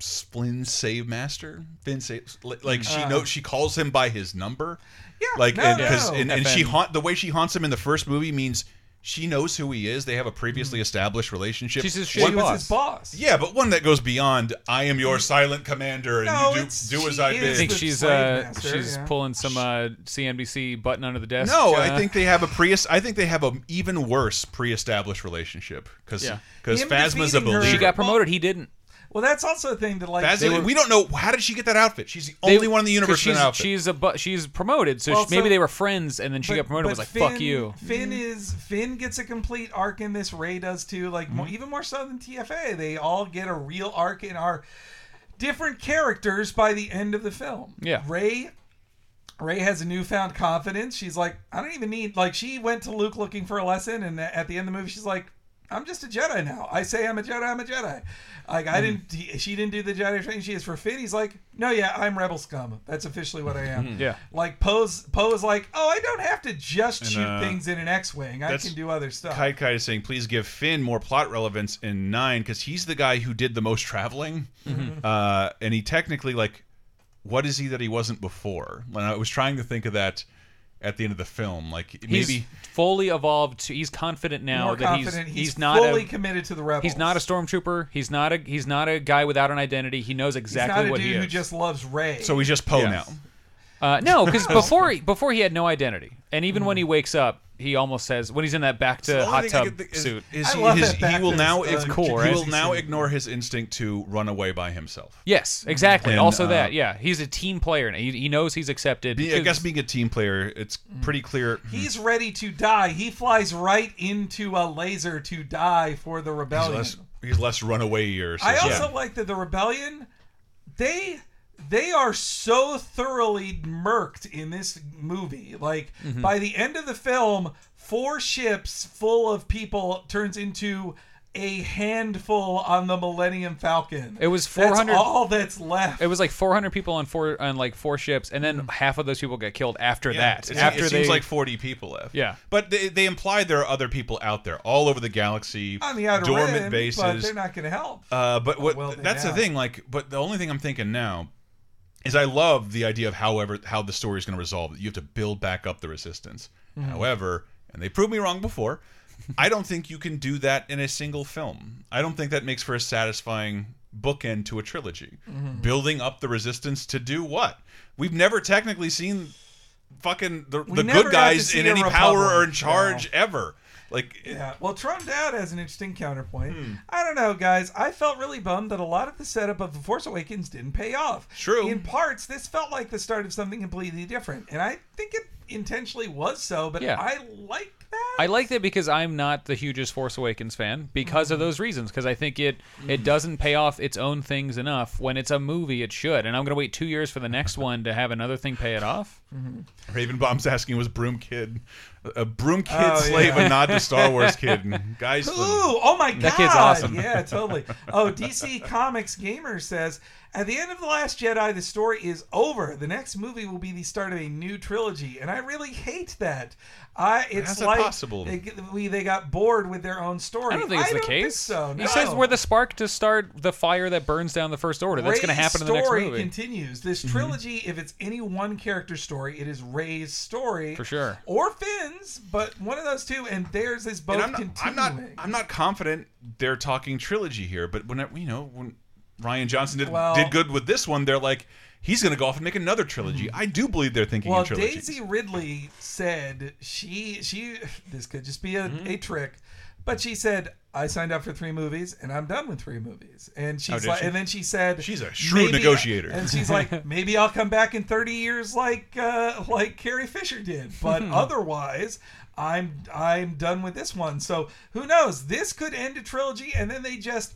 Speaker 1: Splin Save Master. Finn Save, li- like she
Speaker 2: Uh.
Speaker 1: knows she calls him by his number.
Speaker 2: Yeah,
Speaker 1: like
Speaker 2: no,
Speaker 1: and because
Speaker 2: no.
Speaker 1: and, and she
Speaker 2: FN.
Speaker 1: haunt the way she haunts him in the first movie means. She knows who he is. They have a previously established relationship.
Speaker 4: She's his
Speaker 2: Mm. She
Speaker 1: One-
Speaker 2: was his boss. Mm.
Speaker 1: Yeah, but one that goes beyond "I am your silent commander" and
Speaker 2: No,
Speaker 1: you
Speaker 2: it's-
Speaker 1: do do as
Speaker 2: she
Speaker 1: I
Speaker 2: is
Speaker 1: bid.
Speaker 4: I think
Speaker 2: the
Speaker 4: she's
Speaker 2: slave
Speaker 4: uh
Speaker 2: master,
Speaker 4: she's
Speaker 2: yeah.
Speaker 4: pulling some uh CNBC button under the desk.
Speaker 1: No,
Speaker 4: uh,
Speaker 1: I think they have a pre. I think they have an even worse pre-established relationship because
Speaker 4: Yeah.
Speaker 1: because
Speaker 2: Him
Speaker 1: Phasma's a
Speaker 2: defeating her-
Speaker 1: believer.
Speaker 4: she got promoted. He didn't.
Speaker 2: Well, that's also a thing that like
Speaker 1: Phasma,
Speaker 2: they were-
Speaker 1: we don't know how did she get that outfit. She's the
Speaker 4: They-
Speaker 1: only one in the
Speaker 4: 'cause
Speaker 1: universe with
Speaker 4: She's,
Speaker 1: an outfit.
Speaker 4: she's a bu- she's promoted, so
Speaker 2: Well,
Speaker 4: she- maybe
Speaker 2: so-
Speaker 4: they were friends, and then she
Speaker 2: but-
Speaker 4: got promoted. and Was
Speaker 2: but
Speaker 4: like,
Speaker 2: Finn,
Speaker 4: fuck you.
Speaker 2: Finn is Finn gets a complete arc in this. Ray does too. Like more,
Speaker 4: Mm-hmm.
Speaker 2: even more so than TFA, they all get a real arc and are different characters by the end of the film.
Speaker 4: Yeah.
Speaker 2: Ray. Ray has a newfound confidence. She's like, I don't even need like she went to Luke looking for a lesson, and at the end of the movie, she's like, I'm just a Jedi now. I say I'm a Jedi. I'm a Jedi. Like
Speaker 4: Mm-hmm.
Speaker 2: I didn't. he- she didn't do the Jedi training. She is for Finn. He's like, No, yeah, I'm rebel scum. That's officially what I am.
Speaker 4: Mm-hmm. Yeah.
Speaker 2: Like Poe's Poe's like, oh, I don't have to just
Speaker 1: And,
Speaker 2: shoot
Speaker 1: uh,
Speaker 2: things in an X-wing. I
Speaker 1: that's-
Speaker 2: can do other stuff.
Speaker 1: Kai Kai is saying, please give Finn more plot relevance in nine because he's the guy who did the most traveling,
Speaker 4: Mm-hmm.
Speaker 1: uh, and he technically like, what is he that he wasn't before? And I was trying to think of that at the end of the film, like
Speaker 4: He's
Speaker 1: maybe.
Speaker 4: fully evolved. To, he's confident now
Speaker 2: More
Speaker 4: that
Speaker 2: confident.
Speaker 4: he's
Speaker 2: he's,
Speaker 4: not
Speaker 2: fully
Speaker 4: a,
Speaker 2: committed to the rebels.
Speaker 4: He's not a stormtrooper. He's not a he's not a guy without an identity. He knows
Speaker 2: He's
Speaker 4: exactly
Speaker 2: not a
Speaker 4: what
Speaker 2: dude
Speaker 4: he is.
Speaker 2: who just loves Ray.
Speaker 1: So he's just Poe
Speaker 4: Yes.
Speaker 1: now.
Speaker 4: uh, no, because before he, before he had no identity, and even when he wakes up, he almost says when he's in that back to
Speaker 1: Hmm. The only
Speaker 4: hot
Speaker 1: thing I
Speaker 4: tub
Speaker 1: could think is-
Speaker 4: suit.
Speaker 1: Is,
Speaker 2: I
Speaker 1: he,
Speaker 2: love
Speaker 1: his,
Speaker 2: that
Speaker 1: he will
Speaker 2: Bacchus,
Speaker 1: now.
Speaker 2: uh,
Speaker 1: ig-
Speaker 4: cool,
Speaker 1: He
Speaker 4: right?
Speaker 1: will now ignore his instinct to run away by himself.
Speaker 4: yes, exactly.
Speaker 1: And,
Speaker 4: also
Speaker 1: uh,
Speaker 4: that yeah, he's a team player. Now. He, he knows he's accepted.
Speaker 1: Be- I
Speaker 4: because-
Speaker 1: guess being a team player, it's
Speaker 2: Mm.
Speaker 1: pretty clear.
Speaker 2: He's ready to die. He flies right into a laser to die for the
Speaker 1: He's
Speaker 2: rebellion.
Speaker 1: less, he's less runaway or
Speaker 2: I
Speaker 1: something.
Speaker 2: also like that the rebellion, they they are so thoroughly murked in this movie. Like
Speaker 4: Mm-hmm.
Speaker 2: by the end of the film, four ships full of people turns into a handful on the Millennium Falcon.
Speaker 4: It was
Speaker 2: That's
Speaker 4: 400
Speaker 2: all that's left.
Speaker 4: It was like 400 people on four on like four ships, and then half of those people get killed after
Speaker 1: Hmm. Yeah,
Speaker 4: that.
Speaker 1: it,
Speaker 4: after
Speaker 1: it
Speaker 4: they
Speaker 1: seems like 40 people left.
Speaker 4: Yeah.
Speaker 1: But they, they imply there are other people out there all over the galaxy,
Speaker 2: on the outer
Speaker 1: dormant
Speaker 2: rim,
Speaker 1: bases.
Speaker 2: but they're not going to help.
Speaker 1: Uh, but what
Speaker 2: well, they
Speaker 1: that's the
Speaker 2: are.
Speaker 1: thing. Like, but the only thing I'm thinking now is I love the idea of however how the story is going to resolve. You have to build back up the resistance.
Speaker 2: Mm-hmm.
Speaker 1: However, and they proved me wrong before. I don't think you can do that in a single film. I don't think that makes for a satisfying bookend to a trilogy.
Speaker 2: Mm-hmm.
Speaker 1: Building up the resistance to do what? We've never technically seen fucking the, the
Speaker 2: never got
Speaker 1: good
Speaker 2: to
Speaker 1: guys
Speaker 2: see
Speaker 1: in
Speaker 2: a
Speaker 1: any power or
Speaker 2: republic,
Speaker 1: in charge ever. Like,
Speaker 2: yeah. Well, Tron Dowd has an interesting counterpoint.
Speaker 4: Hmm.
Speaker 2: I don't know, guys. I felt really bummed that a lot of the setup of The Force Awakens didn't pay off.
Speaker 1: True.
Speaker 2: In parts, this felt like the start of something completely different, and I think it intentionally was so. But
Speaker 4: Yeah.
Speaker 2: I like
Speaker 4: I like that because I'm not the hugest Force Awakens fan because
Speaker 1: Hmm.
Speaker 4: of those reasons. Because I think it it doesn't pay off its own things enough. When it's a movie, it should. And I'm gonna wait two years for the next one to have another thing pay it off.
Speaker 1: Raven Bomb's asking was Broom Kid a Broom Kid
Speaker 4: Oh,
Speaker 1: slave
Speaker 4: yeah.
Speaker 1: a nod to Star Wars Kid? Guys,
Speaker 2: Ooh, oh my god.
Speaker 1: That kid's awesome.
Speaker 2: yeah, totally. Oh, DC Comics Gamer says At the end of The Last Jedi, the story is over. The next movie will be the start of a new trilogy, and I really hate that. I it's
Speaker 1: How's that
Speaker 2: like
Speaker 1: possible?
Speaker 2: They, get- we, they got bored with their own story.
Speaker 4: I don't think it's the
Speaker 2: think
Speaker 4: case.
Speaker 2: so, no.
Speaker 4: He says we're the spark to start the fire that burns down the first order. That's gonna
Speaker 2: Rey's
Speaker 4: happen in the next
Speaker 2: story
Speaker 4: movie. Mm-hmm.
Speaker 2: continues. This trilogy, if it's any one character story, it is Ray's story
Speaker 4: For sure.
Speaker 2: or Finn's, but one of those two. And theirs is both
Speaker 1: And I'm not, I'm
Speaker 2: continuing.
Speaker 1: not. I'm not confident they're talking trilogy here. But when I- you know when Ryan Johnson did
Speaker 2: Well-
Speaker 1: did good with this one, they're like he's going to go off and make another trilogy. I do believe they're thinking
Speaker 2: Mm-hmm. well,
Speaker 1: in trilogy.
Speaker 2: Daisy Ridley said she she this could just be a,
Speaker 1: Mm-hmm.
Speaker 2: a trick, but she said I signed up for three movies and I'm done with three movies. And
Speaker 1: Oh,
Speaker 2: she's
Speaker 1: did
Speaker 2: like,
Speaker 1: she?
Speaker 2: and then she said
Speaker 1: She's a shrewd
Speaker 2: "Maybe-"
Speaker 1: negotiator.
Speaker 2: And she's like, maybe I'll come back in 30 years like uh, like Carrie Fisher did, but
Speaker 1: Hmm.
Speaker 2: otherwise. I'm I'm done with this one. So who knows? This could end a trilogy, and then they just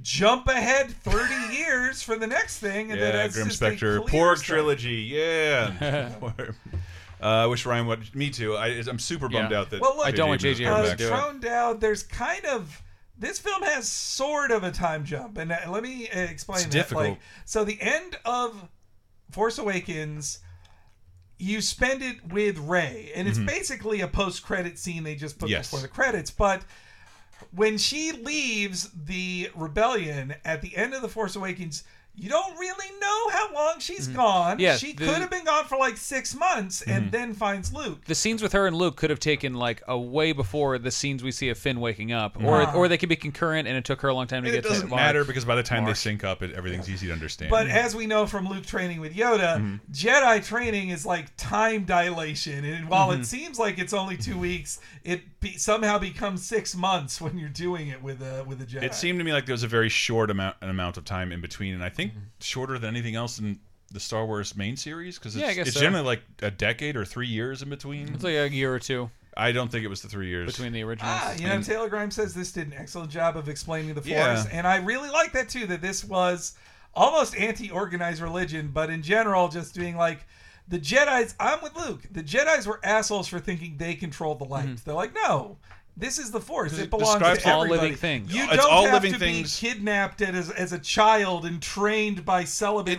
Speaker 2: jump ahead 30 years for the next thing, and then
Speaker 1: yeah,
Speaker 2: that's
Speaker 1: Grim
Speaker 2: just a
Speaker 1: Spectre,
Speaker 2: clear
Speaker 1: Porg
Speaker 2: story.
Speaker 1: trilogy. Yeah. Porg. Uh, I wish Ryan would. Me too. I, I'm super bummed
Speaker 4: Yeah.
Speaker 1: out that
Speaker 4: Well, look- I don't want
Speaker 1: Abrams is
Speaker 4: J.J.
Speaker 1: coming
Speaker 4: Abrams
Speaker 2: uh,
Speaker 1: back.
Speaker 2: Throne Down, there's kind of this film has sort of a time jump, and uh, let me uh, explain
Speaker 1: It's
Speaker 2: that.
Speaker 1: difficult.
Speaker 2: Like, so the end of Force Awakens, you spend it with Ray, and
Speaker 4: Mm-hmm.
Speaker 2: it's
Speaker 1: Mhm.
Speaker 2: basically a post-credit scene they just put
Speaker 1: Yes.
Speaker 2: before the credits, but. When she leaves the rebellion at the end of The Force Awakens, you don't really know how long she's
Speaker 4: Mhm.
Speaker 2: gone.
Speaker 4: Yeah,
Speaker 2: she
Speaker 4: the-
Speaker 2: could have been gone for like six months
Speaker 4: Mhm.
Speaker 2: and then finds Luke.
Speaker 4: the scenes with her and Luke could have taken like a way before the scenes we see of Finn waking up, or
Speaker 2: Ah.
Speaker 4: or they could be concurrent, and it took her a long time to
Speaker 1: And
Speaker 4: get
Speaker 1: it doesn't
Speaker 4: to
Speaker 1: matter because by the time
Speaker 4: Mark.
Speaker 1: they sync up, it, everything's easy to understand.
Speaker 2: But as we know from Luke training with Yoda,
Speaker 1: Mhm.
Speaker 2: Jedi training is like time dilation, and while
Speaker 1: Mhm.
Speaker 2: it seems like it's only two weeks, it be, somehow becomes six months when you're doing it with a with a Jedi.
Speaker 1: It seemed to me like there was a very short amount an amount of time in between, and I think shorter than anything else in the Star Wars main series because
Speaker 4: Yeah,
Speaker 1: it's,
Speaker 4: I guess
Speaker 1: it's
Speaker 4: so.
Speaker 1: generally like a decade or three years in between.
Speaker 4: It's like a year or two.
Speaker 1: I don't think it was the three years
Speaker 4: between the originals.
Speaker 2: Ah, you know, Taylor Grimes says this did an excellent job of explaining the Force,
Speaker 1: Yeah.
Speaker 2: and I really like that too. That this was almost anti-organized religion, but in general, just being like. The Jedi's, I'm with Luke. The Jedi's were assholes for thinking they controlled the light. They're like, no, this is the Force. It, belongs
Speaker 1: Mm-hmm. describes
Speaker 2: to
Speaker 1: all
Speaker 2: everybody.
Speaker 1: living things.
Speaker 2: You
Speaker 1: It's
Speaker 2: don't
Speaker 1: all
Speaker 2: have
Speaker 1: living
Speaker 2: to
Speaker 1: things.
Speaker 2: be kidnapped as, as a child and trained by celibate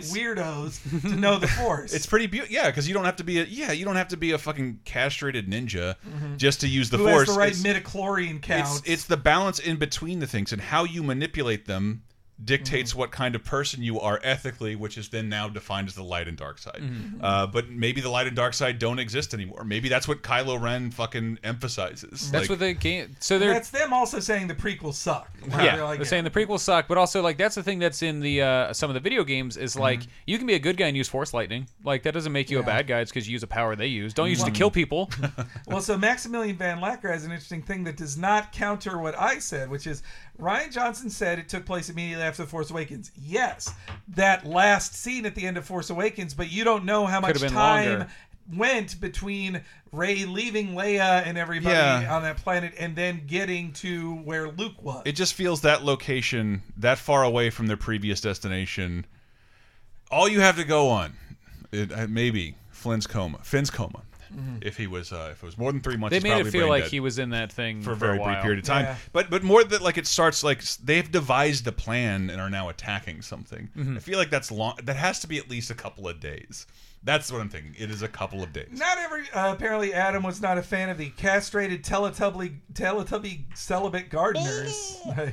Speaker 2: weirdos to know the Force.
Speaker 1: It's pretty beautiful, yeah, because you don't have to be a yeah, you don't have to be a fucking castrated ninja
Speaker 4: Mm-hmm.
Speaker 2: Mhm.
Speaker 1: just to use the
Speaker 2: Who
Speaker 1: force.
Speaker 2: has the right
Speaker 1: It's-
Speaker 2: midichlorian
Speaker 1: it's,
Speaker 2: count?
Speaker 1: it's the balance in between the things and how you manipulate them
Speaker 4: Mm-hmm.
Speaker 1: dictates what kind of person you are ethically which is then now defined as the light and dark side
Speaker 4: Mhm.
Speaker 1: uh, but maybe the light and dark side don't exist anymore maybe that's what kylo ren fucking emphasizes
Speaker 4: That's
Speaker 1: Like,
Speaker 4: what they game. So
Speaker 2: And
Speaker 4: they're
Speaker 2: that's them also saying the prequels suck.
Speaker 4: yeah,
Speaker 2: They're like,
Speaker 4: they're saying the prequels suck, but also like that's the thing that's in the uh, some of the video games is like you can be a good guy and use force lightning. Like that doesn't make you a bad guy. It's because you use a power they use. Don't use it to
Speaker 2: Mhm.
Speaker 4: kill people.
Speaker 2: well, so Maximilian Van Lacker has an interesting thing that does not counter what I said, which is Ryan Johnson said it took place immediately after The Force Awakens. Yes, that last scene at the end of Force Awakens, but you don't know how
Speaker 4: Could
Speaker 2: much
Speaker 4: have been
Speaker 2: time
Speaker 4: longer.
Speaker 2: went between Ray leaving Leia and everybody
Speaker 1: Yeah.
Speaker 2: on that planet and then getting to where Luke was.
Speaker 1: it just feels that location that far away from their previous destination all you have to go on it, uh, maybe Flynn's coma Finn's coma
Speaker 4: Mhm.
Speaker 1: if he was uh, if it was more than three months
Speaker 4: they
Speaker 1: he's
Speaker 4: made it
Speaker 1: probably
Speaker 4: feel
Speaker 1: brain
Speaker 4: like
Speaker 1: dead.
Speaker 4: he was in that thing
Speaker 1: for a very
Speaker 4: a
Speaker 1: brief
Speaker 4: while.
Speaker 1: period of time.
Speaker 4: Yeah.
Speaker 1: But but more that like it starts like s- they've devised the plan and are now attacking something.
Speaker 2: Mm-hmm.
Speaker 4: Mhm.
Speaker 1: I feel like that's long. That has to be at least a couple of days. That's what I'm thinking. It is a couple of days.
Speaker 2: Not every. Uh, apparently, Adam was not a fan of the castrated Teletubby Teletubby celibate gardeners. oh,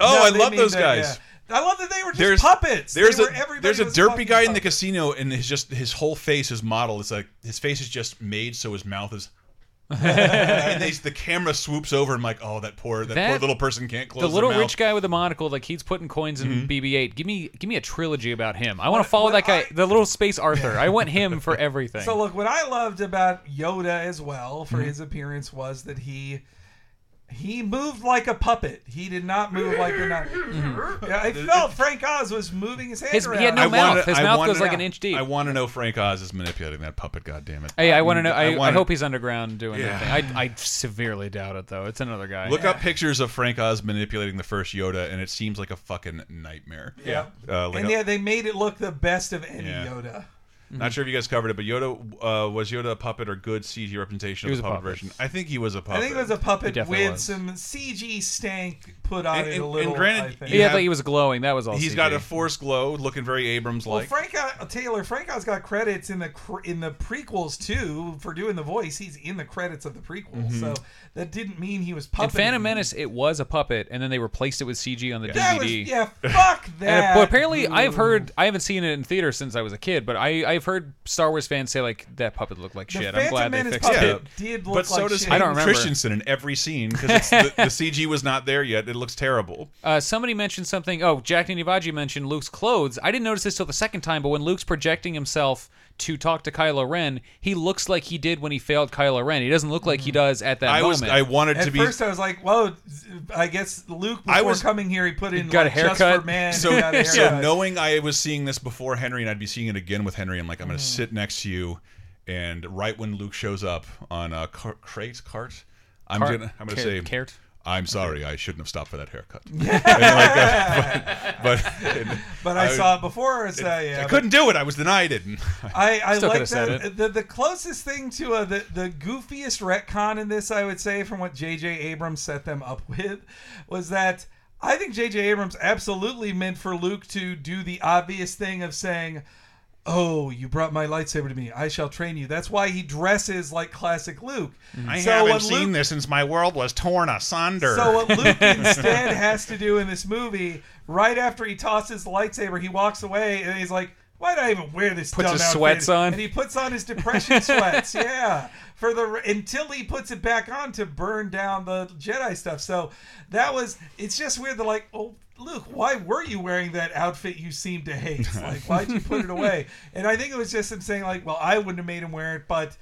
Speaker 1: I love those guys.
Speaker 2: I love that they were just
Speaker 1: There's
Speaker 2: puppets. They
Speaker 1: There's
Speaker 2: were-
Speaker 1: a
Speaker 2: everybody
Speaker 1: there's a
Speaker 2: was
Speaker 1: derpy
Speaker 2: fucking
Speaker 1: guy in the
Speaker 2: puppet.
Speaker 1: casino and his just his whole face his model is like his face is just made so his mouth is. and they, the camera swoops over and I'm like, oh, that poor that, poor
Speaker 4: That-
Speaker 1: little person can't close
Speaker 4: the
Speaker 1: their
Speaker 4: little
Speaker 1: mouth.
Speaker 4: rich guy with the monocle, like he's putting coins
Speaker 1: Mm-hmm.
Speaker 4: in BB-8. Give me, give me a trilogy about him. I want to follow that guy, the little space Arthur. I want him for everything.
Speaker 1: Mm-hmm.
Speaker 2: So look, what I loved about Yoda as well for
Speaker 4: Mhm.
Speaker 2: his appearance was that he He moved like a puppet. He did not move like a knife. Yeah, I felt Frank Oz was moving his hand
Speaker 4: His- he
Speaker 2: around.
Speaker 4: had no I mouth.
Speaker 1: wanna-
Speaker 4: His
Speaker 1: Mm-hmm. I
Speaker 4: mouth
Speaker 1: wanna
Speaker 4: goes
Speaker 1: know-
Speaker 4: like an inch deep.
Speaker 1: I want to know Frank Oz is manipulating that puppet. God damn it!
Speaker 4: Hey, I want to know. I, I,
Speaker 1: Mm, wanna-
Speaker 4: hope he's underground doing
Speaker 1: Yeah.
Speaker 4: that thing. I, I severely doubt it though. It's another guy.
Speaker 1: Look up pictures of Frank Oz manipulating the first Yoda, and it seems like a fucking nightmare.
Speaker 2: Yeah.
Speaker 1: Uh, like
Speaker 2: and
Speaker 1: a-
Speaker 2: yeah, they made it look the best of any
Speaker 1: Yeah.
Speaker 2: Yoda.
Speaker 1: Not sure if you guys covered it, but Yoda uh, was Yoda a puppet or good CG representation
Speaker 4: He
Speaker 1: of
Speaker 4: was
Speaker 1: the
Speaker 4: a
Speaker 1: puppet,
Speaker 4: puppet.
Speaker 1: version? I think he was a puppet.
Speaker 2: I think it was a
Speaker 1: He
Speaker 2: puppet
Speaker 1: definitely
Speaker 2: with
Speaker 1: was.
Speaker 2: some CG stank put on
Speaker 1: And-
Speaker 2: it
Speaker 1: and-
Speaker 2: a
Speaker 1: and
Speaker 2: little.
Speaker 1: granted,
Speaker 2: I think.
Speaker 1: you
Speaker 4: Yeah, I
Speaker 1: have-
Speaker 4: thought he was glowing. That was all.
Speaker 1: He's
Speaker 4: CG.
Speaker 1: got a force glow, looking very Abrams
Speaker 2: Well,
Speaker 1: like.
Speaker 2: Frank O- Taylor Frank Oz got credits in the cr- in the prequels too for doing the voice. He's in the credits of the prequel,
Speaker 4: Mhm.
Speaker 2: so that didn't mean he was
Speaker 4: In
Speaker 2: puppet.
Speaker 4: Phantom Menace, it was a puppet, and then they replaced it with CG on the
Speaker 2: That was-
Speaker 4: DVD.
Speaker 2: yeah, Mm. fuck
Speaker 4: And
Speaker 2: that.
Speaker 4: but apparently, I've
Speaker 2: Ooh.
Speaker 4: heard I haven't seen it in theater since I was a kid, but I I've heard Star Wars fans say like that puppet looked like
Speaker 2: The
Speaker 4: shit. I'm
Speaker 2: Phantom
Speaker 4: glad
Speaker 2: Menace
Speaker 4: they fixed
Speaker 2: puppet
Speaker 4: it.
Speaker 2: did look
Speaker 1: But so
Speaker 2: like
Speaker 1: does
Speaker 2: shit.
Speaker 4: I
Speaker 1: Hayden
Speaker 4: don't remember.
Speaker 1: Christensen in every scene because the, the CG was not there yet. It looks terrible.
Speaker 4: Uh, somebody mentioned something. Oh, Jack Nivaji mentioned Luke's clothes. I didn't notice this till the second time, but when Luke's projecting himself to talk to Kylo Ren, he looks like he did when he failed Kylo Ren. He doesn't look like he does at that
Speaker 1: Mm-hmm. I was-
Speaker 4: moment.
Speaker 1: I wanted
Speaker 2: At first, I was like, "Whoa!" I guess Luke before
Speaker 1: I was-
Speaker 2: coming here, he put in
Speaker 4: got a
Speaker 2: like, Just
Speaker 4: haircut.
Speaker 2: for man.
Speaker 1: So,
Speaker 2: he got a
Speaker 1: so
Speaker 2: haircut.
Speaker 1: knowing I was seeing this before Henry and I'd be seeing it again with Henry, I'm like, I'm
Speaker 2: Mm-hmm.
Speaker 1: going to sit next to you. And right when Luke shows up on a car- crate, cart, I'm
Speaker 4: Cart.
Speaker 1: going to I'm gonna
Speaker 4: Cart.
Speaker 1: say,
Speaker 4: Cart.
Speaker 1: I'm sorry, I shouldn't have stopped for that haircut. And like, uh, but, but, and
Speaker 2: But I saw it before, so, yeah,
Speaker 1: I
Speaker 2: but-
Speaker 1: couldn't do it. I was denied it.
Speaker 2: I, I
Speaker 1: Still
Speaker 2: like
Speaker 1: coulda said
Speaker 2: the, the the closest thing to uh the the goofiest retcon in this, I would say, from what J.J. Abrams set them up with, was that I think J.J. Abrams absolutely meant for Luke to do the obvious thing of saying. Oh, you brought my lightsaber to me. I shall train you. That's why he dresses like classic Luke.
Speaker 1: Mm-hmm. I
Speaker 2: So
Speaker 1: haven't
Speaker 2: when
Speaker 1: seen
Speaker 2: Luke-
Speaker 1: this since my world was torn asunder.
Speaker 2: So what Luke instead has to do in this movie, right after he tosses the lightsaber, he walks away and he's like, "Why did I even wear this?"
Speaker 4: Puts
Speaker 2: dumb
Speaker 4: his
Speaker 2: outfit?"
Speaker 4: sweats on.
Speaker 2: and he puts on his depression sweats. yeah, for the until he puts it back on to burn down the Jedi stuff. So that was. It's just weird. They're like, "Oh, Luke, why were you wearing that outfit you seem to hate? Like, why'd you put it away?" And I think it was just him saying, "Like, well, I wouldn't have made him wear it, but."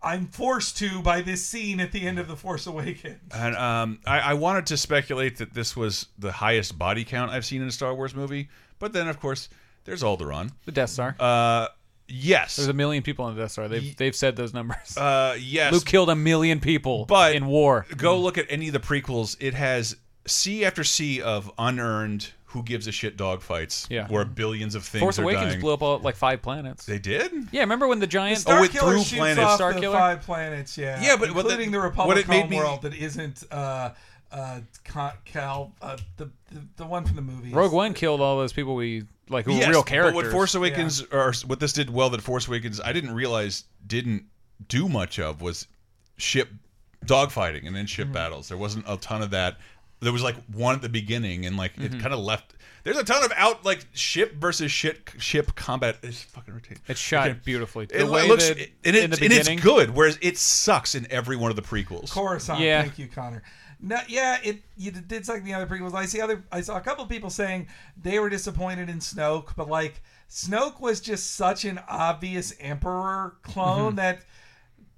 Speaker 2: I'm forced to by this scene at the end of The Force Awakens.
Speaker 1: And um, I, I wanted to speculate that this was the highest body count I've seen in a Star Wars movie, but then of course there's Alderaan,
Speaker 4: the Death Star.
Speaker 1: Uh, yes,
Speaker 4: There's a million people on the Death Star. They've they've said those numbers.
Speaker 1: Uh, yes.
Speaker 4: Luke killed a million people,
Speaker 1: but
Speaker 4: in war.
Speaker 1: Go look at any of the prequels. It has C after C of unearned who gives a shit dog fights,
Speaker 4: Yeah.
Speaker 1: where billions of things
Speaker 4: Force
Speaker 1: are
Speaker 4: Awakens
Speaker 1: dying.
Speaker 4: blew up all, like five planets. They
Speaker 1: did.
Speaker 4: Yeah, remember when the giant
Speaker 2: Star
Speaker 1: Oh, it
Speaker 2: Killer
Speaker 1: threw
Speaker 2: shoots
Speaker 1: planets.
Speaker 2: off
Speaker 1: Star
Speaker 2: the
Speaker 1: Killer?
Speaker 2: five planets. Yeah,
Speaker 1: Yeah, but what that-
Speaker 2: including the
Speaker 1: what
Speaker 2: Republic
Speaker 1: it made
Speaker 2: Home
Speaker 1: me-
Speaker 2: world that isn't uh uh Con- Cal uh, the, the the one from the movie.
Speaker 4: Rogue One killed all those people we like who
Speaker 1: Yes,
Speaker 4: were real characters.
Speaker 1: But what Force Awakens or what this did well that Force Awakens I didn't realize didn't do much of was ship dogfighting and then ship
Speaker 4: Mm-hmm.
Speaker 1: battles. There wasn't a ton of that. There was like one at the beginning and like it
Speaker 4: Mhm.
Speaker 1: kind of left. There's a ton of out like ship versus ship ship combat. It's fucking ridiculous.
Speaker 4: It's shot
Speaker 1: Okay.
Speaker 4: beautiful. beautifully.
Speaker 1: It
Speaker 4: The way
Speaker 1: looks
Speaker 4: that-
Speaker 1: and, it,
Speaker 4: in the
Speaker 1: and it's
Speaker 4: beginning-
Speaker 1: good, whereas it sucks in every one of the prequels.
Speaker 2: Coruscant.
Speaker 1: Yeah.
Speaker 2: Thank you, Connor. No, yeah, it you did something the other prequels. I see other. I saw a couple people saying they were disappointed in Snoke, but like Snoke was just such an obvious Emperor clone
Speaker 1: Mhm.
Speaker 2: that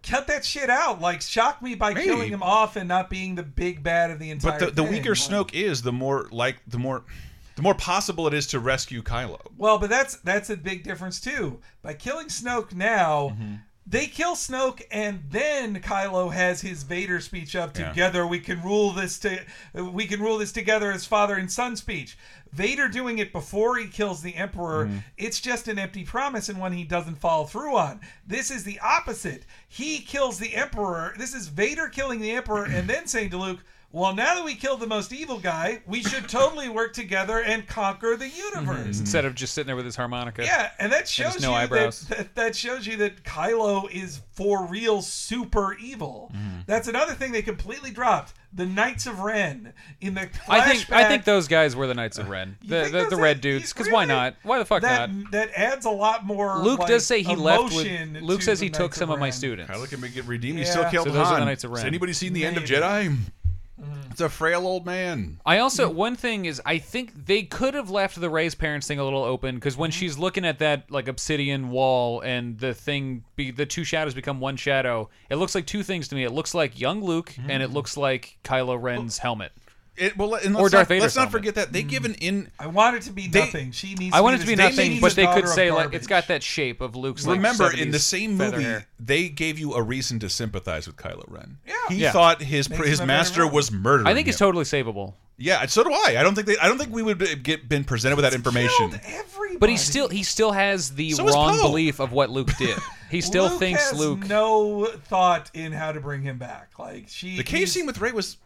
Speaker 2: cut that shit out. Like shock me by
Speaker 1: Maybe.
Speaker 2: killing him off and not being the big bad of the entire.
Speaker 1: But the, the
Speaker 2: thing.
Speaker 1: weaker Snoke is, the more like the more the more possible it is to rescue Kylo.
Speaker 2: Well, but that's that's a big difference too. By killing Snoke now, they kill Snoke, and then Kylo has his Vader speech up.
Speaker 1: Yeah.
Speaker 2: Together, we can rule this. To we can rule this together as father and son speech. Vader doing it before he kills the Emperor.
Speaker 1: Mhm.
Speaker 2: It's just an empty promise and one he doesn't follow through on. This is the opposite. He kills the Emperor. This is Vader killing the Emperor and then saying to Luke. Well, now that we killed the most evil guy, we should totally work together and conquer the universe.
Speaker 4: instead of just sitting there with his harmonica.
Speaker 2: Yeah, and that
Speaker 4: just
Speaker 2: shows
Speaker 4: no
Speaker 2: you that,
Speaker 4: eyebrows.
Speaker 2: that that shows you that Kylo is for real super evil.
Speaker 4: Mm-hmm.
Speaker 2: That's another thing they completely dropped. The Knights of Ren in the flashback.
Speaker 4: I think I think those guys were the Knights of Ren, the
Speaker 2: think
Speaker 4: the, the
Speaker 2: those-
Speaker 4: red dudes. Because why not? Why the fuck
Speaker 2: that
Speaker 4: not?
Speaker 2: that adds a lot more.
Speaker 4: Luke
Speaker 2: like,
Speaker 4: does say he left with.
Speaker 2: emotion
Speaker 4: Luke
Speaker 2: to
Speaker 4: says
Speaker 2: the
Speaker 4: he took
Speaker 2: Knights
Speaker 4: some
Speaker 2: of
Speaker 4: of my
Speaker 2: Ren.
Speaker 4: students.
Speaker 1: Kylo can be get redeemed. He
Speaker 2: Yeah.
Speaker 1: still killed
Speaker 4: So those are the
Speaker 1: Han.
Speaker 4: Knights of
Speaker 1: Has
Speaker 4: Ren.
Speaker 1: anybody seen the end of
Speaker 2: Maybe.
Speaker 1: Jedi?
Speaker 4: Mm-hmm.
Speaker 1: It's a frail old man.
Speaker 4: I also one thing is I think they could have left the Ray's parents thing a little open because
Speaker 2: Mm-hmm.
Speaker 4: when she's looking at that like obsidian wall and the thing be the two shadows become one shadow, it looks like two things to me. It looks like young Luke and
Speaker 2: Mm.
Speaker 4: it looks like Kylo Ren's helmet.
Speaker 1: It, well, and
Speaker 4: or
Speaker 1: let's
Speaker 4: Darth
Speaker 1: not,
Speaker 4: Vader's
Speaker 1: Let's not
Speaker 4: helmet.
Speaker 1: forget that
Speaker 4: Mm-hmm.
Speaker 1: they give an in.
Speaker 2: I want it to be nothing. She needs.
Speaker 4: I want it to be
Speaker 2: this-
Speaker 4: nothing,
Speaker 2: she's
Speaker 4: but
Speaker 2: a
Speaker 4: they could
Speaker 2: daughter of
Speaker 4: say like
Speaker 2: garbage.
Speaker 4: it's got that shape of Luke's. like,
Speaker 1: Remember, in the
Speaker 4: 70s
Speaker 1: same
Speaker 4: feather
Speaker 1: movie,
Speaker 4: hair.
Speaker 1: they gave you a reason to sympathize with Kylo Ren. Yeah, he
Speaker 4: Yeah.
Speaker 1: thought his
Speaker 4: Makes
Speaker 1: his
Speaker 4: him a better
Speaker 1: master
Speaker 4: man.
Speaker 1: was murdering.
Speaker 4: I think he's
Speaker 1: him.
Speaker 4: totally savable.
Speaker 1: Yeah, so do I. I don't think they. I don't think we would be- get been presented with that information.
Speaker 4: But he still he still has the
Speaker 1: So is
Speaker 4: wrong
Speaker 1: Poe.
Speaker 4: belief of what Luke did. He still
Speaker 2: Luke
Speaker 4: thinks
Speaker 2: has
Speaker 4: Luke.
Speaker 2: No thought in how to bring him back. Like she.
Speaker 1: The cave scene with Ray was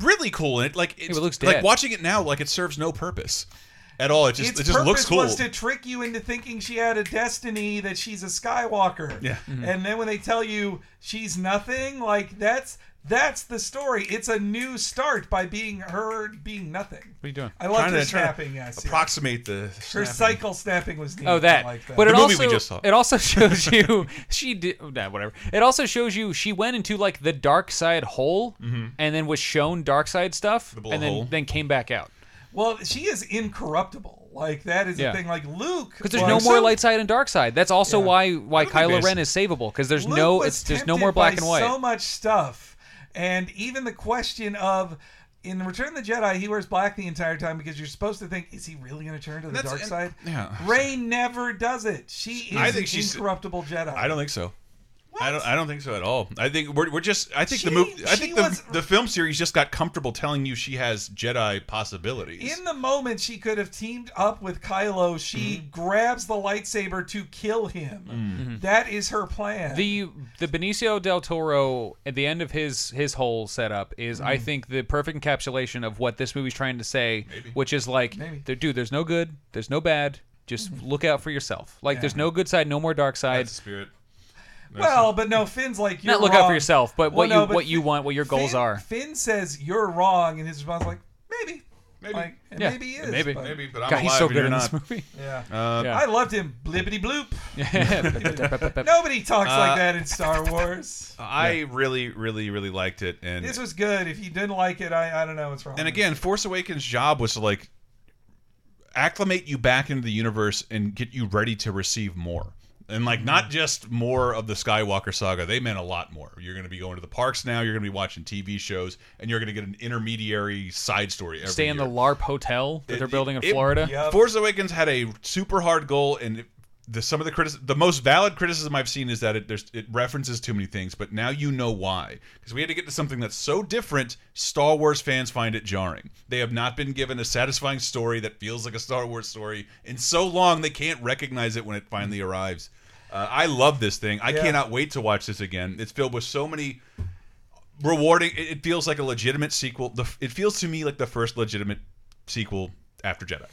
Speaker 1: really cool, and it like it's,
Speaker 4: but Luke's
Speaker 1: like
Speaker 4: dead.
Speaker 1: watching it now, like it serves no purpose at all. It just
Speaker 2: its
Speaker 1: it just
Speaker 2: purpose
Speaker 1: looks cool.
Speaker 2: was to trick you into thinking she had a destiny that she's a Skywalker.
Speaker 1: Yeah.
Speaker 4: Mm-hmm.
Speaker 1: Mhm.
Speaker 2: And then when they tell you she's nothing, like that's that's the story. It's a new start by being her being nothing.
Speaker 4: What are you doing?
Speaker 2: I love
Speaker 1: Trying
Speaker 2: her
Speaker 1: to- trying to
Speaker 2: snapping. Yes,
Speaker 1: approximate the
Speaker 2: her
Speaker 1: snapping.
Speaker 2: cycle snapping was neat.
Speaker 4: Oh, that.
Speaker 2: I like that.
Speaker 4: But it
Speaker 1: The
Speaker 4: also
Speaker 1: movie we just saw.
Speaker 4: it also shows you she did nah, whatever. It also shows you she went into like the dark side hole
Speaker 2: Mhm.
Speaker 4: and then was shown dark side stuff
Speaker 2: blue
Speaker 4: and then
Speaker 2: hole.
Speaker 4: then came back out.
Speaker 2: well, she is incorruptible. Like that is
Speaker 4: Yeah.
Speaker 2: the thing. Like Luke,
Speaker 4: Because there's
Speaker 2: was-
Speaker 4: no more light side and dark side. That's also
Speaker 2: Yeah.
Speaker 4: why why
Speaker 2: think
Speaker 4: Kylo
Speaker 2: there's-
Speaker 4: Ren is savable. Because there's
Speaker 2: Luke
Speaker 4: no
Speaker 2: was
Speaker 4: it's there's no more
Speaker 2: tempted
Speaker 4: black
Speaker 2: by
Speaker 4: and white.
Speaker 2: So much stuff, and even the question of in Return of the Jedi, he wears black the entire time because you're supposed to think, is he really going to turn to the
Speaker 1: That's-
Speaker 2: dark
Speaker 1: and-
Speaker 2: side?
Speaker 1: yeah.
Speaker 2: Rey never does it. She is
Speaker 1: I think
Speaker 2: an
Speaker 1: she's-
Speaker 2: incorruptible Jedi.
Speaker 1: I don't think so. I don't. I don't think so at all. I think we're, we're just. I think the
Speaker 2: She-
Speaker 1: movie. I
Speaker 2: she
Speaker 1: think the,
Speaker 2: was-
Speaker 1: the film series just got comfortable telling you she has Jedi possibilities.
Speaker 2: In the moment she could have teamed up with Kylo, she
Speaker 4: Mm-hmm.
Speaker 2: grabs the lightsaber to kill him. That is her plan.
Speaker 4: Mm. The the Benicio del Toro at the end of his his whole setup is I
Speaker 2: Mhm.
Speaker 4: think the perfect encapsulation of what this movie's trying to say, which is like, there- dude, there's no good, there's no bad. Just look out for yourself. Like,
Speaker 2: Yeah.
Speaker 4: there's no good side, no more dark side.
Speaker 1: spirit.
Speaker 2: well, but no, Finn's like you're
Speaker 4: Not look out
Speaker 2: wrong."
Speaker 4: for yourself, but
Speaker 2: Well,
Speaker 4: what
Speaker 2: no,
Speaker 4: you
Speaker 2: but
Speaker 4: what you want, what your goals
Speaker 2: Finn-
Speaker 4: are.
Speaker 2: Finn says you're wrong, and his response is like maybe, maybe, like, and
Speaker 4: Yeah,
Speaker 2: maybe he is,
Speaker 4: maybe.
Speaker 2: but,
Speaker 4: Maybe, but I'm God, he's alive so and good you're in this not. movie.
Speaker 2: Yeah.
Speaker 1: Uh, Yeah.
Speaker 2: I loved him. Blibbity bloop.
Speaker 1: Yeah.
Speaker 2: Nobody talks
Speaker 1: Uh,
Speaker 2: like that in Star Wars.
Speaker 1: I really, really, really liked it, and
Speaker 2: This was good. If you didn't like it, I, I don't know what's wrong.
Speaker 1: and
Speaker 2: with
Speaker 1: again, Force Awakens' job was to like acclimate you back into the universe and get you ready to receive more. And like
Speaker 4: Mm-hmm.
Speaker 1: not just more of the Skywalker saga, they meant a lot more. You're going to be going to the parks now. You're going to be watching TV shows, and you're going to get an intermediary side story. Every
Speaker 4: Stay in
Speaker 1: year.
Speaker 4: the LARP hotel that they're building in
Speaker 1: It-
Speaker 4: Florida.
Speaker 1: Force Awakens had a super hard goal, and it- the some of the criticism, the most valid criticism I've seen is that it there's, it references too many things. But now you know why, because we had to get to something that's so different. Star Wars fans find it jarring. They have not been given a satisfying story that feels like a Star Wars story in so long. They can't recognize it when it finally arrives. Uh, I love this thing. I
Speaker 2: Yeah.
Speaker 1: cannot wait to watch this again. It's filled with so many rewarding. It, it feels like a legitimate sequel. The, it feels to me like the first legitimate sequel after Jedi.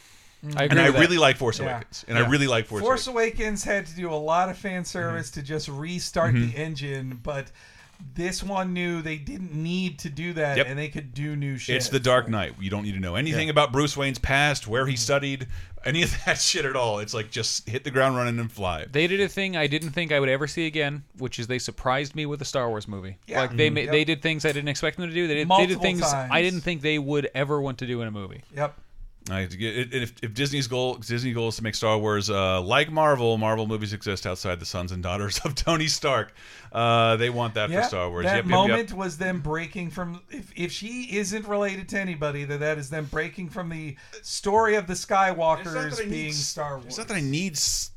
Speaker 4: I
Speaker 1: and
Speaker 4: agree
Speaker 1: I
Speaker 4: with that.
Speaker 1: really like Force
Speaker 2: Yeah.
Speaker 1: Awakens, and
Speaker 2: Yeah.
Speaker 1: I really like Force. Awakens.
Speaker 2: Force Awakens had to do a lot of
Speaker 1: Mm-hmm.
Speaker 2: fan service to just restart
Speaker 1: Mhm.
Speaker 2: the engine, but this one knew they didn't need to do that,
Speaker 1: Yep.
Speaker 2: and they could do new shit.
Speaker 1: It's the Dark Knight. You don't need to know anything
Speaker 2: Yeah. Mm-hmm.
Speaker 1: about Bruce Wayne's past, where he studied, any of that shit at all. It's like just hit the ground running and fly.
Speaker 4: They did a thing I didn't think I would ever see again, which is they surprised me with a Star Wars movie.
Speaker 2: Yeah.
Speaker 4: Like
Speaker 2: Mhm.
Speaker 4: they
Speaker 1: Mm-hmm.
Speaker 4: ma-
Speaker 2: Yep.
Speaker 4: they did things I didn't expect them to do. They did, they did
Speaker 2: Multiple
Speaker 4: things I
Speaker 2: times.
Speaker 4: didn't think they would ever want to do in a movie.
Speaker 2: Yep.
Speaker 1: I, it- if, if Disney's goal, Disney goal is to make Star Wars uh, like Marvel, Marvel movies exist outside the sons and daughters of Tony Stark. Uh, they want that
Speaker 2: Yeah,
Speaker 1: for Star Wars.
Speaker 2: That
Speaker 1: Yep, yep, yep.
Speaker 2: moment was them breaking from. If, if she isn't related to anybody, that that is them breaking from the story of the Skywalkers
Speaker 1: I need
Speaker 2: being
Speaker 1: s-
Speaker 2: Star Wars.
Speaker 1: It's not that I need. s-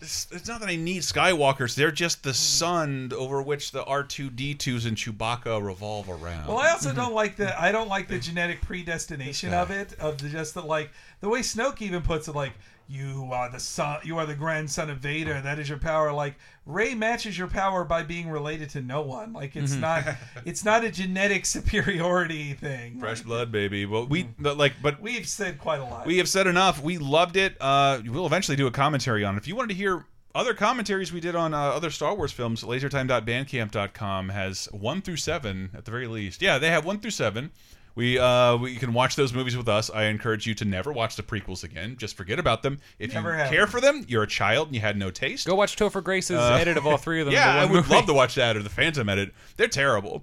Speaker 1: It's, it's not that I need Skywalkers. They're just the
Speaker 2: Mm-hmm.
Speaker 1: sun over which the R two D twos and Chewbacca revolve around.
Speaker 2: Well, I also don't like the I don't like the genetic predestination of it of the, just the like the way Snoke even puts it like you are the son you are the grandson of Vader that is your power like Ray matches your power by being related to no one like it's
Speaker 1: Mhm.
Speaker 2: not it's not a genetic superiority thing
Speaker 1: Fresh blood, baby. Well, we
Speaker 2: Hmm.
Speaker 1: but like, but
Speaker 2: we've said quite a lot
Speaker 1: we have said enough. We loved it. Uh, we'll eventually do a commentary on it. If you wanted to hear other commentaries we did on uh, other Star Wars films, lasertime.bandcamp.com has one through seven at the very least. Yeah, they have one through seven. We, uh, we you can watch those movies with us. I encourage you to never watch the prequels again. Just forget about them. If
Speaker 2: Never
Speaker 1: you
Speaker 2: have.
Speaker 1: care for them, you're a child and you had no taste.
Speaker 4: Go watch Topher Grace's
Speaker 1: Uh,
Speaker 4: edit of all three of them.
Speaker 1: yeah,
Speaker 4: into
Speaker 1: I
Speaker 4: one
Speaker 1: would
Speaker 4: movie.
Speaker 1: love to watch that or the Phantom edit. They're terrible.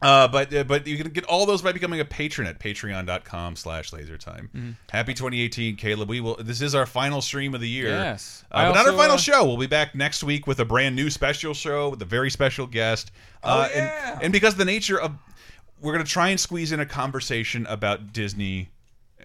Speaker 1: Uh, but uh, but you can get all those by becoming a patron at patreon.com slash lasertime.
Speaker 4: Mhm.
Speaker 1: Happy 2018, Caleb. We will. This is our final stream of the year.
Speaker 4: Yes.
Speaker 1: Uh,
Speaker 4: I
Speaker 1: but not our
Speaker 4: also,
Speaker 1: final
Speaker 4: uh,
Speaker 1: show. We'll be back next week with a brand new special show with a very special guest.
Speaker 4: Oh,
Speaker 1: uh, and, and because of the nature of, we're going to try and squeeze in a conversation about Disney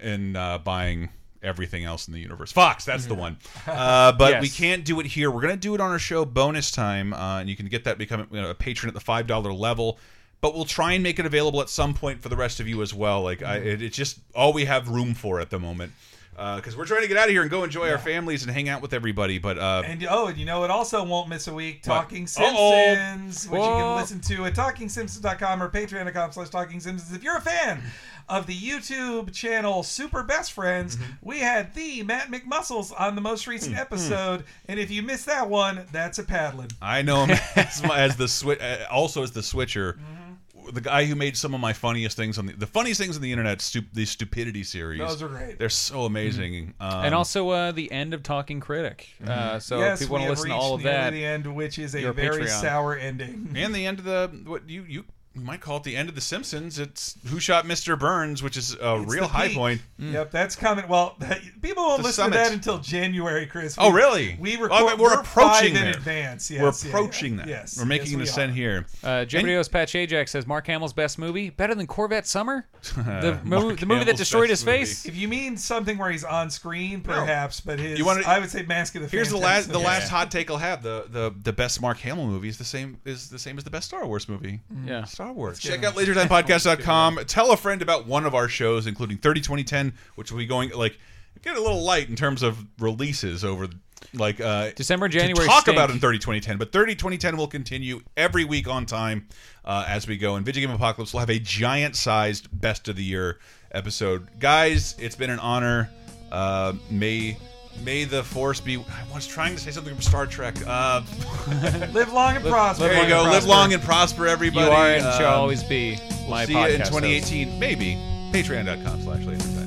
Speaker 1: and uh, buying everything else in the universe. Fox, that's the one. Uh, but we
Speaker 4: Mm-hmm. Yes.
Speaker 1: can't do it here. We're going to do it on our show bonus time, uh, and you can get that become you know, a patron at the five dollar level. But we'll try and make it available at some point for the rest of you as well. Like I, it, it's just all we have room for at the moment. Because we're trying to get out of here and go enjoy our families and hang out with everybody, but uh,
Speaker 2: And oh, and you know what? Also, won't miss a week.
Speaker 1: What?
Speaker 2: Talking
Speaker 1: Uh-oh.
Speaker 2: Simpsons, which you
Speaker 1: Whoa.
Speaker 2: can listen to at TalkingSimpsons.com or Patreon.com/slash Talking Simpsons. If you're a fan of the YouTube channel Super Best Friends,
Speaker 4: Mm-hmm.
Speaker 2: we had the Matt McMuscles on the most recent episode, and if you missed that one, that's a paddling.
Speaker 1: I know him as, my, as the swi- uh, also as the switcher,
Speaker 2: Mm-hmm.
Speaker 1: the guy who made some of my funniest things on the, the funniest things on the internet. Stu- the stupidity series.
Speaker 2: Those are great. Mm-hmm.
Speaker 1: They're so amazing. Um,
Speaker 4: and also uh, the end of Talking Critic.
Speaker 1: Mm-hmm.
Speaker 4: Uh, so
Speaker 2: yes,
Speaker 4: if people want
Speaker 2: we
Speaker 4: to
Speaker 2: have
Speaker 4: listen to
Speaker 2: reached
Speaker 4: all of
Speaker 2: nearly
Speaker 4: that,
Speaker 2: the end, which is a
Speaker 4: your
Speaker 2: very
Speaker 4: Patreon.
Speaker 2: sour ending.
Speaker 1: and the end of the what you you might call it the end of the Simpsons. It's Who Shot Mr. Burns, which is a
Speaker 2: It's
Speaker 1: real
Speaker 2: the
Speaker 1: high
Speaker 2: peak.
Speaker 1: point.
Speaker 2: Yep, that's coming. Well, people won't
Speaker 1: The
Speaker 2: listen
Speaker 1: summit.
Speaker 2: to that until January, Chris.
Speaker 1: Oh, really?
Speaker 2: We
Speaker 1: Oh,
Speaker 2: record.
Speaker 1: but
Speaker 2: we're,
Speaker 1: approaching
Speaker 2: five in
Speaker 1: there.
Speaker 2: advance. Yes,
Speaker 1: we're
Speaker 2: yeah, yeah.
Speaker 1: approaching that.
Speaker 2: Yes,
Speaker 1: we're making
Speaker 2: yes,
Speaker 1: an
Speaker 2: we
Speaker 1: ascent here.
Speaker 4: Uh, Jeopardy! Patch Ajax says Mark Hamill's best movie better than Corvette Summer, the, mo-
Speaker 1: Mark
Speaker 4: the movie that
Speaker 1: Hamill's
Speaker 4: destroyed his
Speaker 1: best
Speaker 4: face.
Speaker 2: If you mean something where he's on screen, perhaps, but his
Speaker 1: You wanna-
Speaker 2: I would say Mask of the
Speaker 1: Here's the last
Speaker 2: Phantasm.
Speaker 1: the last hot take I'll have. The the the best Mark Hamill movie is the same is the same as the best Star Wars movie.
Speaker 2: Mm-hmm.
Speaker 4: Yeah,
Speaker 1: Star Wars. Check out lasertimepodcast.com. Tell a friend about one of our shows, including 30 2010, which will be going like get a little light in terms of releases over like uh
Speaker 4: December,
Speaker 1: to
Speaker 4: January
Speaker 1: talk
Speaker 4: stink.
Speaker 1: about in 30 2010 but 30 2010 will continue every week on time uh, as we go and video game apocalypse will have a giant sized best of the year episode guys it's been an honor uh may may the force be i was trying to say something from star trek uh
Speaker 2: Live long and prosper.
Speaker 1: there you go live long and prosper everybody
Speaker 4: You are and shall
Speaker 1: Um,
Speaker 4: always be
Speaker 1: We'll
Speaker 4: my
Speaker 1: see you
Speaker 4: podcast
Speaker 1: in
Speaker 4: host.
Speaker 1: 2018, maybe. Patreon.com slash laser.